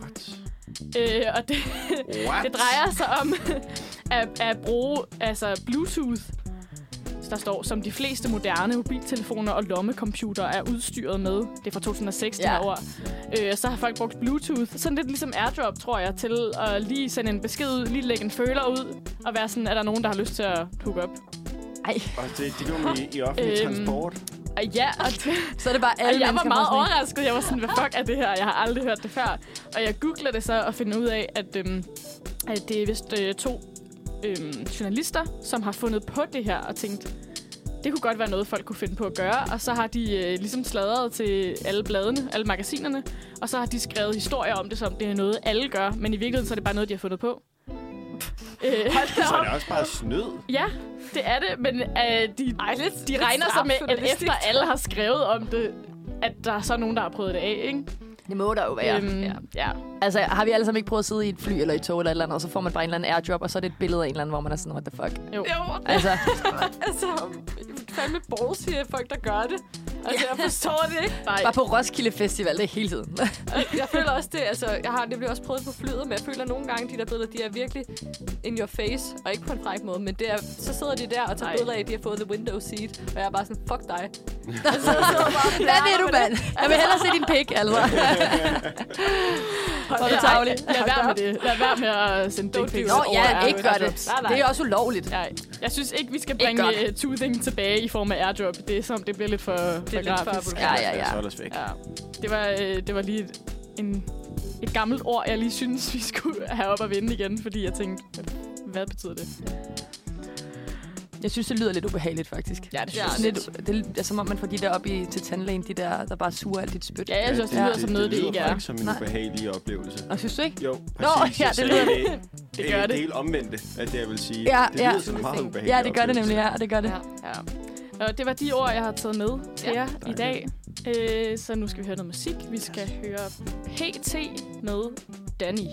Speaker 1: What?
Speaker 4: Øh, og det,
Speaker 1: What?
Speaker 4: det drejer sig om [laughs] at, at bruge altså Bluetooth, der står, som de fleste moderne mobiltelefoner og lommecomputer er udstyret med. Det er fra 2006, ja. det
Speaker 2: Ja.
Speaker 4: her år. Øh, så har folk brugt Bluetooth. Sådan lidt ligesom AirDrop, tror jeg, til at lige sende en besked ud, lige lægge en føler ud, og være sådan, er der nogen, der har lyst til at hook op?
Speaker 1: Og det, det gjorde man i, i offentlig
Speaker 4: Øhm,
Speaker 1: transport.
Speaker 4: Og ja, og, det,
Speaker 2: Så er det bare alle
Speaker 4: og Altså, jeg var
Speaker 2: mennesker,
Speaker 4: meget
Speaker 2: der er sådan
Speaker 4: overrasket. Jeg var sådan, hvad fuck er det her? Jeg har aldrig hørt det før. Og jeg googler det så og finder ud af, at, øhm, at det er vist øh, to øhm, journalister, som har fundet på det her og tænkt, det kunne godt være noget, folk kunne finde på at gøre. Og så har de øh, ligesom sladret til alle bladene, alle magasinerne. Og så har de skrevet historier om det, som det er noget, alle gør. Men i virkeligheden, så er det bare noget, de har fundet
Speaker 2: [laughs]
Speaker 4: på. Øh,
Speaker 1: Så er det også bare snyd.
Speaker 4: Ja, det er det, men øh, de, Ej, lidt, de regner sig med, at
Speaker 3: strafjournalistik.
Speaker 4: efter alle har skrevet om det, at der er så nogen, der har prøvet det af, ikke?
Speaker 2: lidt- Det må der jo være.
Speaker 4: ja. ja.
Speaker 2: Altså, har vi alle sammen ikke prøvet at sidde i et fly eller i et tog eller et eller andet, og så får man bare en eller anden airdrop, og så er det et billede af en eller anden, hvor man er sådan, what the fuck.
Speaker 4: Jo.
Speaker 3: Jo,
Speaker 2: Altså,
Speaker 3: altså, fandme borgs siger folk, der gør det. Altså, jeg forstår det ikke.
Speaker 4: Nej,
Speaker 2: bare på Roskilde Festival, det er hele tiden.
Speaker 3: Jeg føler også det, altså, jeg har det bliver også prøvet på flyet, men jeg føler nogle gange, de der billeder, de er virkelig in your face, og ikke på en fræk måde, men det er, så sidder de der og tager
Speaker 4: Nej.
Speaker 3: billeder af, at de har fået the window seat, og jeg er bare sådan, fuck dig.
Speaker 2: Hvad ved du, mand? Jeg vil hellere se din pik, altså.
Speaker 4: hold
Speaker 2: det
Speaker 4: da-
Speaker 2: tarveligt.
Speaker 4: Lad være med det. Lad være med at sende dick pics.
Speaker 2: Nå,
Speaker 4: over
Speaker 2: ja,
Speaker 4: airdrop.
Speaker 2: ikke gør det.
Speaker 3: Nej, nej.
Speaker 2: Det er også ulovligt.
Speaker 4: Nej, jeg synes ikke, vi skal bringe
Speaker 2: Ikke godt.
Speaker 4: øh, toothing tilbage i form af airdrop. Det er som, det bliver lidt for, det for
Speaker 3: lidt for
Speaker 4: grafisk.
Speaker 3: vulgært.
Speaker 2: Ja, ja,
Speaker 1: Lad
Speaker 2: ja.
Speaker 1: os holde os væk.
Speaker 4: ja. Det var, øh, det var lige et, en, et gammelt ord, jeg lige synes, vi skulle have op at vende igen, fordi jeg tænkte, hvad betyder det?
Speaker 2: Jeg synes, det lyder lidt ubehageligt, faktisk.
Speaker 4: Ja, det
Speaker 3: synes jeg
Speaker 2: Sådan lidt, det er som om, man får de der op i, til tandlægen, de der, der bare suger alt dit spyt.
Speaker 4: Ja, jeg synes også, det
Speaker 2: Ja.
Speaker 4: lyder som noget, det
Speaker 1: lyder
Speaker 4: ikke
Speaker 1: faktisk
Speaker 4: er.
Speaker 1: som en
Speaker 2: Nej.
Speaker 1: ubehagelig oplevelse.
Speaker 2: Og synes du ikke?
Speaker 1: Jo,
Speaker 2: Nå,
Speaker 1: præcis.
Speaker 2: ja,
Speaker 1: jeg
Speaker 2: det
Speaker 1: sagde
Speaker 2: lyder-
Speaker 1: Det
Speaker 4: gør
Speaker 1: er
Speaker 4: det.
Speaker 1: det helt omvendt af det, jeg vil sige.
Speaker 2: Ja,
Speaker 1: det
Speaker 2: ja.
Speaker 1: lyder som en meget ubehagelig
Speaker 2: Ja, det gør det nemlig, ja. Det gør det.
Speaker 3: Ja.
Speaker 4: Ja. Og det var de ord, jeg har taget med til
Speaker 3: Ja.
Speaker 4: ja. jer i dag. Øh, så nu skal vi høre noget musik. Vi skal høre PT med Danny.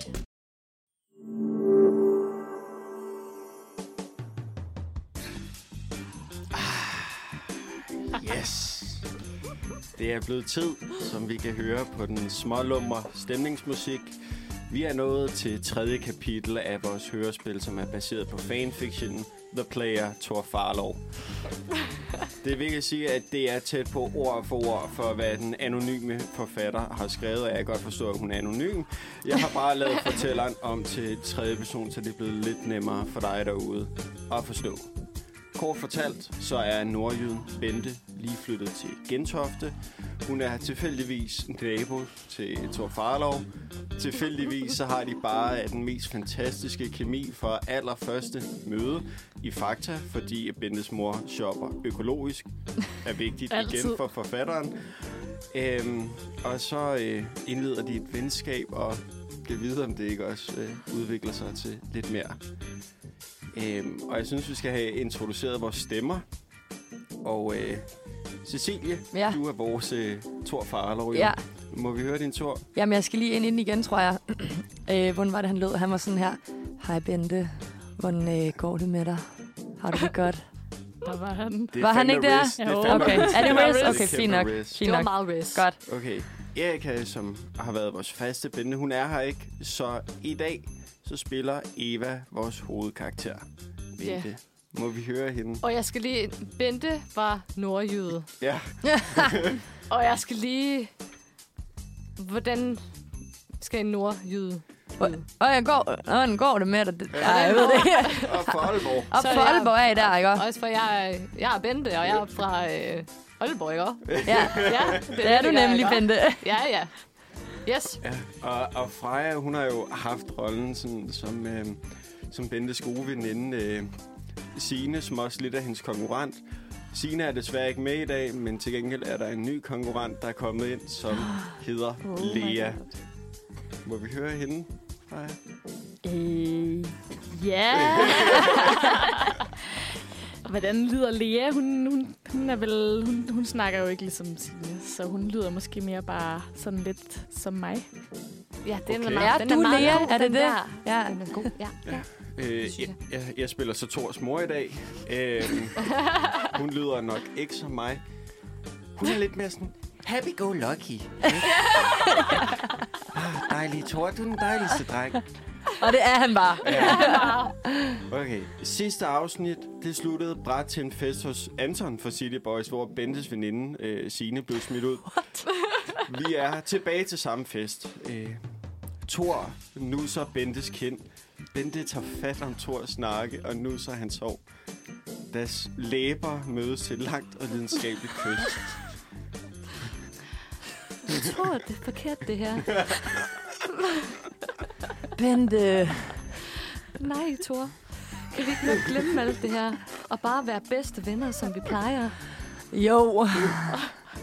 Speaker 1: Yes. Det er blevet tid, som vi kan høre på den smålummer stemningsmusik. Vi er nået til tredje kapitel af vores hørespil, som er baseret på fanfiction The Player Thor Farlov. Det vil jeg sige, at det er tæt på ord for ord for, hvad den anonyme forfatter har skrevet, og jeg kan godt forstå, at hun er anonym. Jeg har bare lavet fortælleren om til tredje person, så det er blevet lidt nemmere for dig derude at forstå. Kort fortalt, så er nordjyden Bente lige flyttet til Gentofte. Hun er tilfældigvis nabo til Thor Farlov. Tilfældigvis så har de bare den mest fantastiske kemi fra allerførste møde i Fakta, fordi Bentes mor shopper økologisk, er vigtigt igen
Speaker 4: Altid.
Speaker 1: for forfatteren. Øhm, og så øh, indleder de et venskab, og kan vide, om det ikke også øh, udvikler sig til lidt mere Øhm, og jeg synes, vi skal have introduceret vores stemmer. Og øh, Cecilie, ja.
Speaker 2: Ja.
Speaker 1: du er vores øh, Thor Farlov. jo.
Speaker 2: Ja.
Speaker 1: Må vi høre din Thor?
Speaker 2: Jamen, jeg skal lige ind i den igen, tror jeg. [clears throat] øh, hvordan var det, han lød? Han var sådan her. Hej, Bente. Hvordan øh, går det med dig? Har du det godt?
Speaker 4: Der var han.
Speaker 1: Det
Speaker 2: Var han ikke der?
Speaker 1: Riz. Det er
Speaker 4: Jo.
Speaker 1: fandme
Speaker 2: Okay.
Speaker 1: Riz.
Speaker 2: Er det
Speaker 1: fandme
Speaker 2: Riz?
Speaker 1: Riz.
Speaker 2: Okay,
Speaker 1: Det er
Speaker 2: fint
Speaker 1: kæmpe
Speaker 2: nok.
Speaker 1: Riz.
Speaker 2: Fint
Speaker 3: Det var
Speaker 2: nok.
Speaker 3: meget risk.
Speaker 2: Godt.
Speaker 1: Okay. Erika, som har været vores faste binde, hun er her ikke. Så i dag, så spiller Eva vores hovedkarakter. Vente.
Speaker 3: Ja.
Speaker 1: Må vi høre hende?
Speaker 3: Og jeg skal lige... Bente var nordjyde.
Speaker 1: Ja.
Speaker 3: Og jeg skal lige... Hvordan skal en nordjyde?
Speaker 2: Og jeg går, hvordan går det med dig? Det- Ej, jeg ved det ikke.
Speaker 3: [laughs]
Speaker 1: Og for alvor.
Speaker 2: Op
Speaker 3: Så er
Speaker 2: for
Speaker 3: jeg-
Speaker 2: Aalborg er I der, ikke?
Speaker 3: Også for jeg, er- jeg er Bente, og jeg er fra øh, Aalborg, ikke?
Speaker 2: Ja,
Speaker 3: Ja,
Speaker 2: det er du nemlig,
Speaker 3: ikke?
Speaker 2: Bente.
Speaker 3: Ja, ja. Yes.
Speaker 1: Ja. Og, og Freja, hun har jo haft rollen sådan, som, øh, som Bentes gode veninde øh, Signe, som også lidt er hendes konkurrent. Signe er desværre ikke med i dag, men til gengæld er der en ny konkurrent, der er kommet ind, som hedder oh Lea. Må vi høre hende, Freja?
Speaker 4: Øh, ja. [laughs] Hvordan lyder Lea? Hun, hun, hun, er vel, hun, hun snakker jo ikke ligesom Signe, så hun lyder måske mere bare sådan lidt som mig.
Speaker 3: Ja, den
Speaker 1: Okay.
Speaker 3: er meget,
Speaker 2: Er
Speaker 3: den
Speaker 2: du
Speaker 3: er meget
Speaker 2: Lea? Er
Speaker 3: god,
Speaker 2: det
Speaker 3: den
Speaker 2: det?
Speaker 3: Der.
Speaker 2: Ja.
Speaker 3: Den er god, ja.
Speaker 1: Øh, jeg, jeg, jeg spiller så Tors mor i dag. Øh, hun lyder nok ikke som mig. Hun er lidt mere sådan, happy-go-lucky. ikke? ah, dejlig Tor, du er den dejligste dreng.
Speaker 2: Og det er han bare.
Speaker 1: Okay, sidste afsnit, det sluttede bræt til en fest hos Anton fra City Boys, hvor Bentes veninde, øh, Signe, blev smidt ud. Vi er tilbage til samme fest. Øh, Thor nusser Bentes kind. Bente tager fat om Thors snakke og nusser hans hår. Deres læber mødes til et langt og lidenskabeligt kys.
Speaker 3: Jeg tror, det er forkert, det her.
Speaker 2: Bente.
Speaker 3: Nej, Thor. Kan vi ikke nok glemme alt det her? Og bare være bedste venner, som vi plejer?
Speaker 2: Jo.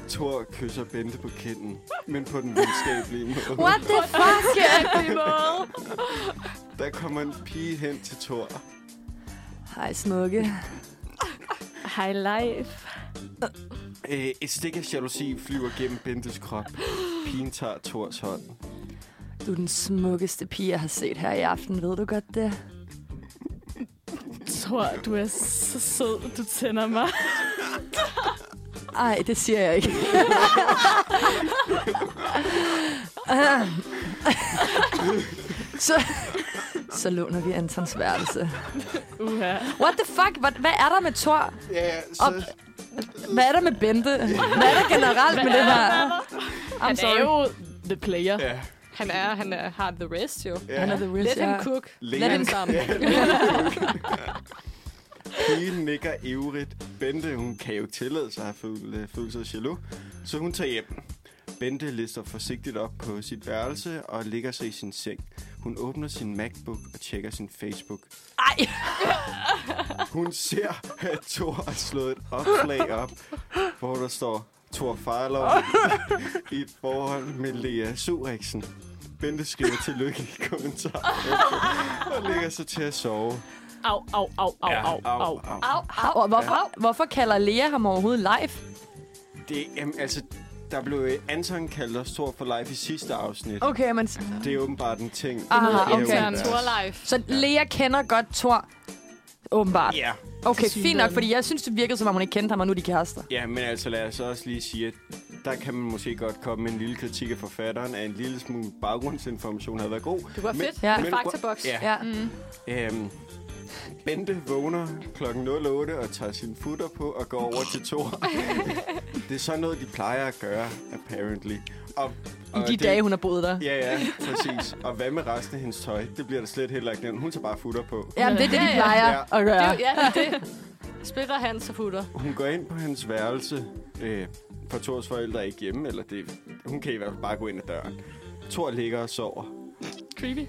Speaker 1: Thor kysser Bente på kinden, men på den venskabelige måde.
Speaker 2: What the fuck?
Speaker 4: [laughs]
Speaker 1: Der kommer en pige hen til Thor.
Speaker 2: Hej, smukke.
Speaker 4: High life.
Speaker 1: Øh, et stik af jalousi flyver gennem Bentes krop. Pigen tager Thors hånd.
Speaker 2: Du er den smukkeste pige, jeg har set her i aften. Ved du godt det?
Speaker 4: Tror, du er så sød, du tænder mig.
Speaker 2: Ej, det siger jeg ikke. [laughs] så, så låner vi Antons værelse.
Speaker 4: Uha.
Speaker 2: What the fuck? Hvad, hvad er der med Thor?
Speaker 1: Ja, så...
Speaker 2: Op. Hvad er der med Bente? Hvad er der generelt med det her? I'm
Speaker 4: Han er
Speaker 2: sorry.
Speaker 4: jo the player.
Speaker 1: Ja,
Speaker 3: Han er, han er, har the rest, jo.
Speaker 1: ja.
Speaker 2: Han er the real
Speaker 3: Let him
Speaker 2: star.
Speaker 3: cook.
Speaker 1: Lea-
Speaker 2: Let him
Speaker 3: Sammen.
Speaker 1: Pigen nikker ivrigt. Bente, hun kan jo ikke tillade sig at føle, øh, føle sig jaloux, så hun tager hjem. Bente lister forsigtigt op på sit værelse og ligger sig i sin seng. Hun åbner sin MacBook og tjekker sin Facebook.
Speaker 2: Ej,
Speaker 1: Hun ser, at Thor har slået et opslag op, hvor der står Thor Farlov i et forhold med Lea Suriksen. Bente skriver tillykke i kommentaren og lægger sig til at sove.
Speaker 4: Au, au, au, au, au, au.
Speaker 3: Au, au.
Speaker 2: og hvorfor, hvorfor kalder Lea ham overhovedet live?
Speaker 1: Det, jamen, altså, der blev øh, Anton kaldt os Thor for life i sidste afsnit.
Speaker 2: Okay, men...
Speaker 1: Det er åbenbart en ting. i
Speaker 2: Ah,
Speaker 1: det her
Speaker 2: okay.
Speaker 1: univers.
Speaker 3: Thor life.
Speaker 2: Så Lea kender godt Thor, åbenbart.
Speaker 1: Ja,
Speaker 2: Okay, fint nok,
Speaker 4: Tilsyneladende.
Speaker 2: fordi jeg synes, det virkede, som om hun ikke kendte ham, og nu er de kærester.
Speaker 1: ja, men altså lad os også lige sige, at der kan man måske godt komme med en lille kritik af forfatteren, at en lille smule baggrundsinformation havde været god.
Speaker 3: Det var
Speaker 1: Men-
Speaker 3: fedt.
Speaker 2: Ja.
Speaker 3: Ja. Med
Speaker 1: Men-
Speaker 3: faktaboks.
Speaker 1: Ja.
Speaker 2: Ja.
Speaker 1: Øhm, Bente vågner kl. 08 og tager sin futter på og går over til
Speaker 2: [laughs]
Speaker 1: Thor. det er sådan noget, de plejer at gøre, apparently. Og,
Speaker 2: I
Speaker 1: og
Speaker 2: de
Speaker 1: det-
Speaker 2: dage, hun har boet der.
Speaker 1: Ja, ja, præcis. Og hvad med resten af hendes tøj? Det bliver der slet heller ikke nævnt. Hun tager bare futter på.
Speaker 2: Ja, det er det, de
Speaker 3: Ja, ja.
Speaker 2: plejer
Speaker 1: Ja.
Speaker 2: at
Speaker 3: Det,
Speaker 2: gøre.
Speaker 3: er jo- ja, det splitter hans og futter.
Speaker 1: Hun går ind på hans værelse, øh, for Thors forældre er ikke hjemme, eller det, hun kan i hvert fald bare gå ind ad døren. Thor ligger og sover.
Speaker 4: Creepy.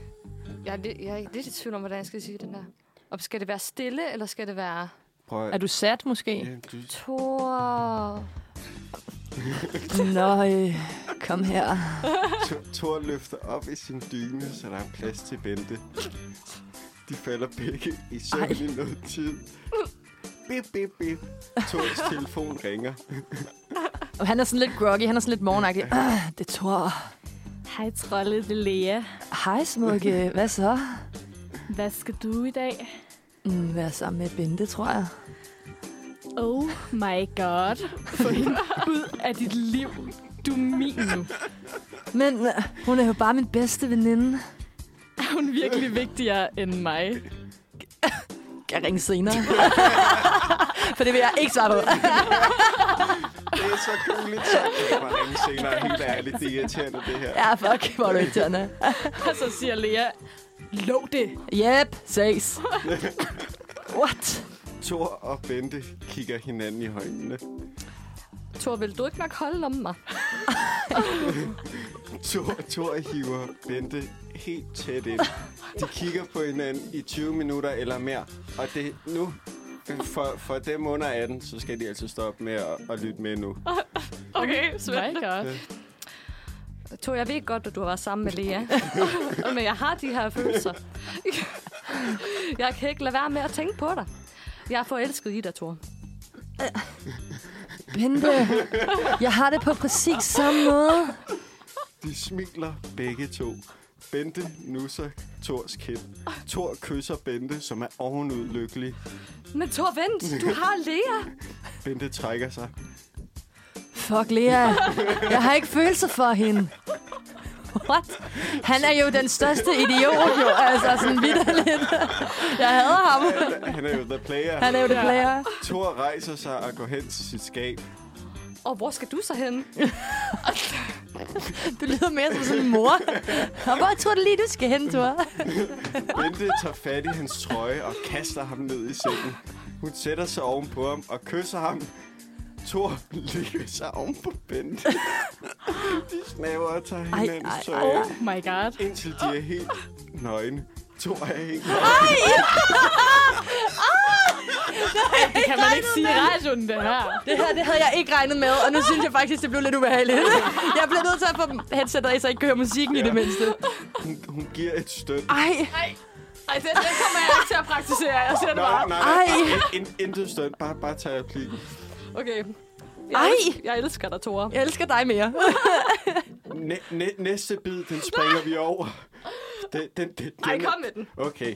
Speaker 3: Jeg er, lidt, jeg er lidt i tvivl om, hvordan jeg skal sige den der. Og skal det være stille, eller skal det være...
Speaker 1: Prøv at...
Speaker 2: Er du sat, måske?
Speaker 1: Ja, du...
Speaker 3: Tor...
Speaker 2: Nå, øh, kom her.
Speaker 1: Thor- Thor løfter op i sin dyne, så der er plads til Bente. De falder begge i søvn i noget tid. Bip, bip, bip. Thors telefon ringer.
Speaker 2: Og han er sådan lidt groggy, han er sådan lidt morgenagtig. Ah, det tror
Speaker 4: Hej, trolde, det er Lea.
Speaker 2: Hej,
Speaker 1: [laughs]
Speaker 2: smukke. Hvad så?
Speaker 4: Hvad skal du i dag?
Speaker 2: Mm, Vær sammen med Bente, tror jeg.
Speaker 4: Oh my god. Få hende ud af dit liv. Du er min nu.
Speaker 2: Men øh, hun er jo bare min bedste veninde.
Speaker 4: Er hun virkelig vigtigere end mig?
Speaker 2: Kan jeg ringe [laughs] senere? For det vil jeg ikke svare på.
Speaker 1: Det er så cool, så kan man ringe senere. Helt ærligt, det er irriterende, det her.
Speaker 2: Ja, fuck, hvor er du irriterende.
Speaker 4: Og så siger Lea, lov det.
Speaker 2: Yep, ses. What?
Speaker 1: Thor og Bente kigger hinanden i øjnene.
Speaker 3: Tor, vil du ikke nok holde om mig?
Speaker 1: Thor, Thor hiver Bente helt tæt ind. De kigger på hinanden i 20 minutter eller mere. Og det nu, øh, for, for dem under 18, så skal de altså stoppe med at, at lytte med nu.
Speaker 3: Okay,
Speaker 4: My
Speaker 3: Svend.
Speaker 4: God.
Speaker 3: To, jeg ved godt, at du har været sammen med Lea. [laughs] Men jeg har de her følelser. [laughs] jeg kan ikke lade være med at tænke på dig. Jeg er forelsket i dig, Thor.
Speaker 2: Bente, jeg har det på præcis samme måde.
Speaker 1: De smiler begge to. Bente nusser Tors kind. Tor kysser Bente, som er ovenud lykkelig.
Speaker 3: Men Thor, vent. Du har Lea.
Speaker 1: Bente trækker sig.
Speaker 2: Fuck Lea, jeg har ikke følelser for hende. What? Han er jo den største idiot, jo. Altså, sådan vidderligt. Jeg hader ham.
Speaker 1: Han er jo the player.
Speaker 2: Han er jo det player.
Speaker 1: Tor rejser sig og går hen til sit skab.
Speaker 3: Og hvor skal du så hen?
Speaker 2: Du lyder mere som sådan en mor. Og hvor tror du lige, du skal hen, Thor?
Speaker 1: Bente tager fat i hans trøje og kaster ham ned i sengen. Hun sætter sig ovenpå ham og kysser ham. Tor ligger sig oven på Bente. De snaver og tager
Speaker 2: ej, ej,
Speaker 1: hinandens tøj
Speaker 4: Oh
Speaker 1: af,
Speaker 4: my god.
Speaker 1: indtil de er helt nøgne. Tor er helt
Speaker 4: Det kan man ikke sige i radioen, det her.
Speaker 2: Det her, det havde jeg ikke regnet med, og nu synes jeg faktisk, det blev lidt ubehageligt. Jeg blev nødt til at få headsetet af, så jeg ikke kan høre musikken i det mindste.
Speaker 1: Hun, hun giver et stød.
Speaker 2: Ej,
Speaker 4: Ej, det, det kommer jeg ikke til at praktisere. Jeg ser det bare.
Speaker 1: nej,
Speaker 2: Ej.
Speaker 1: In, in, intet stød. Bare, bare tag replikken.
Speaker 2: Ej.
Speaker 3: Okay. Jeg, elsker, jeg elsker dig, Thor.
Speaker 2: jeg elsker dig mere.
Speaker 1: Næ, næ, næste bid, den springer vi over. Den, den, den, den
Speaker 3: Ej, kom med den.
Speaker 1: Okay.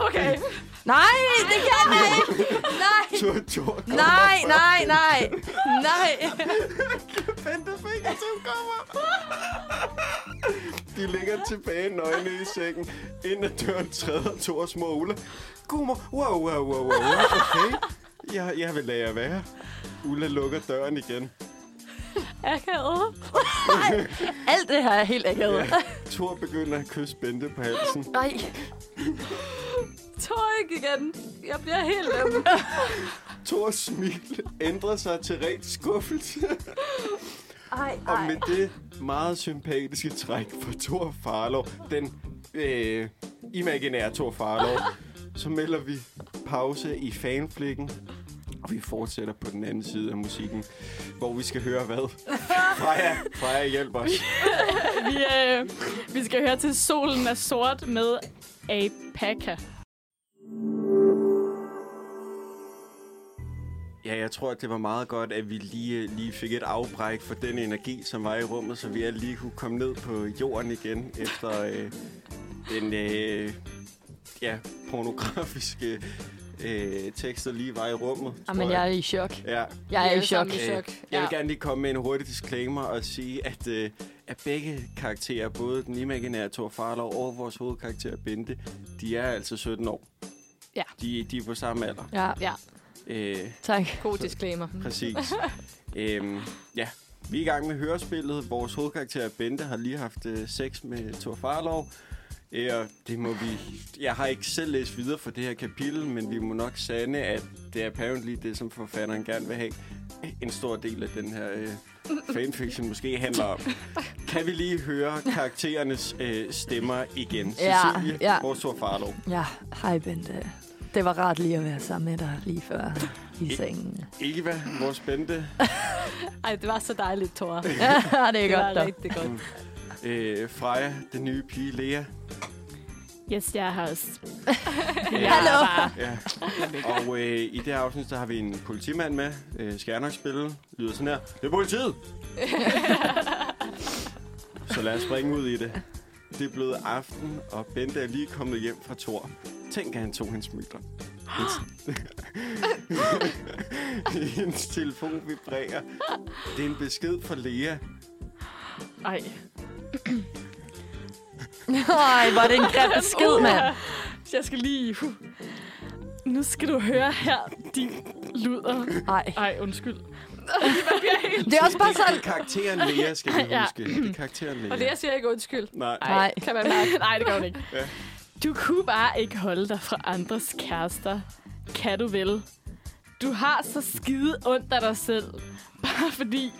Speaker 4: Okay.
Speaker 2: Nej, det kan jeg ikke. Nej,
Speaker 1: Tor, Tor, kom.
Speaker 2: nej, nej, nej. Nej.
Speaker 1: Bente Fingertip kommer. [laughs] De ligger tilbage nøgne i sengen. Ind ad døren træder to små Ulla. Godmor. Wow, wow, wow, wow, wow. Okay. Jeg, jeg vil lade jer være. Ulla lukker døren igen.
Speaker 3: Akavet.
Speaker 2: Alt det her er helt akavet.
Speaker 1: Ja. Thor begynder at kysse Bente på halsen.
Speaker 2: Nej.
Speaker 3: Thor ikke igen. Jeg bliver helt øm.
Speaker 1: Thors smil ændrer sig til rent skuffelse.
Speaker 2: Ej,
Speaker 1: Og med det meget sympatiske træk fra Thor Farlov, den øh, imaginære Thor Farlov, så melder vi pause i fanflikken. Og vi fortsætter på den anden side af musikken, hvor vi skal høre
Speaker 2: [laughs]
Speaker 1: hvad? Freja, Freja hjælp os.
Speaker 4: Vi, øh, vi skal høre til Solen er sort med Apaka.
Speaker 1: Ja, jeg tror, at det var meget godt, at vi lige, øh, lige fik et afbræk for den energi, som var i rummet, så vi alle lige kunne komme ned på jorden igen efter øh, den øh, ja, pornografiske øh, tekst, der lige var i rummet. tror
Speaker 2: Jamen, Ah, jeg er i chok.
Speaker 1: Ja.
Speaker 2: Jeg er i
Speaker 3: alle
Speaker 2: chok.
Speaker 3: sammen i
Speaker 1: Øh,
Speaker 3: chok.
Speaker 1: Jeg vil
Speaker 3: Ja.
Speaker 1: gerne lige komme med en hurtig disclaimer og sige, at, øh, at begge karakterer, både den imaginære Thor Farlov og vores hovedkarakter Bente, de er altså 17 år.
Speaker 3: Ja.
Speaker 1: De, de er på samme alder.
Speaker 2: Ja,
Speaker 3: Ja,
Speaker 1: Øh,
Speaker 2: tak.
Speaker 3: god disclaimer.
Speaker 1: Præcis. øhm, ja, vi er i gang med hørespillet. Vores hovedkarakter Bente har lige haft øh, sex med Thor Farlov. Øh, og det må vi... Jeg har ikke selv læst videre for det her kapitel, men vi må nok sande, at det er apparently det, som forfatteren gerne vil have. øh, En stor del af den her øh, fanfiction måske handler om. Kan vi lige høre karakterernes øh, stemmer igen?
Speaker 2: Ja,
Speaker 1: Cecilie,
Speaker 2: ja.
Speaker 1: vores Thor Farlov.
Speaker 2: Ja, hej Bente. Det var rart lige at være sammen med dig lige før i
Speaker 1: I-
Speaker 2: sengen.
Speaker 1: Eva, vores Bente.
Speaker 3: Ej, det var så dejligt, Thor. Det
Speaker 2: Ja, det er
Speaker 3: var
Speaker 2: godt dog.
Speaker 3: rigtig godt.
Speaker 1: Øh, Freja, den nye pige Lea.
Speaker 4: Yes, jeg er her også.
Speaker 2: [laughs] Hallo.
Speaker 1: Ja. Og øh, i det her afsnit, der har vi en politimand med. Øh, skal jeg nok spille? Lyder sådan her. Det er politiet! Så lad os springe ud i det. Det er blevet aften, og Bente er lige kommet hjem fra Tor. Tænk, at han tog hendes møder. Hendes, hendes telefon vibrerer. Det er en besked fra Lea.
Speaker 4: Ej.
Speaker 2: Ej, hvor er det en grim besked, mand.
Speaker 4: Jeg skal lige... huh. Nu skal du høre her, de luder.
Speaker 2: Ej.
Speaker 4: Ej, undskyld.
Speaker 2: Det er også bare sådan...
Speaker 1: Det er karakteren Lea, skal vi
Speaker 4: Ja.
Speaker 1: huske. Det er karakteren Lea.
Speaker 3: Og Lea siger ikke undskyld.
Speaker 1: Nej.
Speaker 2: Nej.
Speaker 3: Kan man mærke.
Speaker 4: Nej, det gør hun ikke.
Speaker 1: Ja.
Speaker 4: Du kunne bare ikke holde dig fra andres kærester. Kan du vel? Du har så skide ondt af dig selv. Bare fordi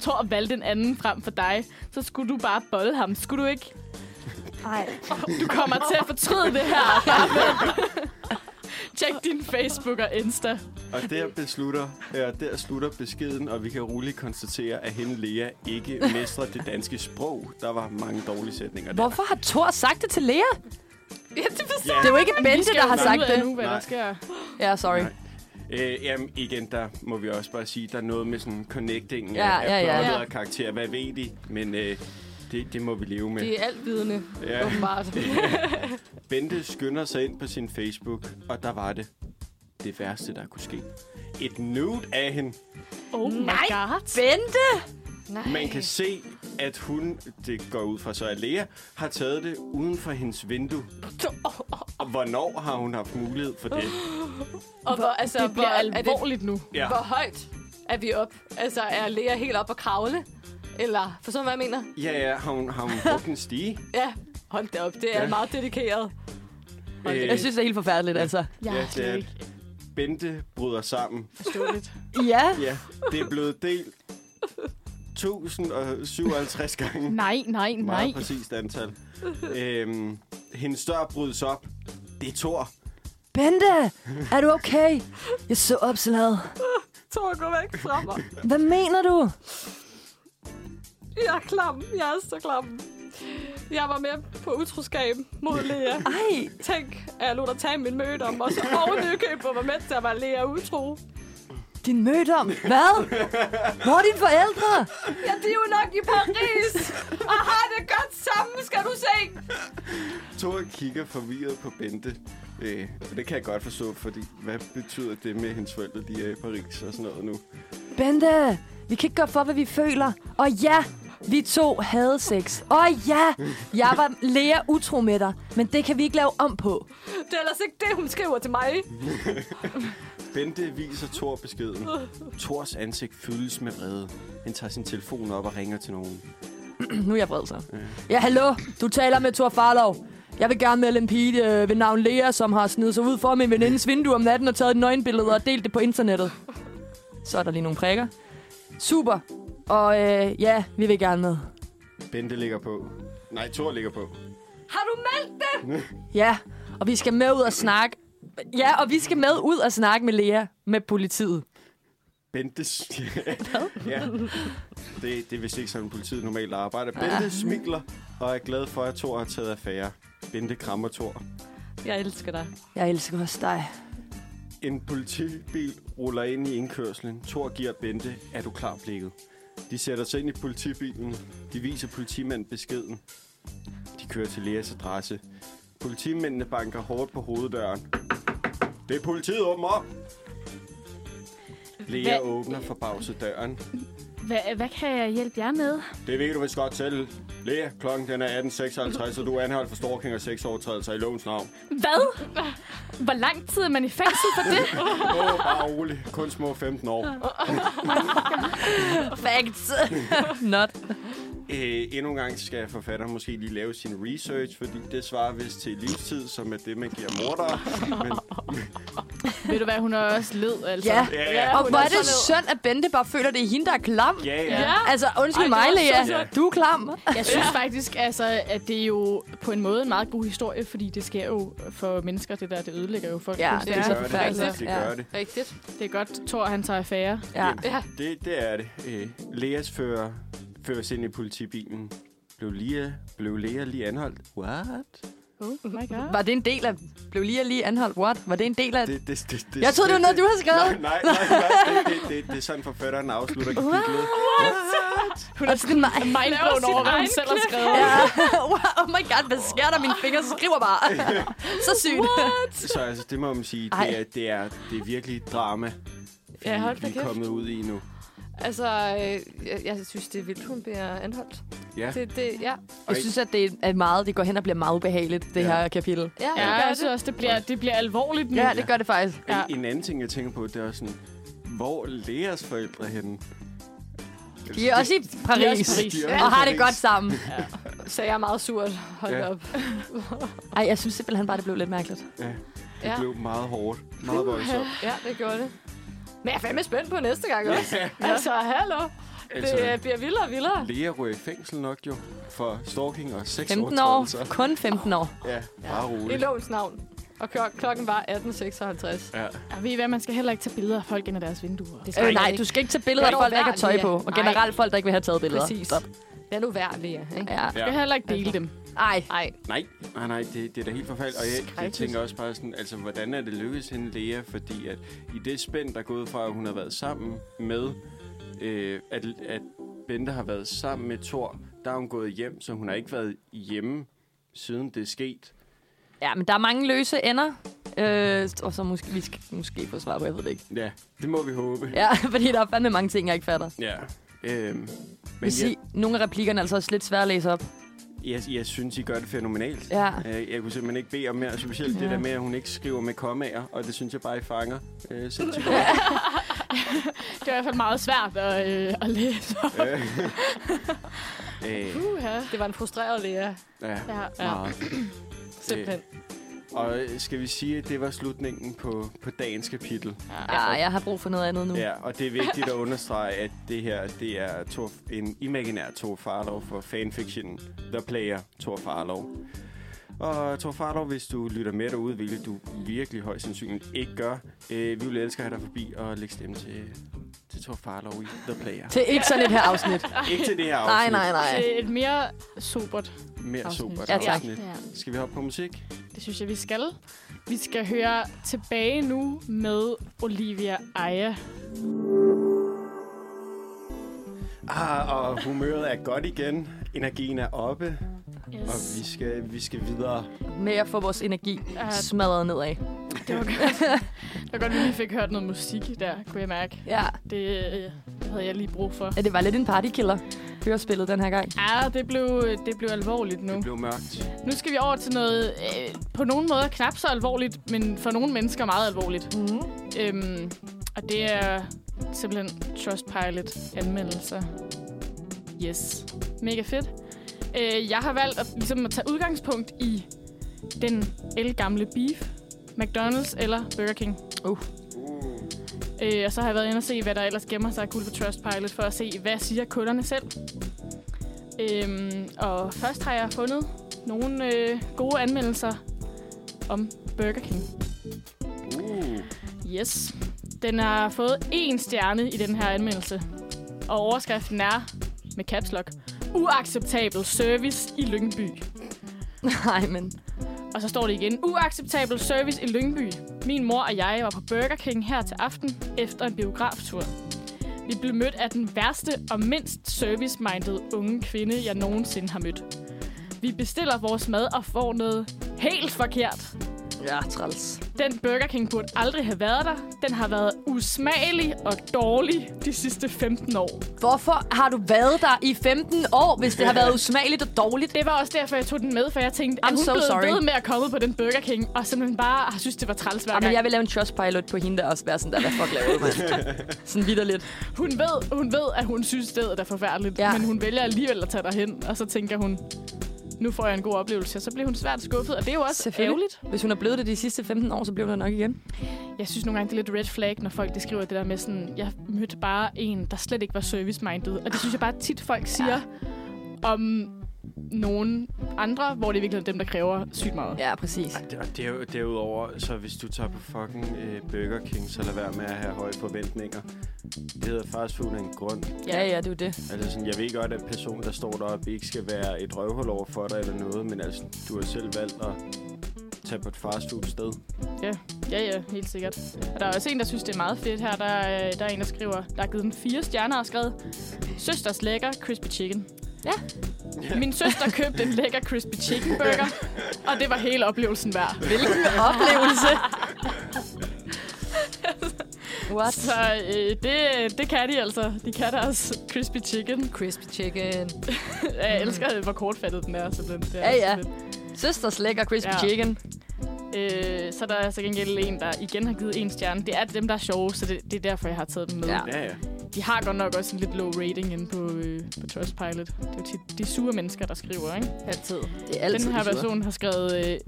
Speaker 4: Thor og valgte en anden frem for dig, så skulle du bare bolle ham. Skulle du ikke?
Speaker 2: Nej.
Speaker 4: Du kommer til at fortryde det her. Tjek din Facebook og Insta.
Speaker 1: Og der, beslutter, øh, der slutter beskeden, og vi kan roligt konstatere, at hende Lea ikke mestrer det danske sprog. Der var mange dårlige sætninger der.
Speaker 2: Hvorfor har Thor sagt det til Lea?
Speaker 3: Ja, det forstår
Speaker 2: Det er jo ikke
Speaker 4: Vi
Speaker 2: Bente,
Speaker 4: skal
Speaker 2: der
Speaker 4: jo
Speaker 2: har
Speaker 4: finde
Speaker 2: sagt
Speaker 4: ud af
Speaker 2: det.
Speaker 4: Nu, hvad der
Speaker 1: Nej.
Speaker 4: sker.
Speaker 2: Ja, sorry.
Speaker 1: Nej. Øh, jamen igen, der må vi også bare sige, der er noget med sådan connecting
Speaker 2: Ja,
Speaker 1: af,
Speaker 2: ja,
Speaker 1: af
Speaker 2: ja.
Speaker 1: plottet
Speaker 3: Ja.
Speaker 1: og karakter. Hvad ved de? Men øh, det, det må vi leve med.
Speaker 3: Det er altvidende,
Speaker 1: Ja.
Speaker 3: åbenbart.
Speaker 1: Bente skynder sig ind på sin Facebook, og der var det det værste, der kunne ske. Et nude af hende.
Speaker 4: Oh my
Speaker 2: Nej.
Speaker 4: god.
Speaker 2: Bente!
Speaker 3: Nej.
Speaker 1: Man kan se, at hun, det går ud fra så at Lea, har taget det uden for hendes vindue. Og hvornår har hun haft mulighed for det?
Speaker 3: Og hvor, altså,
Speaker 4: Det bliver
Speaker 3: hvor, er det,
Speaker 4: alvorligt nu.
Speaker 1: Ja.
Speaker 3: hvor højt er vi op? Altså, er Lea helt op og kravle? Eller, for sådan hvad jeg mener?
Speaker 1: Ja, ja, har hun, har hun brugt en stige?
Speaker 3: Ja, hold da op. Det er
Speaker 1: Ja.
Speaker 3: ja. meget dedikeret.
Speaker 1: Øh,
Speaker 2: Jeg synes, det er helt forfærdeligt, altså.
Speaker 1: ja, det er, Bente bryder sammen.
Speaker 4: forståeligt.
Speaker 2: Ja.
Speaker 1: Ja, det er blevet delt 1057 gange.
Speaker 4: Nej, nej, nej.
Speaker 1: Meget præcist antal. Øhm, hendes dør brydes op. Det er Thor.
Speaker 2: Bente, er du okay? Jeg så opslaget.
Speaker 3: Tor, gå væk fra mig.
Speaker 2: Hvad mener du?
Speaker 3: Jeg er klam. Jeg er så klam. Jeg var med på utroskab mod Lea.
Speaker 2: Ej,
Speaker 3: Tænk, at jeg lod dig tage min møde om, [laughs] og så oven i købet var med til at være Lea utro.
Speaker 2: din mødom. Hvad? Hvor er dine forældre?
Speaker 3: Ja, de er jo nok i Paris, og har det godt sammen, skal du se.
Speaker 1: Thor kigger forvirret på Bente. Øh, og det kan jeg godt forstå, fordi hvad betyder det med, at hendes forældre de er i Paris og sådan noget nu?
Speaker 2: Bente, vi kan ikke gøre for, hvad vi føler. Og ja, vi to havde sex. Og ja, jeg var læger utro med dig. Men det kan vi ikke lave om på.
Speaker 3: Det er ellers ikke det, hun skriver til mig.
Speaker 1: Bente viser Thor beskeden. Thors ansigt fyldes med vrede. Han tager sin telefon op og ringer til nogen.
Speaker 2: Nu er jeg vred så. Ja, hallo. Du taler med Thor Farlov. Jeg vil gerne melde en pige øh, ved navn Lea, som har snedet sig ud for min venindes vindue om natten og taget et nøgenbillede og delt det på internettet. Så er der lige nogle prikker. Super. Og øh, ja, vi vil gerne med.
Speaker 1: Bente ligger på. Nej, Thor ligger på.
Speaker 3: Har du meldt det?
Speaker 2: Ja, og vi skal med ud og snakke. Ja, og vi skal med ud og snakke med Lea, med politiet.
Speaker 1: Bente... s- [laughs] ja. Det, det er vist ikke sådan, politiet normalt arbejder. Bente smigler og er glad for, at Thor har taget affære. Bente krammer Thor.
Speaker 3: Jeg elsker dig.
Speaker 2: Jeg elsker også dig.
Speaker 1: En politibil ruller ind i indkørslen. Thor giver Bente, er du klar blikket? De sætter sig ind i politibilen. De viser politimanden beskeden. De kører til Leas adresse. Politimændene banker hårdt på hoveddøren. Det er politiet, åbn op! Lea
Speaker 4: Hvad?
Speaker 1: åbner forbavset døren.
Speaker 4: Hva, hvad kan jeg hjælpe jer med?
Speaker 1: Det ved du vist godt selv. Lea, klokken den er 18.56, og du er anholdt for stalking og sexovertrædelser i lovens navn.
Speaker 4: Hvad? Hvor lang tid er man i fængsel for det?
Speaker 1: Åh, oh, bare rolig. Kun små 15 år.
Speaker 2: Facts. [laughs] Not.
Speaker 1: Øh, endnu en gang skal forfatteren måske lige lave sin research, fordi det svarer vist til livstid, som er det, man giver mordere. Men,
Speaker 4: [laughs] Ved du hvad, hun er også led, altså.
Speaker 2: Ja.
Speaker 1: ja, ja.
Speaker 2: Og
Speaker 3: hun
Speaker 2: hvor er
Speaker 3: er
Speaker 2: det
Speaker 3: så led.
Speaker 2: synd, at Bente bare føler, at det er hende, der er klam.
Speaker 1: Ja, ja.
Speaker 4: Ja.
Speaker 2: Altså, undskyld
Speaker 3: Ej,
Speaker 2: mig,
Speaker 3: det var så
Speaker 2: Lea. Du er klam.
Speaker 4: Jeg synes faktisk, altså, at det er jo på en måde en meget god historie, fordi det sker jo for mennesker, det der. Det ødelægger jo folk.
Speaker 2: Ja,
Speaker 4: fuldstændig.
Speaker 2: det er så
Speaker 1: Gør det,
Speaker 2: forfærdeligt.
Speaker 1: det
Speaker 2: Ja.
Speaker 1: gør det.
Speaker 3: Rigtigt.
Speaker 4: det er godt, Thor han tager affære.
Speaker 2: Ja.
Speaker 3: Ja.
Speaker 1: Det, det er det. Øh, Leas fører, føres ind i politibilen. Blev, Lea, blev Lea lige anholdt? What?
Speaker 4: Oh my god.
Speaker 2: Var det en del af... Blev lige lige anholdt? What? Var det en del af...
Speaker 1: Det, det, det, det,
Speaker 2: Jeg troede, det var noget, du havde skrevet.
Speaker 1: Nej, nej, nej. nej. Det, det, det, det er sådan, forfatteren afslutter kapitlet.
Speaker 2: Hun Altså, er sådan [laughs] mig.
Speaker 4: Mindblown over, hvad hun selv har skrevet.
Speaker 2: Ja. oh my god, hvad sker der? Mine fingre skriver [laughs] bare. så sygt.
Speaker 1: Så altså, det må man sige,
Speaker 2: Ej.
Speaker 1: det er, det er, det er virkelig drama, vi,
Speaker 3: Ja, hold da
Speaker 1: vi er
Speaker 3: kæft.
Speaker 1: kommet ud i nu.
Speaker 3: Altså, øh, jeg, jeg synes, det er vildt, hun bliver anholdt.
Speaker 1: Ja.
Speaker 3: Det, det, ja.
Speaker 2: Jeg synes, at det er meget, det går hen og bliver meget ubehageligt, det
Speaker 1: Ja.
Speaker 2: her kapitel.
Speaker 3: Ja,
Speaker 4: Ja,
Speaker 3: det gør
Speaker 4: jeg synes
Speaker 3: det.
Speaker 4: også, det bliver, det bliver alvorligt nu.
Speaker 2: Ja, det gør det faktisk.
Speaker 4: Ja.
Speaker 1: Ja. En, en anden ting, jeg tænker på, det er også sådan, hvor Leas forældre henne?
Speaker 2: De er også i
Speaker 4: De er også i
Speaker 2: Paris.
Speaker 4: Paris.
Speaker 1: De er
Speaker 2: Og
Speaker 1: i
Speaker 2: har det
Speaker 1: Paris.
Speaker 2: godt sammen.
Speaker 3: Så jeg er meget surt. Hold
Speaker 1: Ja.
Speaker 3: ja. op.
Speaker 2: Ej, jeg synes simpelthen bare, det blev lidt mærkeligt.
Speaker 1: Ja, det
Speaker 3: Ja.
Speaker 1: blev meget hårdt. Meget voldsomt.
Speaker 3: Ja, det gjorde det. Men jeg er fandme spændt på næste gang også. altså, hallo.
Speaker 1: Altså,
Speaker 3: Det øh, bliver vildere og vildere.
Speaker 1: Lea ryger i fængsel nok jo for stalking og
Speaker 2: 15 år.
Speaker 1: sexovertrædelser.
Speaker 2: Kun 15 år.
Speaker 1: Ja, bare
Speaker 3: I
Speaker 1: roligt.
Speaker 3: lovens navn. Og klok- klokken var 18.56.
Speaker 1: Ja.
Speaker 4: Og ved I hvad, man skal heller ikke tage billeder af folk ind af deres vinduer.
Speaker 3: Det skal
Speaker 2: Øh,
Speaker 3: man
Speaker 2: nej,
Speaker 3: ikke.
Speaker 2: du skal ikke tage billeder af
Speaker 3: Lad
Speaker 2: folk, der ikke har
Speaker 3: nu
Speaker 2: tøj
Speaker 3: være,
Speaker 2: på.
Speaker 3: Lea.
Speaker 2: Og generelt folk, der ikke vil have taget billeder.
Speaker 3: Præcis.
Speaker 2: Stop.
Speaker 3: Lad nu være, Lea. Ikke?
Speaker 2: Ja.
Speaker 4: Du
Speaker 1: Ja.
Speaker 4: skal heller ikke dele dem.
Speaker 2: Ej,
Speaker 3: Ej,
Speaker 1: Nej, nej, nej, det, det er da helt forfærdeligt. Og jeg, jeg
Speaker 3: Skrækkeligt.
Speaker 1: tænker også bare sådan, altså, hvordan er det lykkedes hende, Lea? Fordi at i det spænd, der er gået fra, at hun har været sammen med, øh, at, at Bente har været sammen med Thor, der er hun gået hjem, så hun har ikke været hjemme, siden det er sket.
Speaker 2: ja, men der er mange løse ender. Øh, og så måske, vi skal måske få svar på, jeg ved det ikke.
Speaker 1: Ja, det må vi håbe.
Speaker 2: Ja, [laughs] fordi der er fandme mange ting, jeg ikke fatter.
Speaker 1: ja. Øhm,
Speaker 2: Men
Speaker 1: men jeg,
Speaker 2: sige, nogle af replikkerne er altså også lidt svære at læse op.
Speaker 1: jeg, jeg synes, I gør det fænomenalt.
Speaker 2: Ja.
Speaker 1: Øh, Jeg kunne simpelthen ikke bede om mere, specielt ja.
Speaker 2: Ja.
Speaker 1: det der med, at hun ikke skriver med kommaer, og det synes jeg bare, I fanger. Øh, sindssygt godt.
Speaker 4: Det er i hvert fald meget svært at, øh, at læse.
Speaker 1: Øh. øh,
Speaker 4: Uha.
Speaker 3: det var en frustreret Lea.
Speaker 1: ja,
Speaker 4: Ja, ja.
Speaker 2: [clears throat]
Speaker 1: meget. Øh,
Speaker 3: Simpelthen.
Speaker 1: Og skal vi sige, at det var slutningen på, på dagens kapitel?
Speaker 2: Ja, jeg har brug for noget andet nu.
Speaker 1: Ja, og det er vigtigt at
Speaker 2: [laughs]
Speaker 1: understrege, at det her det er Thor, en imaginær Thor Farlov for fanfiction The Player Thor Farlov. Og Thor Farlov, hvis du lytter med derude, hvilket du virkelig højst sandsynligt ikke gør, øh, vi vil elske at have dig forbi og lægge stemme til, til Thor Farlov i The
Speaker 2: [laughs]
Speaker 1: Player.
Speaker 2: Til ikke sådan et her [laughs] afsnit.
Speaker 1: ikke til det her
Speaker 2: Nej,
Speaker 1: afsnit.
Speaker 2: nej, nej.
Speaker 4: Det er et mere sobert
Speaker 1: Mere
Speaker 4: afsnit.
Speaker 1: super
Speaker 2: Ja, tak.
Speaker 1: afsnit.
Speaker 4: Ja.
Speaker 1: Skal vi hoppe på musik?
Speaker 4: Det synes jeg, vi skal. Vi skal høre tilbage nu med Olivia Eje.
Speaker 1: Ah, og humøret er godt igen. Energien er oppe. Og vi skal, vi skal videre.
Speaker 2: Med at få vores energi
Speaker 4: Ja.
Speaker 2: smadret nedad.
Speaker 4: Det var godt. Det var godt, at vi lige fik hørt noget musik der, kunne jeg mærke.
Speaker 2: Ja,
Speaker 4: Det øh, havde jeg lige brug for.
Speaker 2: ja det var lidt en partykiller. Hørespillet den her gang. [laughs]
Speaker 4: Ja, det blev, det blev alvorligt nu.
Speaker 1: Det blev mørkt.
Speaker 4: Nu skal vi over til noget, øh, på nogle måder knap så alvorligt, men for nogle mennesker meget alvorligt.
Speaker 2: Mm.
Speaker 4: Øhm, og det er simpelthen Trustpilot-anmeldelser. Yes. Mega fedt. Øh, jeg har valgt at, ligesom at tage udgangspunkt i den elgamle beef, McDonald's eller Burger King.
Speaker 1: Uh.
Speaker 4: Øh, og så har jeg været inde og se, hvad der ellers gemmer sig af guld på Trustpilot, for at se, hvad siger kunderne selv. Øhm, og først har jeg fundet nogle øh, gode anmeldelser om Burger King.
Speaker 1: Uh.
Speaker 4: Yes. Den har fået én stjerne i den her anmeldelse. Og overskriften er, med caps lock, uacceptabel service i Lyngby.
Speaker 2: Nej, men...
Speaker 4: Og så står det igen. Uacceptabel service i Lyngby. Min mor og jeg var på Burger King her til aften efter en biograftur. Vi blev mødt af den værste og mindst service-minded unge kvinde, jeg nogensinde har mødt. Vi bestiller vores mad og får noget helt forkert.
Speaker 2: Ja, Ah, træls.
Speaker 4: Den Burger King burde aldrig have været der. Den har været usmagelig og dårlig de sidste 15 år.
Speaker 2: Hvorfor har du været der i 15 år, hvis det har [laughs] været usmageligt og dårligt?
Speaker 4: Det var også derfor, jeg tog den med, for jeg tænkte,
Speaker 2: I'm
Speaker 4: at hun
Speaker 2: so
Speaker 4: blev
Speaker 2: sorry.
Speaker 4: ved med at komme på den Burger King, og simpelthen bare har synes, det var træls hver gang.
Speaker 2: Jamen, Ah, jeg vil lave en trustpilot på hende, der også være sådan der, hvad fuck laver du, mand? [laughs] sådan vidderligt.
Speaker 4: Hun ved, hun ved, at hun synes, stedet er forfærdeligt,
Speaker 2: Ja.
Speaker 4: ja. men hun vælger alligevel at tage derhen, og så tænker hun, nu får jeg en god oplevelse, og så bliver hun svært skuffet, og det er jo også
Speaker 2: Selvfølgelig.
Speaker 4: ærgerligt.
Speaker 2: Hvis hun er blevet det de sidste 15 år, så bliver hun det nok igen.
Speaker 4: Jeg synes nogle gange, det er lidt red flag, når folk de skriver det der med sådan, jeg mødte bare en, der slet ikke var service-minded, og det synes jeg bare tit folk siger om nogen andre, hvor det er virkelig dem, der kræver sygt meget.
Speaker 2: Ja, præcis.
Speaker 1: Og der- der- Derudover, så hvis du tager på fucking øh, Burger King, så lad være med at have høje forventninger. Det hedder fast food af en grund.
Speaker 2: Ja, ja, det er jo det.
Speaker 1: Altså sådan, jeg ved godt, at personen, der står deroppe, ikke skal være et røvhul over for dig eller noget, men altså, du har selv valgt at tage på et fast food sted.
Speaker 4: Ja, ja, helt sikkert. Og der er også en, der synes, det er meget fedt her. Der, er- der er en, der skriver, der er givet den fire stjerner og skrevet, Søsters lækker crispy chicken.
Speaker 2: Ja.
Speaker 4: Min søster købte en lækker crispy chicken burger, og det var hele
Speaker 2: [laughs]
Speaker 4: oplevelsen værd.
Speaker 2: Hvilken oplevelse. What?
Speaker 4: Så øh, det, det kan de altså. De kan deres crispy chicken.
Speaker 3: Crispy chicken.
Speaker 4: Jeg elsker, øh, hvor kortfattet den er. Så den, det er
Speaker 2: Ja,
Speaker 4: så
Speaker 2: ja.
Speaker 4: fedt.
Speaker 2: Søsters lækker crispy
Speaker 4: Ja.
Speaker 2: chicken.
Speaker 4: Øh, så er der er så gengæld en, der igen har givet en stjerne. Det er dem, der er sjove, så det, det er derfor, jeg har taget dem med.
Speaker 2: Ja.
Speaker 1: Ja, ja.
Speaker 4: De har godt nok også en lidt low rating inde på, øh, på Trustpilot. Det er jo tit de sure mennesker, der skriver, ikke?
Speaker 3: Altid.
Speaker 2: Det er altid
Speaker 4: Den her
Speaker 2: de sure.
Speaker 4: person har skrevet øh,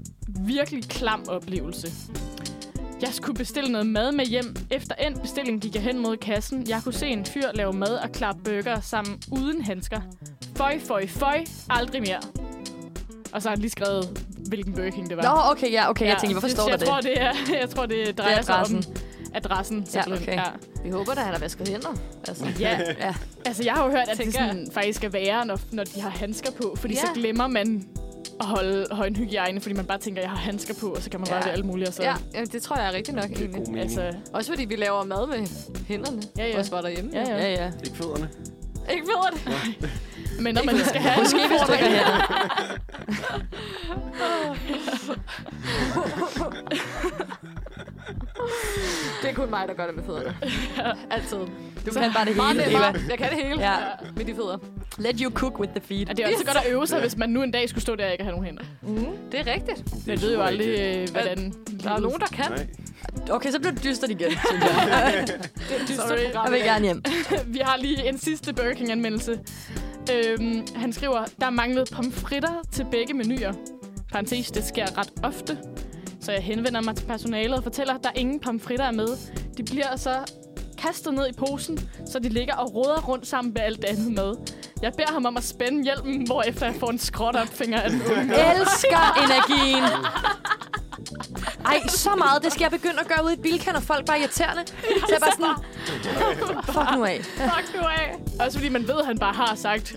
Speaker 4: virkelig klam oplevelse. Jeg skulle bestille noget mad med hjem. Efter en bestilling gik jeg hen mod kassen. Jeg kunne se en fyr lave mad og klappe burger sammen uden handsker. Føj, føj, føj. Aldrig mere. Og så har han lige skrevet, hvilken Burger King det var.
Speaker 2: Nå, okay, ja, okay. Jeg tænkte, hvorfor
Speaker 4: så
Speaker 2: står der
Speaker 4: jeg
Speaker 2: det?
Speaker 4: tror, det? er, jeg tror, det drejer sig om
Speaker 2: adressen.
Speaker 4: adressen. simpelthen.
Speaker 2: okay.
Speaker 3: Vi håber da, han har vasket hænder. Altså. [laughs]
Speaker 4: Ja.
Speaker 2: Ja.
Speaker 4: ja. Altså, jeg har jo hørt, at det
Speaker 3: Tænker
Speaker 4: sådan, faktisk er værre, når, når de har handsker på. Fordi ja. så
Speaker 3: Ja.
Speaker 4: glemmer man at holde højdenhygiejne, fordi man bare tænker, at jeg har handsker på, og så kan man
Speaker 3: Ja.
Speaker 4: ja. røre ved alt muligt. Og så,
Speaker 3: Ja, jamen, det tror jeg er rigtigt nok
Speaker 1: Det er
Speaker 3: egentlig.
Speaker 1: god mening.
Speaker 4: Altså,
Speaker 1: Altså...
Speaker 3: Også fordi vi laver mad med hænderne.
Speaker 4: Ja, ja.
Speaker 3: Også bare derhjemme.
Speaker 4: ja, ja.
Speaker 2: Ja, ja.
Speaker 1: Ikke fødderne.
Speaker 3: Ikke ved det.
Speaker 4: Men når man skal have en
Speaker 2: Måske hvis du ikke er her.
Speaker 3: Det er kun mig, der gør det med fødderne. Altid.
Speaker 2: Du kan bare det
Speaker 3: Meget
Speaker 2: hele, Eva.
Speaker 3: nemmere. Jeg kan det hele
Speaker 2: Ja.
Speaker 3: med de fødder.
Speaker 2: Let you cook with the feet.
Speaker 4: Og det er også godt at øve sig, hvis man nu en dag skulle stå der og ikke have nogen hænder.
Speaker 3: Det er rigtigt.
Speaker 4: Man ved jo aldrig, øh, hvordan...
Speaker 3: Der er nogen, der kan.
Speaker 1: Nej.
Speaker 2: Okay, så bliver det dystert
Speaker 4: [laughs]
Speaker 2: igen. synes jeg.
Speaker 3: Det er et dystert
Speaker 4: Sorry.
Speaker 3: program.
Speaker 2: Jeg vil gerne
Speaker 4: [laughs]
Speaker 2: hjem.
Speaker 4: Vi har lige en sidste Burger King-anmeldelse. Øhm, han skriver, der manglede pomfritter til begge menuer. Parenthes, det sker ret ofte. Så jeg henvender mig til personalet og fortæller, at der ingen pomfritter er med. De bliver så kastet ned i posen, så de ligger og roder rundt sammen med alt det andet mad. Jeg beder ham om at spænde hjelmen, hvorefter jeg får en skråtopfinger af den unge.
Speaker 2: Elsker energien. Ej, så meget. Det skal jeg begynde at gøre ude i Bilka, når folk bare er irriterende. Så jeg er bare sådan... Fuck nu af.
Speaker 4: Fuck nu af. Også fordi man ved, at han bare har sagt,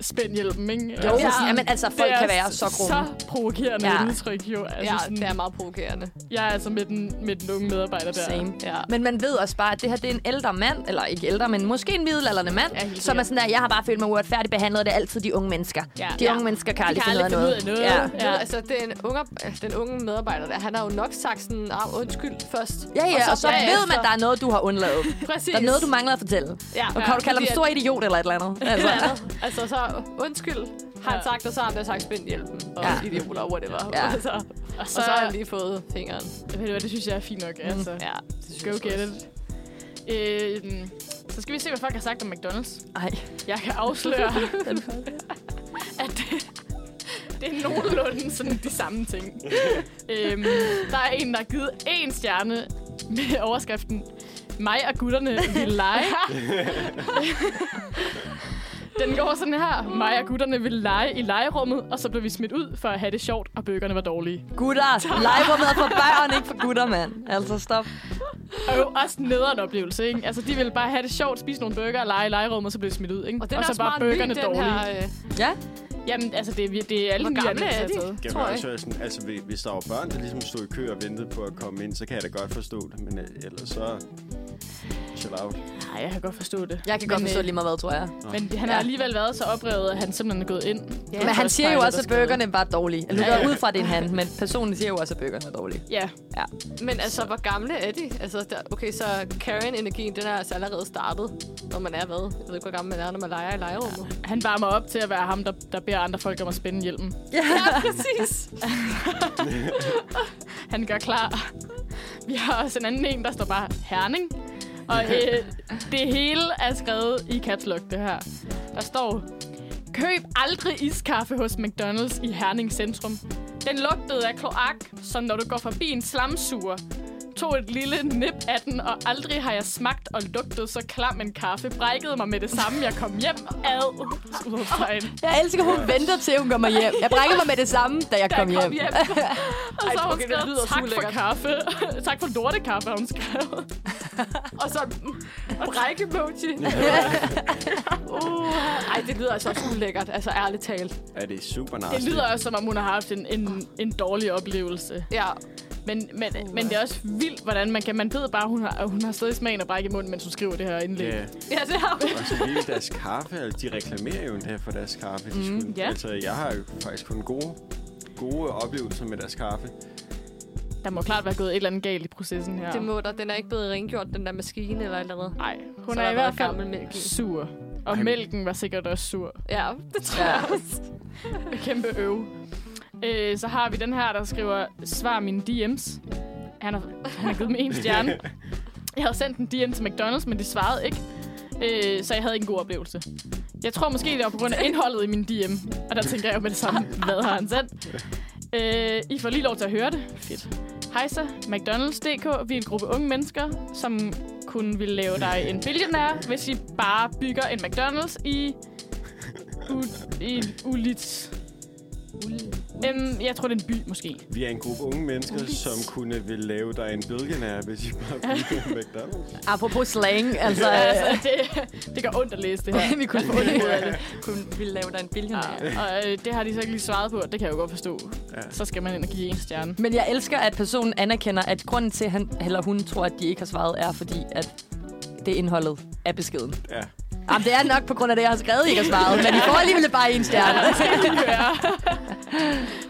Speaker 4: spænd hjelmen, ikke?
Speaker 2: Jo,
Speaker 4: Altså,
Speaker 2: ja. Jamen, altså, folk
Speaker 4: det er
Speaker 2: kan være så grumme.
Speaker 4: Så provokerende
Speaker 2: Ja.
Speaker 4: ja. udtryk, jo. Altså,
Speaker 3: Ja,
Speaker 4: ja, sådan,
Speaker 3: det er meget provokerende.
Speaker 4: Jeg er altså med den, med den unge medarbejder der.
Speaker 2: Same.
Speaker 3: Ja.
Speaker 2: Men man ved også bare, at det her det er en ældre mand, eller ikke ældre, men måske en middelalderne mand,
Speaker 4: Ja, helt
Speaker 2: som er
Speaker 4: sikkert.
Speaker 2: sådan der, jeg har bare følt mig uretfærdigt behandlet, og det er altid de unge mennesker.
Speaker 4: Ja.
Speaker 2: De
Speaker 4: Ja.
Speaker 2: unge mennesker kan aldrig
Speaker 4: kan
Speaker 2: finde ud af
Speaker 4: aldrig
Speaker 2: noget.
Speaker 4: finde ud af
Speaker 2: Ja.
Speaker 4: noget.
Speaker 3: Ja.
Speaker 4: Ja.
Speaker 3: altså, den unge, den unge medarbejder der, han har jo nok sagt sådan, ah, undskyld først.
Speaker 2: Ja, ja, og så, og så ved man,
Speaker 3: bagefter-
Speaker 2: at der er noget, du har undladet.
Speaker 4: [laughs]
Speaker 3: Præcis.
Speaker 2: Der er noget, du mangler at fortælle.
Speaker 3: Ja,
Speaker 2: Og kan du kalde
Speaker 3: fordi
Speaker 2: ham
Speaker 3: at-
Speaker 2: stor idiot eller et eller andet? Altså.
Speaker 3: eller andet. Altså, så undskyld, har han
Speaker 4: Ja.
Speaker 3: sagt, og så har han da sagt, spænd hjælpen, og
Speaker 2: Ja.
Speaker 3: ja. idioter, og whatever.
Speaker 2: Ja.
Speaker 3: Ja. Altså,
Speaker 4: Og så,
Speaker 3: og så har han lige fået fingeren.
Speaker 4: ved du hvad, det synes jeg er fint nok. Altså,
Speaker 3: Ja,
Speaker 4: go get it. Øhm, så skal vi se, hvad folk har sagt om McDonald's.
Speaker 2: Ej,
Speaker 4: Jeg kan afsløre, at det, det er nogenlunde sådan de samme ting. øhm, der er en, der har givet én stjerne med overskriften Mig og gutterne vil lege. Den går sådan her. Mig og gutterne ville lege i legerummet, og så blev vi smidt ud for at have det sjovt, og bøgerne var dårlige.
Speaker 2: gutter. Legerummet er for børn, ikke for gutter, mand. Altså, stop.
Speaker 4: Og jo også nederen oplevelse, ikke? Altså, de ville bare have det sjovt, spise nogle burger og lege i legerummet, og så blev de smidt ud, ikke?
Speaker 3: Og den er
Speaker 4: så
Speaker 3: også meget ny, den her... Øh,
Speaker 2: Ja,
Speaker 4: Jamen, altså, det er, vir- det er alle
Speaker 3: Hvor
Speaker 4: mulige
Speaker 3: gamle er
Speaker 4: anmeldelser, jeg har
Speaker 3: de?
Speaker 4: taget.
Speaker 1: Jeg
Speaker 3: Tror
Speaker 1: tror
Speaker 3: jeg.
Speaker 1: også, jeg sådan, altså, hvis- hvis der var børn, der ligesom stod i kø og ventede på at komme ind, så kan jeg da godt forstå det, men øh, ellers så... Chill out.
Speaker 4: Nej, jeg kan godt forstå det.
Speaker 2: jeg kan godt
Speaker 4: Men,
Speaker 2: forstå
Speaker 4: øh,
Speaker 2: lige meget, hvad, tror jeg.
Speaker 4: Men han har alligevel været så oprevet, at han simpelthen er gået ind. Ja,
Speaker 2: Men han siger jo også, at burgerne var dårlige. Eller ja, ja. ud fra, det er en han, men personen siger jo også, at burgerne var dårlige.
Speaker 4: Ja,
Speaker 3: men altså, hvor gamle er de? Altså, der, okay, så Karen-energien, den er altså allerede startet, når man er hvad? Jeg ved ikke, hvor gammel man er, når man leger i legerummet.
Speaker 4: han varmer op til at være ham, der, der beder andre folk om at spænde hjelmen.
Speaker 3: Ja, præcis.
Speaker 4: Han gør klar. Vi har også en anden en, der står bare Herning. Og øh, det hele er skrevet i caps lock, det her. Der står, køb aldrig iskaffe hos McDonald's i Herning Centrum. Den lugtede af kloak, som når du går forbi en slamsuger. Tog et lille nip af den, og aldrig har jeg smagt og lugtet så klam en kaffe. Brækkede mig med det samme, jeg kom hjem ad. Udopstegn.
Speaker 2: Jeg elsker, at hun venter til, hun kommer hjem. Jeg brækker mig med det samme, da jeg
Speaker 4: Da
Speaker 2: kom
Speaker 4: jeg
Speaker 2: hjem.
Speaker 3: [laughs]
Speaker 4: Og så har hun
Speaker 3: okay, det lyder så
Speaker 4: skrevet, tak for
Speaker 3: ulækkert."
Speaker 4: kaffe. [laughs] tak for lortekaffe, har hun skrevet.
Speaker 3: og så bræk-emoji. uh, ej, det lyder altså også ulækkert. Altså, ærligt talt.
Speaker 1: Er det super nasty?
Speaker 4: Det lyder også, som om hun har haft en, en, en dårlig oplevelse.
Speaker 3: Ja,
Speaker 4: Men, men,
Speaker 3: Uh.
Speaker 4: men det er også vildt, hvordan man kan... Man ved bare, hun har, hun har stadig smagen og brække i munden, mens hun skriver det her indlæg.
Speaker 1: Ja,
Speaker 4: Yeah.
Speaker 3: ja det har vi.
Speaker 1: og så hele deres kaffe, altså, de reklamerer jo endda for deres kaffe. De skulle,
Speaker 4: Mm, ja.
Speaker 1: Altså, jeg har jo faktisk kun gode, gode oplevelser med deres kaffe.
Speaker 4: Der må klart være gået et eller andet galt i processen her.
Speaker 3: Det må der. Den er ikke blevet rengjort, den der maskine eller et eller andet.
Speaker 4: Nej, hun
Speaker 3: Så
Speaker 4: er
Speaker 3: der har
Speaker 4: i hvert
Speaker 3: været
Speaker 4: fald
Speaker 3: gammel mælk i.
Speaker 4: sur. Og
Speaker 1: Ej.
Speaker 4: mælken var sikkert også sur.
Speaker 3: Ja, det tror jeg også.
Speaker 4: [laughs] Kæmpe øve. Øh, så har vi den her, der skriver, svar mine DM's. Han har, han har givet mig en stjerne. Jeg havde sendt en DM til McDonald's, men de svarede ikke. Øh, så jeg havde ikke en god oplevelse. Jeg tror måske, det var på grund af indholdet i min DM. Og der tænker jeg jo med det samme, hvad har han sendt? Øh, I får lige lov til at høre det. Fedt. Hejsa, McDonald's.dk, vi er en gruppe unge mennesker, som kun vil lave dig en billionær, hvis I bare bygger en McDonald's i... U, i Ulitz. Øhm, jeg tror, det er en by, [laughs] måske.
Speaker 1: Vi er en gruppe unge mennesker, som kunne vil lave dig en billionaire, hvis I bare
Speaker 4: [laughs]
Speaker 1: blev en McDonald's.
Speaker 2: Apropos slang, altså...
Speaker 4: Ja,
Speaker 2: øh,
Speaker 4: altså, det, det gør ondt at læse det [laughs]
Speaker 2: [laughs]
Speaker 4: her.
Speaker 2: vi kunne få det ud af det.
Speaker 3: Kun ville lave dig en billionær.
Speaker 4: Ja, og øh, det har de så ikke lige svaret på, og det kan jeg jo godt forstå.
Speaker 1: Ja.
Speaker 4: Så skal man ind og give en stjerne. [laughs]
Speaker 2: Men jeg elsker, at personen anerkender, at grunden til, at han eller hun tror, at de ikke har svaret, er fordi, at det er indholdet af beskeden.
Speaker 1: ja.
Speaker 2: Jamen, det er nok på grund af det, jeg har skrevet, I ikke har svaret, men I får alligevel bare en stjerne.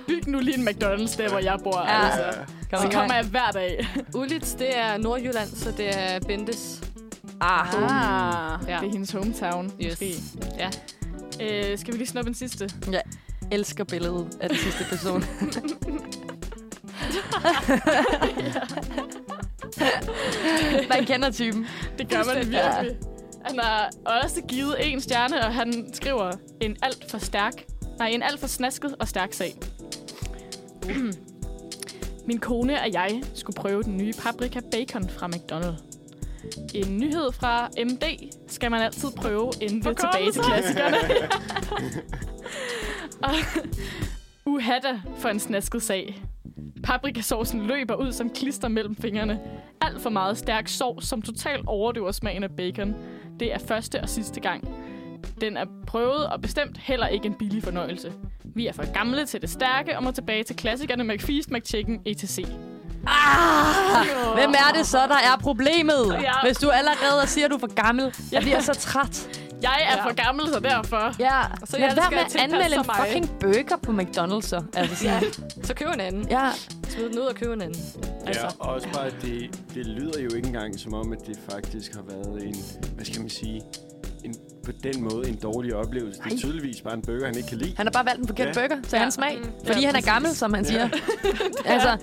Speaker 4: Byg nu lige en McDonald's, der hvor jeg bor.
Speaker 2: Ja.
Speaker 4: Ja. Altså.
Speaker 2: Kom
Speaker 4: Så
Speaker 2: i gang.
Speaker 4: kommer jeg hver dag.
Speaker 3: Ulitz, det er Nordjylland, så det er Bentes.
Speaker 2: Aha.
Speaker 4: Ah, ja.
Speaker 3: Ja.
Speaker 4: det er hendes hometown, yes. måske.
Speaker 3: Ja.
Speaker 4: Øh, skal vi lige snuppe en sidste?
Speaker 2: elsker billedet af den sidste [laughs] person. Man kender typen.
Speaker 4: Det gør man virkelig. Han har også givet en stjerne, og han skriver en alt for stærk, nej, en alt for snasket og stærk sag. Min kone og jeg skulle prøve den nye paprika bacon fra McDonald's. En nyhed fra MD skal man altid prøve, inden vi er tilbage til klassikerne. og uhatta for en snasket sag. Paprikasaucen løber ud som klister mellem fingrene. Alt for meget stærk sovs, som totalt overdøver smagen af bacon. Det er første og sidste gang. Den er prøvet og bestemt heller ikke en billig fornøjelse. Vi er for gamle til det stærke og må tilbage til klassikerne McFeast, McChicken, E etc.
Speaker 2: Ah, hvem er det så, der er problemet?
Speaker 4: Ja.
Speaker 2: Hvis du allerede siger, at du er for gammel. Jeg bliver så træt.
Speaker 4: Jeg er
Speaker 3: Ja.
Speaker 4: for gammel, så derfor...
Speaker 2: Ja.
Speaker 3: Så
Speaker 2: Så Lad
Speaker 3: jeg
Speaker 2: være
Speaker 3: skal
Speaker 2: med at
Speaker 3: tilpasse
Speaker 2: anmelde en
Speaker 3: mig.
Speaker 2: fucking burger på McDonald's. Så. Altså sådan.
Speaker 3: Så køb en anden.
Speaker 2: Ja.
Speaker 3: Smid den ud og køb en anden.
Speaker 1: ja, og også bare, at det, det lyder jo ikke engang som om, at det faktisk har været en, hvad skal man sige, en, på den måde en dårlig oplevelse. Det er tydeligvis bare en burger, han ikke kan lide.
Speaker 2: Han har bare valgt en forkert
Speaker 1: Ja.
Speaker 2: burger til
Speaker 4: Ja.
Speaker 2: hans smag. Fordi han
Speaker 4: Ja,
Speaker 2: er
Speaker 4: præcis.
Speaker 2: gammel, som han [laughs] siger. Altså,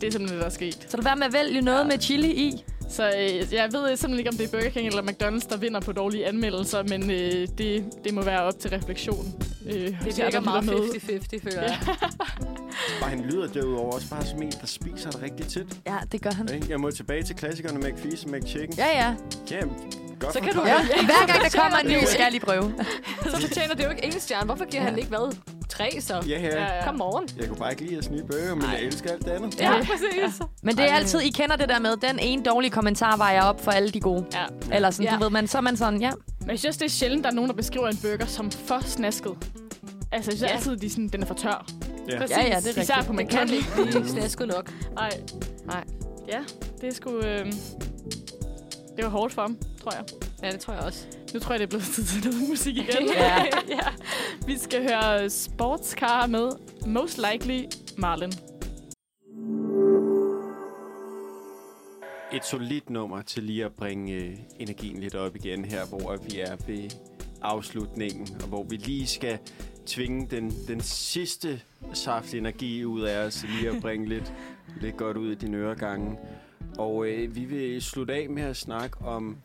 Speaker 4: Det er simpelthen det, der er sket.
Speaker 2: så lad være med at vælge noget med chili i.
Speaker 4: Så øh, jeg ved simpelthen ikke, om det er Burger King eller McDonald's, der vinder på dårlige anmeldelser, men øh, det, det må være op til refleksion. Øh,
Speaker 3: Det
Speaker 4: hos jer,
Speaker 3: virker
Speaker 4: der
Speaker 3: meget
Speaker 4: lytter med.
Speaker 3: 50-50, føler jeg.
Speaker 1: Og han lyder derudover også bare som en, der spiser det rigtig tit.
Speaker 2: Ja, det gør han.
Speaker 1: Ikke? Jeg må tilbage til klassikerne McFeast og McChicken.
Speaker 2: Ja, ja.
Speaker 1: Jamen, godt
Speaker 3: Så
Speaker 1: for
Speaker 3: kan du-
Speaker 1: dig.
Speaker 2: [laughs] ja. Hver gang der kommer en ny, skal jeg lige prøve.
Speaker 3: Så fortjener det jo ikke en stjerne. Hvorfor giver han ikke hvad? Tre så?
Speaker 1: Ja, ja.
Speaker 4: Ja, ja.
Speaker 3: Kom morgen.
Speaker 1: Jeg kunne bare ikke lide at snige burger, men jeg elsker alt det andet.
Speaker 3: Ja, præcis.
Speaker 2: Men det er altid, I kender det der med, den ene dårlige kommentar vejer op for alle de gode.
Speaker 4: Ja.
Speaker 2: Eller sådan,
Speaker 3: Ja.
Speaker 2: du ved man, så er man sådan, ja.
Speaker 4: Men jeg synes, det er sjældent, der er nogen, der beskriver en burger som for snasket. Altså, jeg synes
Speaker 3: Ja.
Speaker 4: altid, de er sådan, den er for tør.
Speaker 1: Ja.
Speaker 4: Præcis.
Speaker 2: Ja, ja, det er
Speaker 4: Især
Speaker 2: rigtigt.
Speaker 4: på
Speaker 3: Man kan
Speaker 4: McDonald's.
Speaker 3: ikke blive snasket nok.
Speaker 4: Nej.
Speaker 3: Nej.
Speaker 4: Ja, det er sgu... Øh... Det var hårdt for ham, tror jeg.
Speaker 3: Ja, det tror jeg også.
Speaker 4: Nu tror jeg, det er blevet tid til noget musik igen.
Speaker 3: [laughs]
Speaker 2: Ja.
Speaker 4: ja. [laughs] Vi skal høre Sportscar med Most Likely Marlin.
Speaker 1: Et solidt nummer til lige at bringe øh, energien lidt op igen her, hvor at vi er ved afslutningen, og hvor vi lige skal tvinge den, den sidste saft energi ud af os, lige at bringe lidt, lidt godt ud i dine øregange. Og øh, vi vil slutte af med at snakke om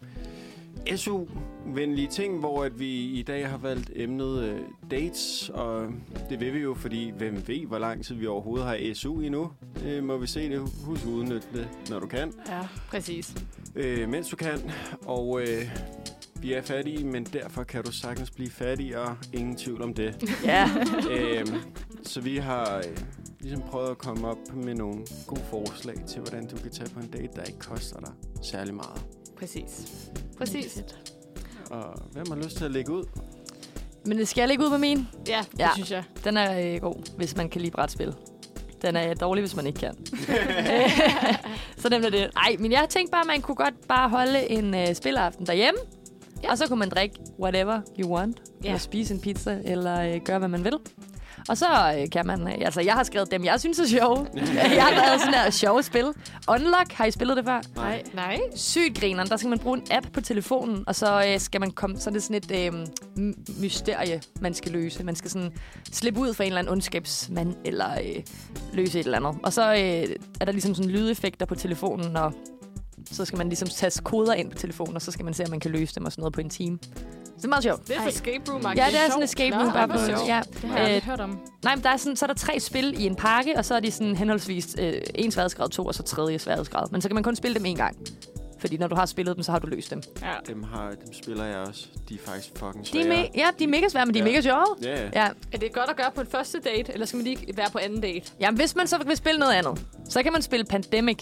Speaker 1: SU-venlige ting, hvor at vi i dag har valgt emnet øh, dates, og det vil vi jo, fordi hvem ved, hvor lang tid vi overhovedet har SU endnu, øh, må vi se det. Husk at udnytte det, når du kan
Speaker 4: Ja.
Speaker 3: Præcis.
Speaker 1: øh, mens du kan. Og øh, vi er fattige, men derfor kan du sagtens blive fattigere. Ingen tvivl om
Speaker 2: [laughs]
Speaker 1: det.
Speaker 2: Ja.
Speaker 1: øh, så vi har øh, ligesom prøvet at komme op med nogle gode forslag til, hvordan du kan tage på en date, der ikke koster dig særlig meget.
Speaker 3: Præcis. Præcis.
Speaker 1: Og hvem har lyst til at lægge ud?
Speaker 2: Men det skal ikke ud med min.
Speaker 3: Ja,
Speaker 4: Det
Speaker 2: Ja.
Speaker 4: synes jeg.
Speaker 2: Den er øh, god, hvis man kan lide brætspil. Den er dårlig, hvis man ikke kan. [laughs] så nemt er det. Ej, men jeg tænkte bare, at man kunne godt bare holde en øh, spilleaften derhjemme.
Speaker 3: Ja.
Speaker 2: Ja. Og så kunne man drikke whatever you want. Ja.
Speaker 3: Ja.
Speaker 2: Eller spise en pizza, eller øh, gøre, hvad man vil. Og så øh, kan man... Øh, altså, jeg har skrevet dem, jeg synes er sjove. jeg har lavet sådan her sjove spil. Unlock, har I spillet det før?
Speaker 3: Nej. Nej.
Speaker 2: sygt grineren. Der skal man bruge en app på telefonen, og så øh, skal man komme... Så er det sådan et øh, m- mysterie, man skal løse. Man skal sådan slippe ud fra en eller anden ondskabsmand, eller øh, løse et eller andet. Og så øh, er der ligesom sådan lydeffekter på telefonen, og så skal man ligesom tage koder ind på telefonen, og så skal man se, om man kan løse dem og sådan noget på en time. det er meget sjovt.
Speaker 3: Det er
Speaker 4: Ej.
Speaker 3: for escape room
Speaker 2: Ja, det er sådan en
Speaker 3: en
Speaker 2: escape
Speaker 3: Nå,
Speaker 2: room, bare
Speaker 3: hvor
Speaker 2: på
Speaker 3: sjovt.
Speaker 2: ja.
Speaker 4: Det har jeg
Speaker 2: Øh,
Speaker 4: aldrig hørt om.
Speaker 2: Nej, men der er, sådan, så er der tre spil i en pakke, og så er de sådan henholdsvis øh, en sværhedsgrad, to og så tredje sværhedsgrad. Men så kan man kun spille dem en gang. Fordi når du har spillet dem, så har du løst dem.
Speaker 4: Ja.
Speaker 1: Dem, har, dem spiller jeg også. De er faktisk fucking
Speaker 2: De
Speaker 1: svære.
Speaker 2: er, me- ja, de er mega svære, men de er
Speaker 1: Ja.
Speaker 2: mega sjove.
Speaker 1: Ja, ja.
Speaker 2: Ja.
Speaker 3: Er det godt at gøre på en første date, eller skal man lige være på anden date?
Speaker 2: Jamen, hvis man så vil spille noget andet, så kan man spille Pandemic.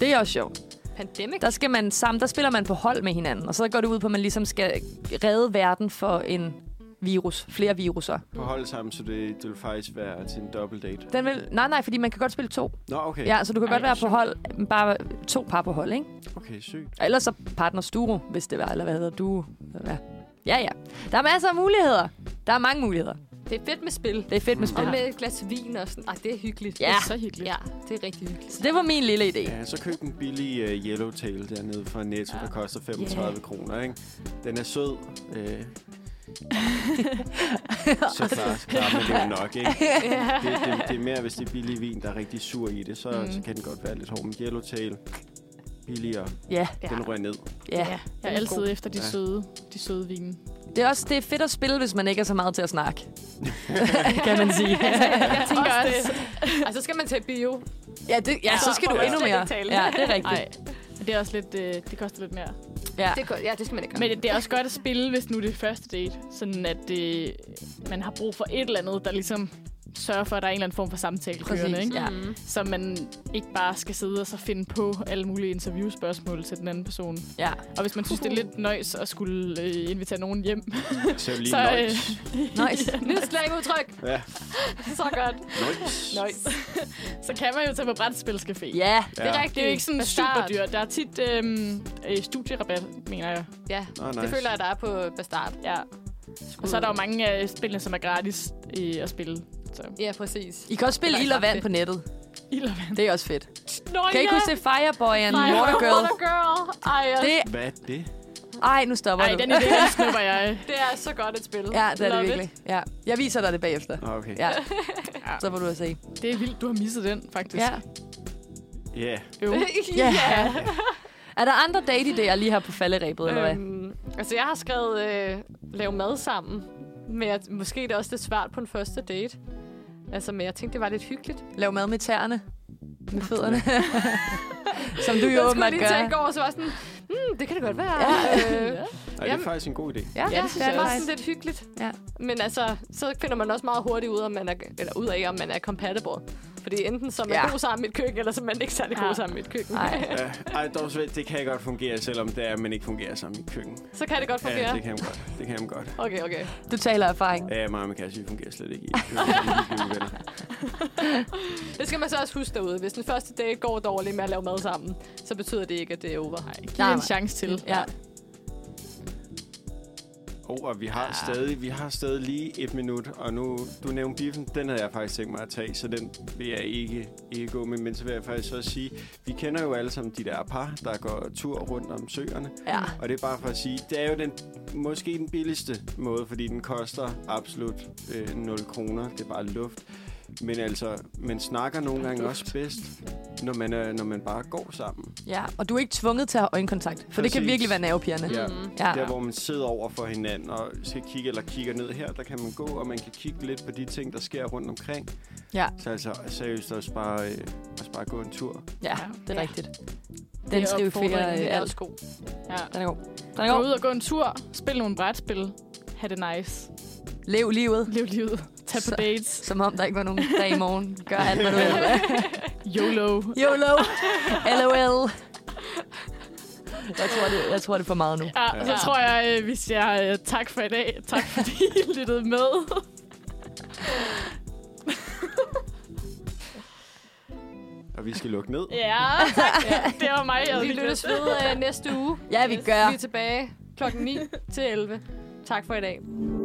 Speaker 2: Det er også sjovt.
Speaker 3: Pandemic?
Speaker 2: Der, skal man sammen, der spiller man på hold med hinanden, og så går det ud på, at man ligesom skal redde verden for en virus. Flere viruser.
Speaker 1: På hold sammen, så det, det vil faktisk være til en dobbelt date.
Speaker 2: Den vil, nej, nej, fordi man kan godt spille to.
Speaker 1: Nå, okay.
Speaker 2: Ja, så du kan
Speaker 4: Ej,
Speaker 2: godt være på
Speaker 4: sjovt.
Speaker 2: hold, bare to par på hold, ikke?
Speaker 1: Okay, sygt.
Speaker 2: Og ellers så partners duo, hvis det var, eller hvad hedder duo? Ja. ja, ja. Der er masser af muligheder. Der er mange muligheder.
Speaker 3: Det er fedt med spil.
Speaker 2: Det er fedt med spil.
Speaker 3: Og med et glas vin og sådan. Ej, det er hyggeligt.
Speaker 2: Ja.
Speaker 4: Det er så hyggeligt.
Speaker 3: Ja, det er rigtig hyggeligt.
Speaker 2: Så det var min lille idé.
Speaker 1: Ja, så køb en billig uh, yellowtail dernede fra Netto, der koster 35 yeah. kroner, ikke? Den er sød. Øh. så klart, klar, men det er jo nok, ikke? Det, det, det er mere, hvis det er billig vin, der er rigtig sur i det, så, mm. så kan den godt være lidt hård. Men yellowtail, billigere,
Speaker 2: Ja,
Speaker 1: ja. den rører ned.
Speaker 2: ja.
Speaker 4: Jeg er
Speaker 3: Den er
Speaker 4: altid
Speaker 3: god.
Speaker 4: efter de
Speaker 1: Ja.
Speaker 4: søde, de søde vine.
Speaker 2: Det er også det er fedt at spille, hvis man ikke er så meget til at snakke. [laughs] kan man sige.
Speaker 3: Jeg tænker
Speaker 4: Også
Speaker 3: også. Og så skal man til bio.
Speaker 2: [laughs] ja, det, ja, så skal
Speaker 3: får
Speaker 2: du
Speaker 3: man
Speaker 2: endnu
Speaker 3: slet
Speaker 2: mere.
Speaker 3: ikke tale.
Speaker 2: Ja, det er rigtigt.
Speaker 4: Nej, det er også lidt, øh, det koster lidt mere.
Speaker 2: Ja.
Speaker 3: Det, gør- ja, det skal man ikke gøre.
Speaker 4: Men det, det er også godt at spille, hvis nu det er første date. Sådan at øh, man har brug for et eller andet, der ligesom sørger for, at der er en eller anden form for samtale kørende,
Speaker 2: Præcis,
Speaker 4: ikke?
Speaker 2: ja.
Speaker 3: [laughs] Mm.
Speaker 4: Så man ikke bare skal sidde og så finde på alle mulige interviewspørgsmål til den anden person.
Speaker 2: ja.
Speaker 4: Og hvis man synes, det er lidt nøjs at skulle øh, invitere nogen hjem. [laughs]
Speaker 1: Så er det lige
Speaker 4: Så, øh,
Speaker 1: nøjs.
Speaker 2: Nice.
Speaker 3: Nyt slangudtryk.
Speaker 1: Ja,
Speaker 4: [laughs] så godt.
Speaker 1: nøjs.
Speaker 3: Nøjs.
Speaker 4: Så kan man jo tage på brætspilscafé.
Speaker 2: Ja,
Speaker 1: Ja.
Speaker 3: Det er
Speaker 4: Det er jo ikke sådan
Speaker 3: Bastard.
Speaker 4: super dyrt. Der er tit øhm, øh, studierabat, mener jeg.
Speaker 3: Ja,
Speaker 1: Nå, nice.
Speaker 3: det føler jeg, der er på Bastard.
Speaker 4: Ja. Og så er der jo mange af spillene, som er gratis øh, at spille. Så.
Speaker 3: Ja, præcis.
Speaker 2: I kan også spille
Speaker 3: Det er
Speaker 2: ild og vand
Speaker 3: fedt.
Speaker 2: på nettet.
Speaker 4: Ild og vand.
Speaker 2: Det er også fedt.
Speaker 4: Nå,
Speaker 2: Kan I ikke huske det? Fireboy and Water Girl.
Speaker 3: Water Girl. Ej, ja.
Speaker 2: Det,
Speaker 1: Hvad er det?
Speaker 2: ej, nu stopper
Speaker 4: Ej,
Speaker 2: du.
Speaker 4: den idé, den
Speaker 2: [laughs]
Speaker 4: snupper jeg.
Speaker 3: det er så godt et spil.
Speaker 2: Ja, det er
Speaker 3: Love
Speaker 2: det
Speaker 3: it.
Speaker 2: virkelig. Ja. Jeg viser dig det bagefter.
Speaker 1: Nå, okay. Ja.
Speaker 2: Ja. Så må du se.
Speaker 4: Det er vildt, du har misset den, faktisk.
Speaker 2: Ja.
Speaker 1: Yeah.
Speaker 4: [laughs] Øv.
Speaker 2: Ja. Er der andre date-idéer lige her på falderæbet, eller hvad?
Speaker 3: Øhm, altså, jeg har skrevet øh, lave mad sammen. Men jeg, måske er det også lidt svært på en første date. Altså, men jeg tænkte, det var lidt hyggeligt.
Speaker 2: Lav mad med tæerne. Med fødderne. [laughs] Som du
Speaker 3: jeg
Speaker 2: jo
Speaker 3: skulle
Speaker 2: åbenbart
Speaker 3: lige
Speaker 2: gør.
Speaker 3: tænke over, så var jeg sådan, hmm, det kan det godt være.
Speaker 2: Ja.
Speaker 3: Øh,
Speaker 1: Ej, det er
Speaker 3: Jamen.
Speaker 1: faktisk en god idé.
Speaker 2: [laughs] Ja,
Speaker 3: ja, det, synes jeg
Speaker 2: er
Speaker 3: var
Speaker 2: nice.
Speaker 3: sådan lidt hyggeligt.
Speaker 2: Ja.
Speaker 3: Men altså, så finder man også meget hurtigt ud, om man er, eller ud af, om man er compatible. Fordi enten så er man
Speaker 2: Ja.
Speaker 3: ja. god sammen i et køkken, eller så er man ikke særlig ja.
Speaker 4: Ja.
Speaker 3: god sammen i et køkken.
Speaker 2: Nej.
Speaker 1: Ja. Ej, dog, så ved- det kan godt fungere, selvom det er, at man ikke fungerer sammen i køkkenet.
Speaker 3: Så kan det godt fungere.
Speaker 1: Ja, det kan man godt. Det kan man godt.
Speaker 3: Okay, okay.
Speaker 2: Du taler af erfaring.
Speaker 1: Ja, mig og Mikashi fungerer slet ikke i et køkken. Vi er ikke uvenner.
Speaker 3: Det skal man så også huske derude. Hvis den første date går dårligt med at lave mad sammen, så betyder det ikke, at det er over. Nej.
Speaker 4: Giv
Speaker 2: Nej,
Speaker 4: en
Speaker 2: nej.
Speaker 4: chance til.
Speaker 2: Ja.
Speaker 1: Oh, og vi har, ja. stadig, vi har stadig lige et minut, og nu, du nævnte biffen, den havde jeg faktisk tænkt mig at tage, så den vil jeg ikke, ikke gå med, men så vil jeg faktisk også sige, vi kender jo alle sammen de der par, der går tur rundt om søerne,
Speaker 2: Ja.
Speaker 1: og det er bare for at sige, det er jo den, måske den billigste måde, fordi den koster absolut øh, 0 kroner, det er bare luft, men altså, man snakker nogle gange også bedst, når man, er, når man bare går sammen.
Speaker 2: ja. Og du er ikke tvunget til at have øjenkontakt. For det kan
Speaker 1: Præcis.
Speaker 2: virkelig være nervepirrende.
Speaker 1: Ja.
Speaker 2: Ja.
Speaker 1: Der, hvor man sidder over for hinanden og skal kigge eller kigger ned her, der kan man gå, og man kan kigge lidt på de ting, der sker rundt omkring.
Speaker 2: Ja.
Speaker 1: Så altså seriøst også bare, øh, også bare gå en tur.
Speaker 2: ja, det er
Speaker 4: Ja.
Speaker 2: rigtigt. Den
Speaker 4: Det er
Speaker 2: skriver
Speaker 4: opfordringen,
Speaker 3: Det
Speaker 2: øh,
Speaker 3: er
Speaker 2: alt.
Speaker 3: også god.
Speaker 4: Ja.
Speaker 2: Den er god. Den er
Speaker 4: Gå
Speaker 2: god.
Speaker 4: ud og gå en tur. Spil nogle brætspil. Ha' det nice.
Speaker 2: Lev livet.
Speaker 4: Lev livet. Tag på
Speaker 2: Så-
Speaker 4: dates.
Speaker 2: Som om der ikke var nogen dag i morgen. Gør alt, [laughs] hvad du vil.
Speaker 4: YOLO.
Speaker 2: [laughs] YOLO. LOL. Jeg tror, det, jeg tror, det er for meget nu.
Speaker 4: Ja, så
Speaker 3: Ja.
Speaker 4: tror jeg, øh, vi siger øh, tak for i dag. Tak fordi I lyttede med.
Speaker 1: Og vi skal lukke ned.
Speaker 4: Ja, tak. Det var mig, jeg havde
Speaker 3: Vi
Speaker 4: lige
Speaker 3: lyttes [laughs] ved øh, næste uge.
Speaker 2: Ja, vi gør.
Speaker 3: Vi er tilbage klokken 9 til 11. Tak for i dag.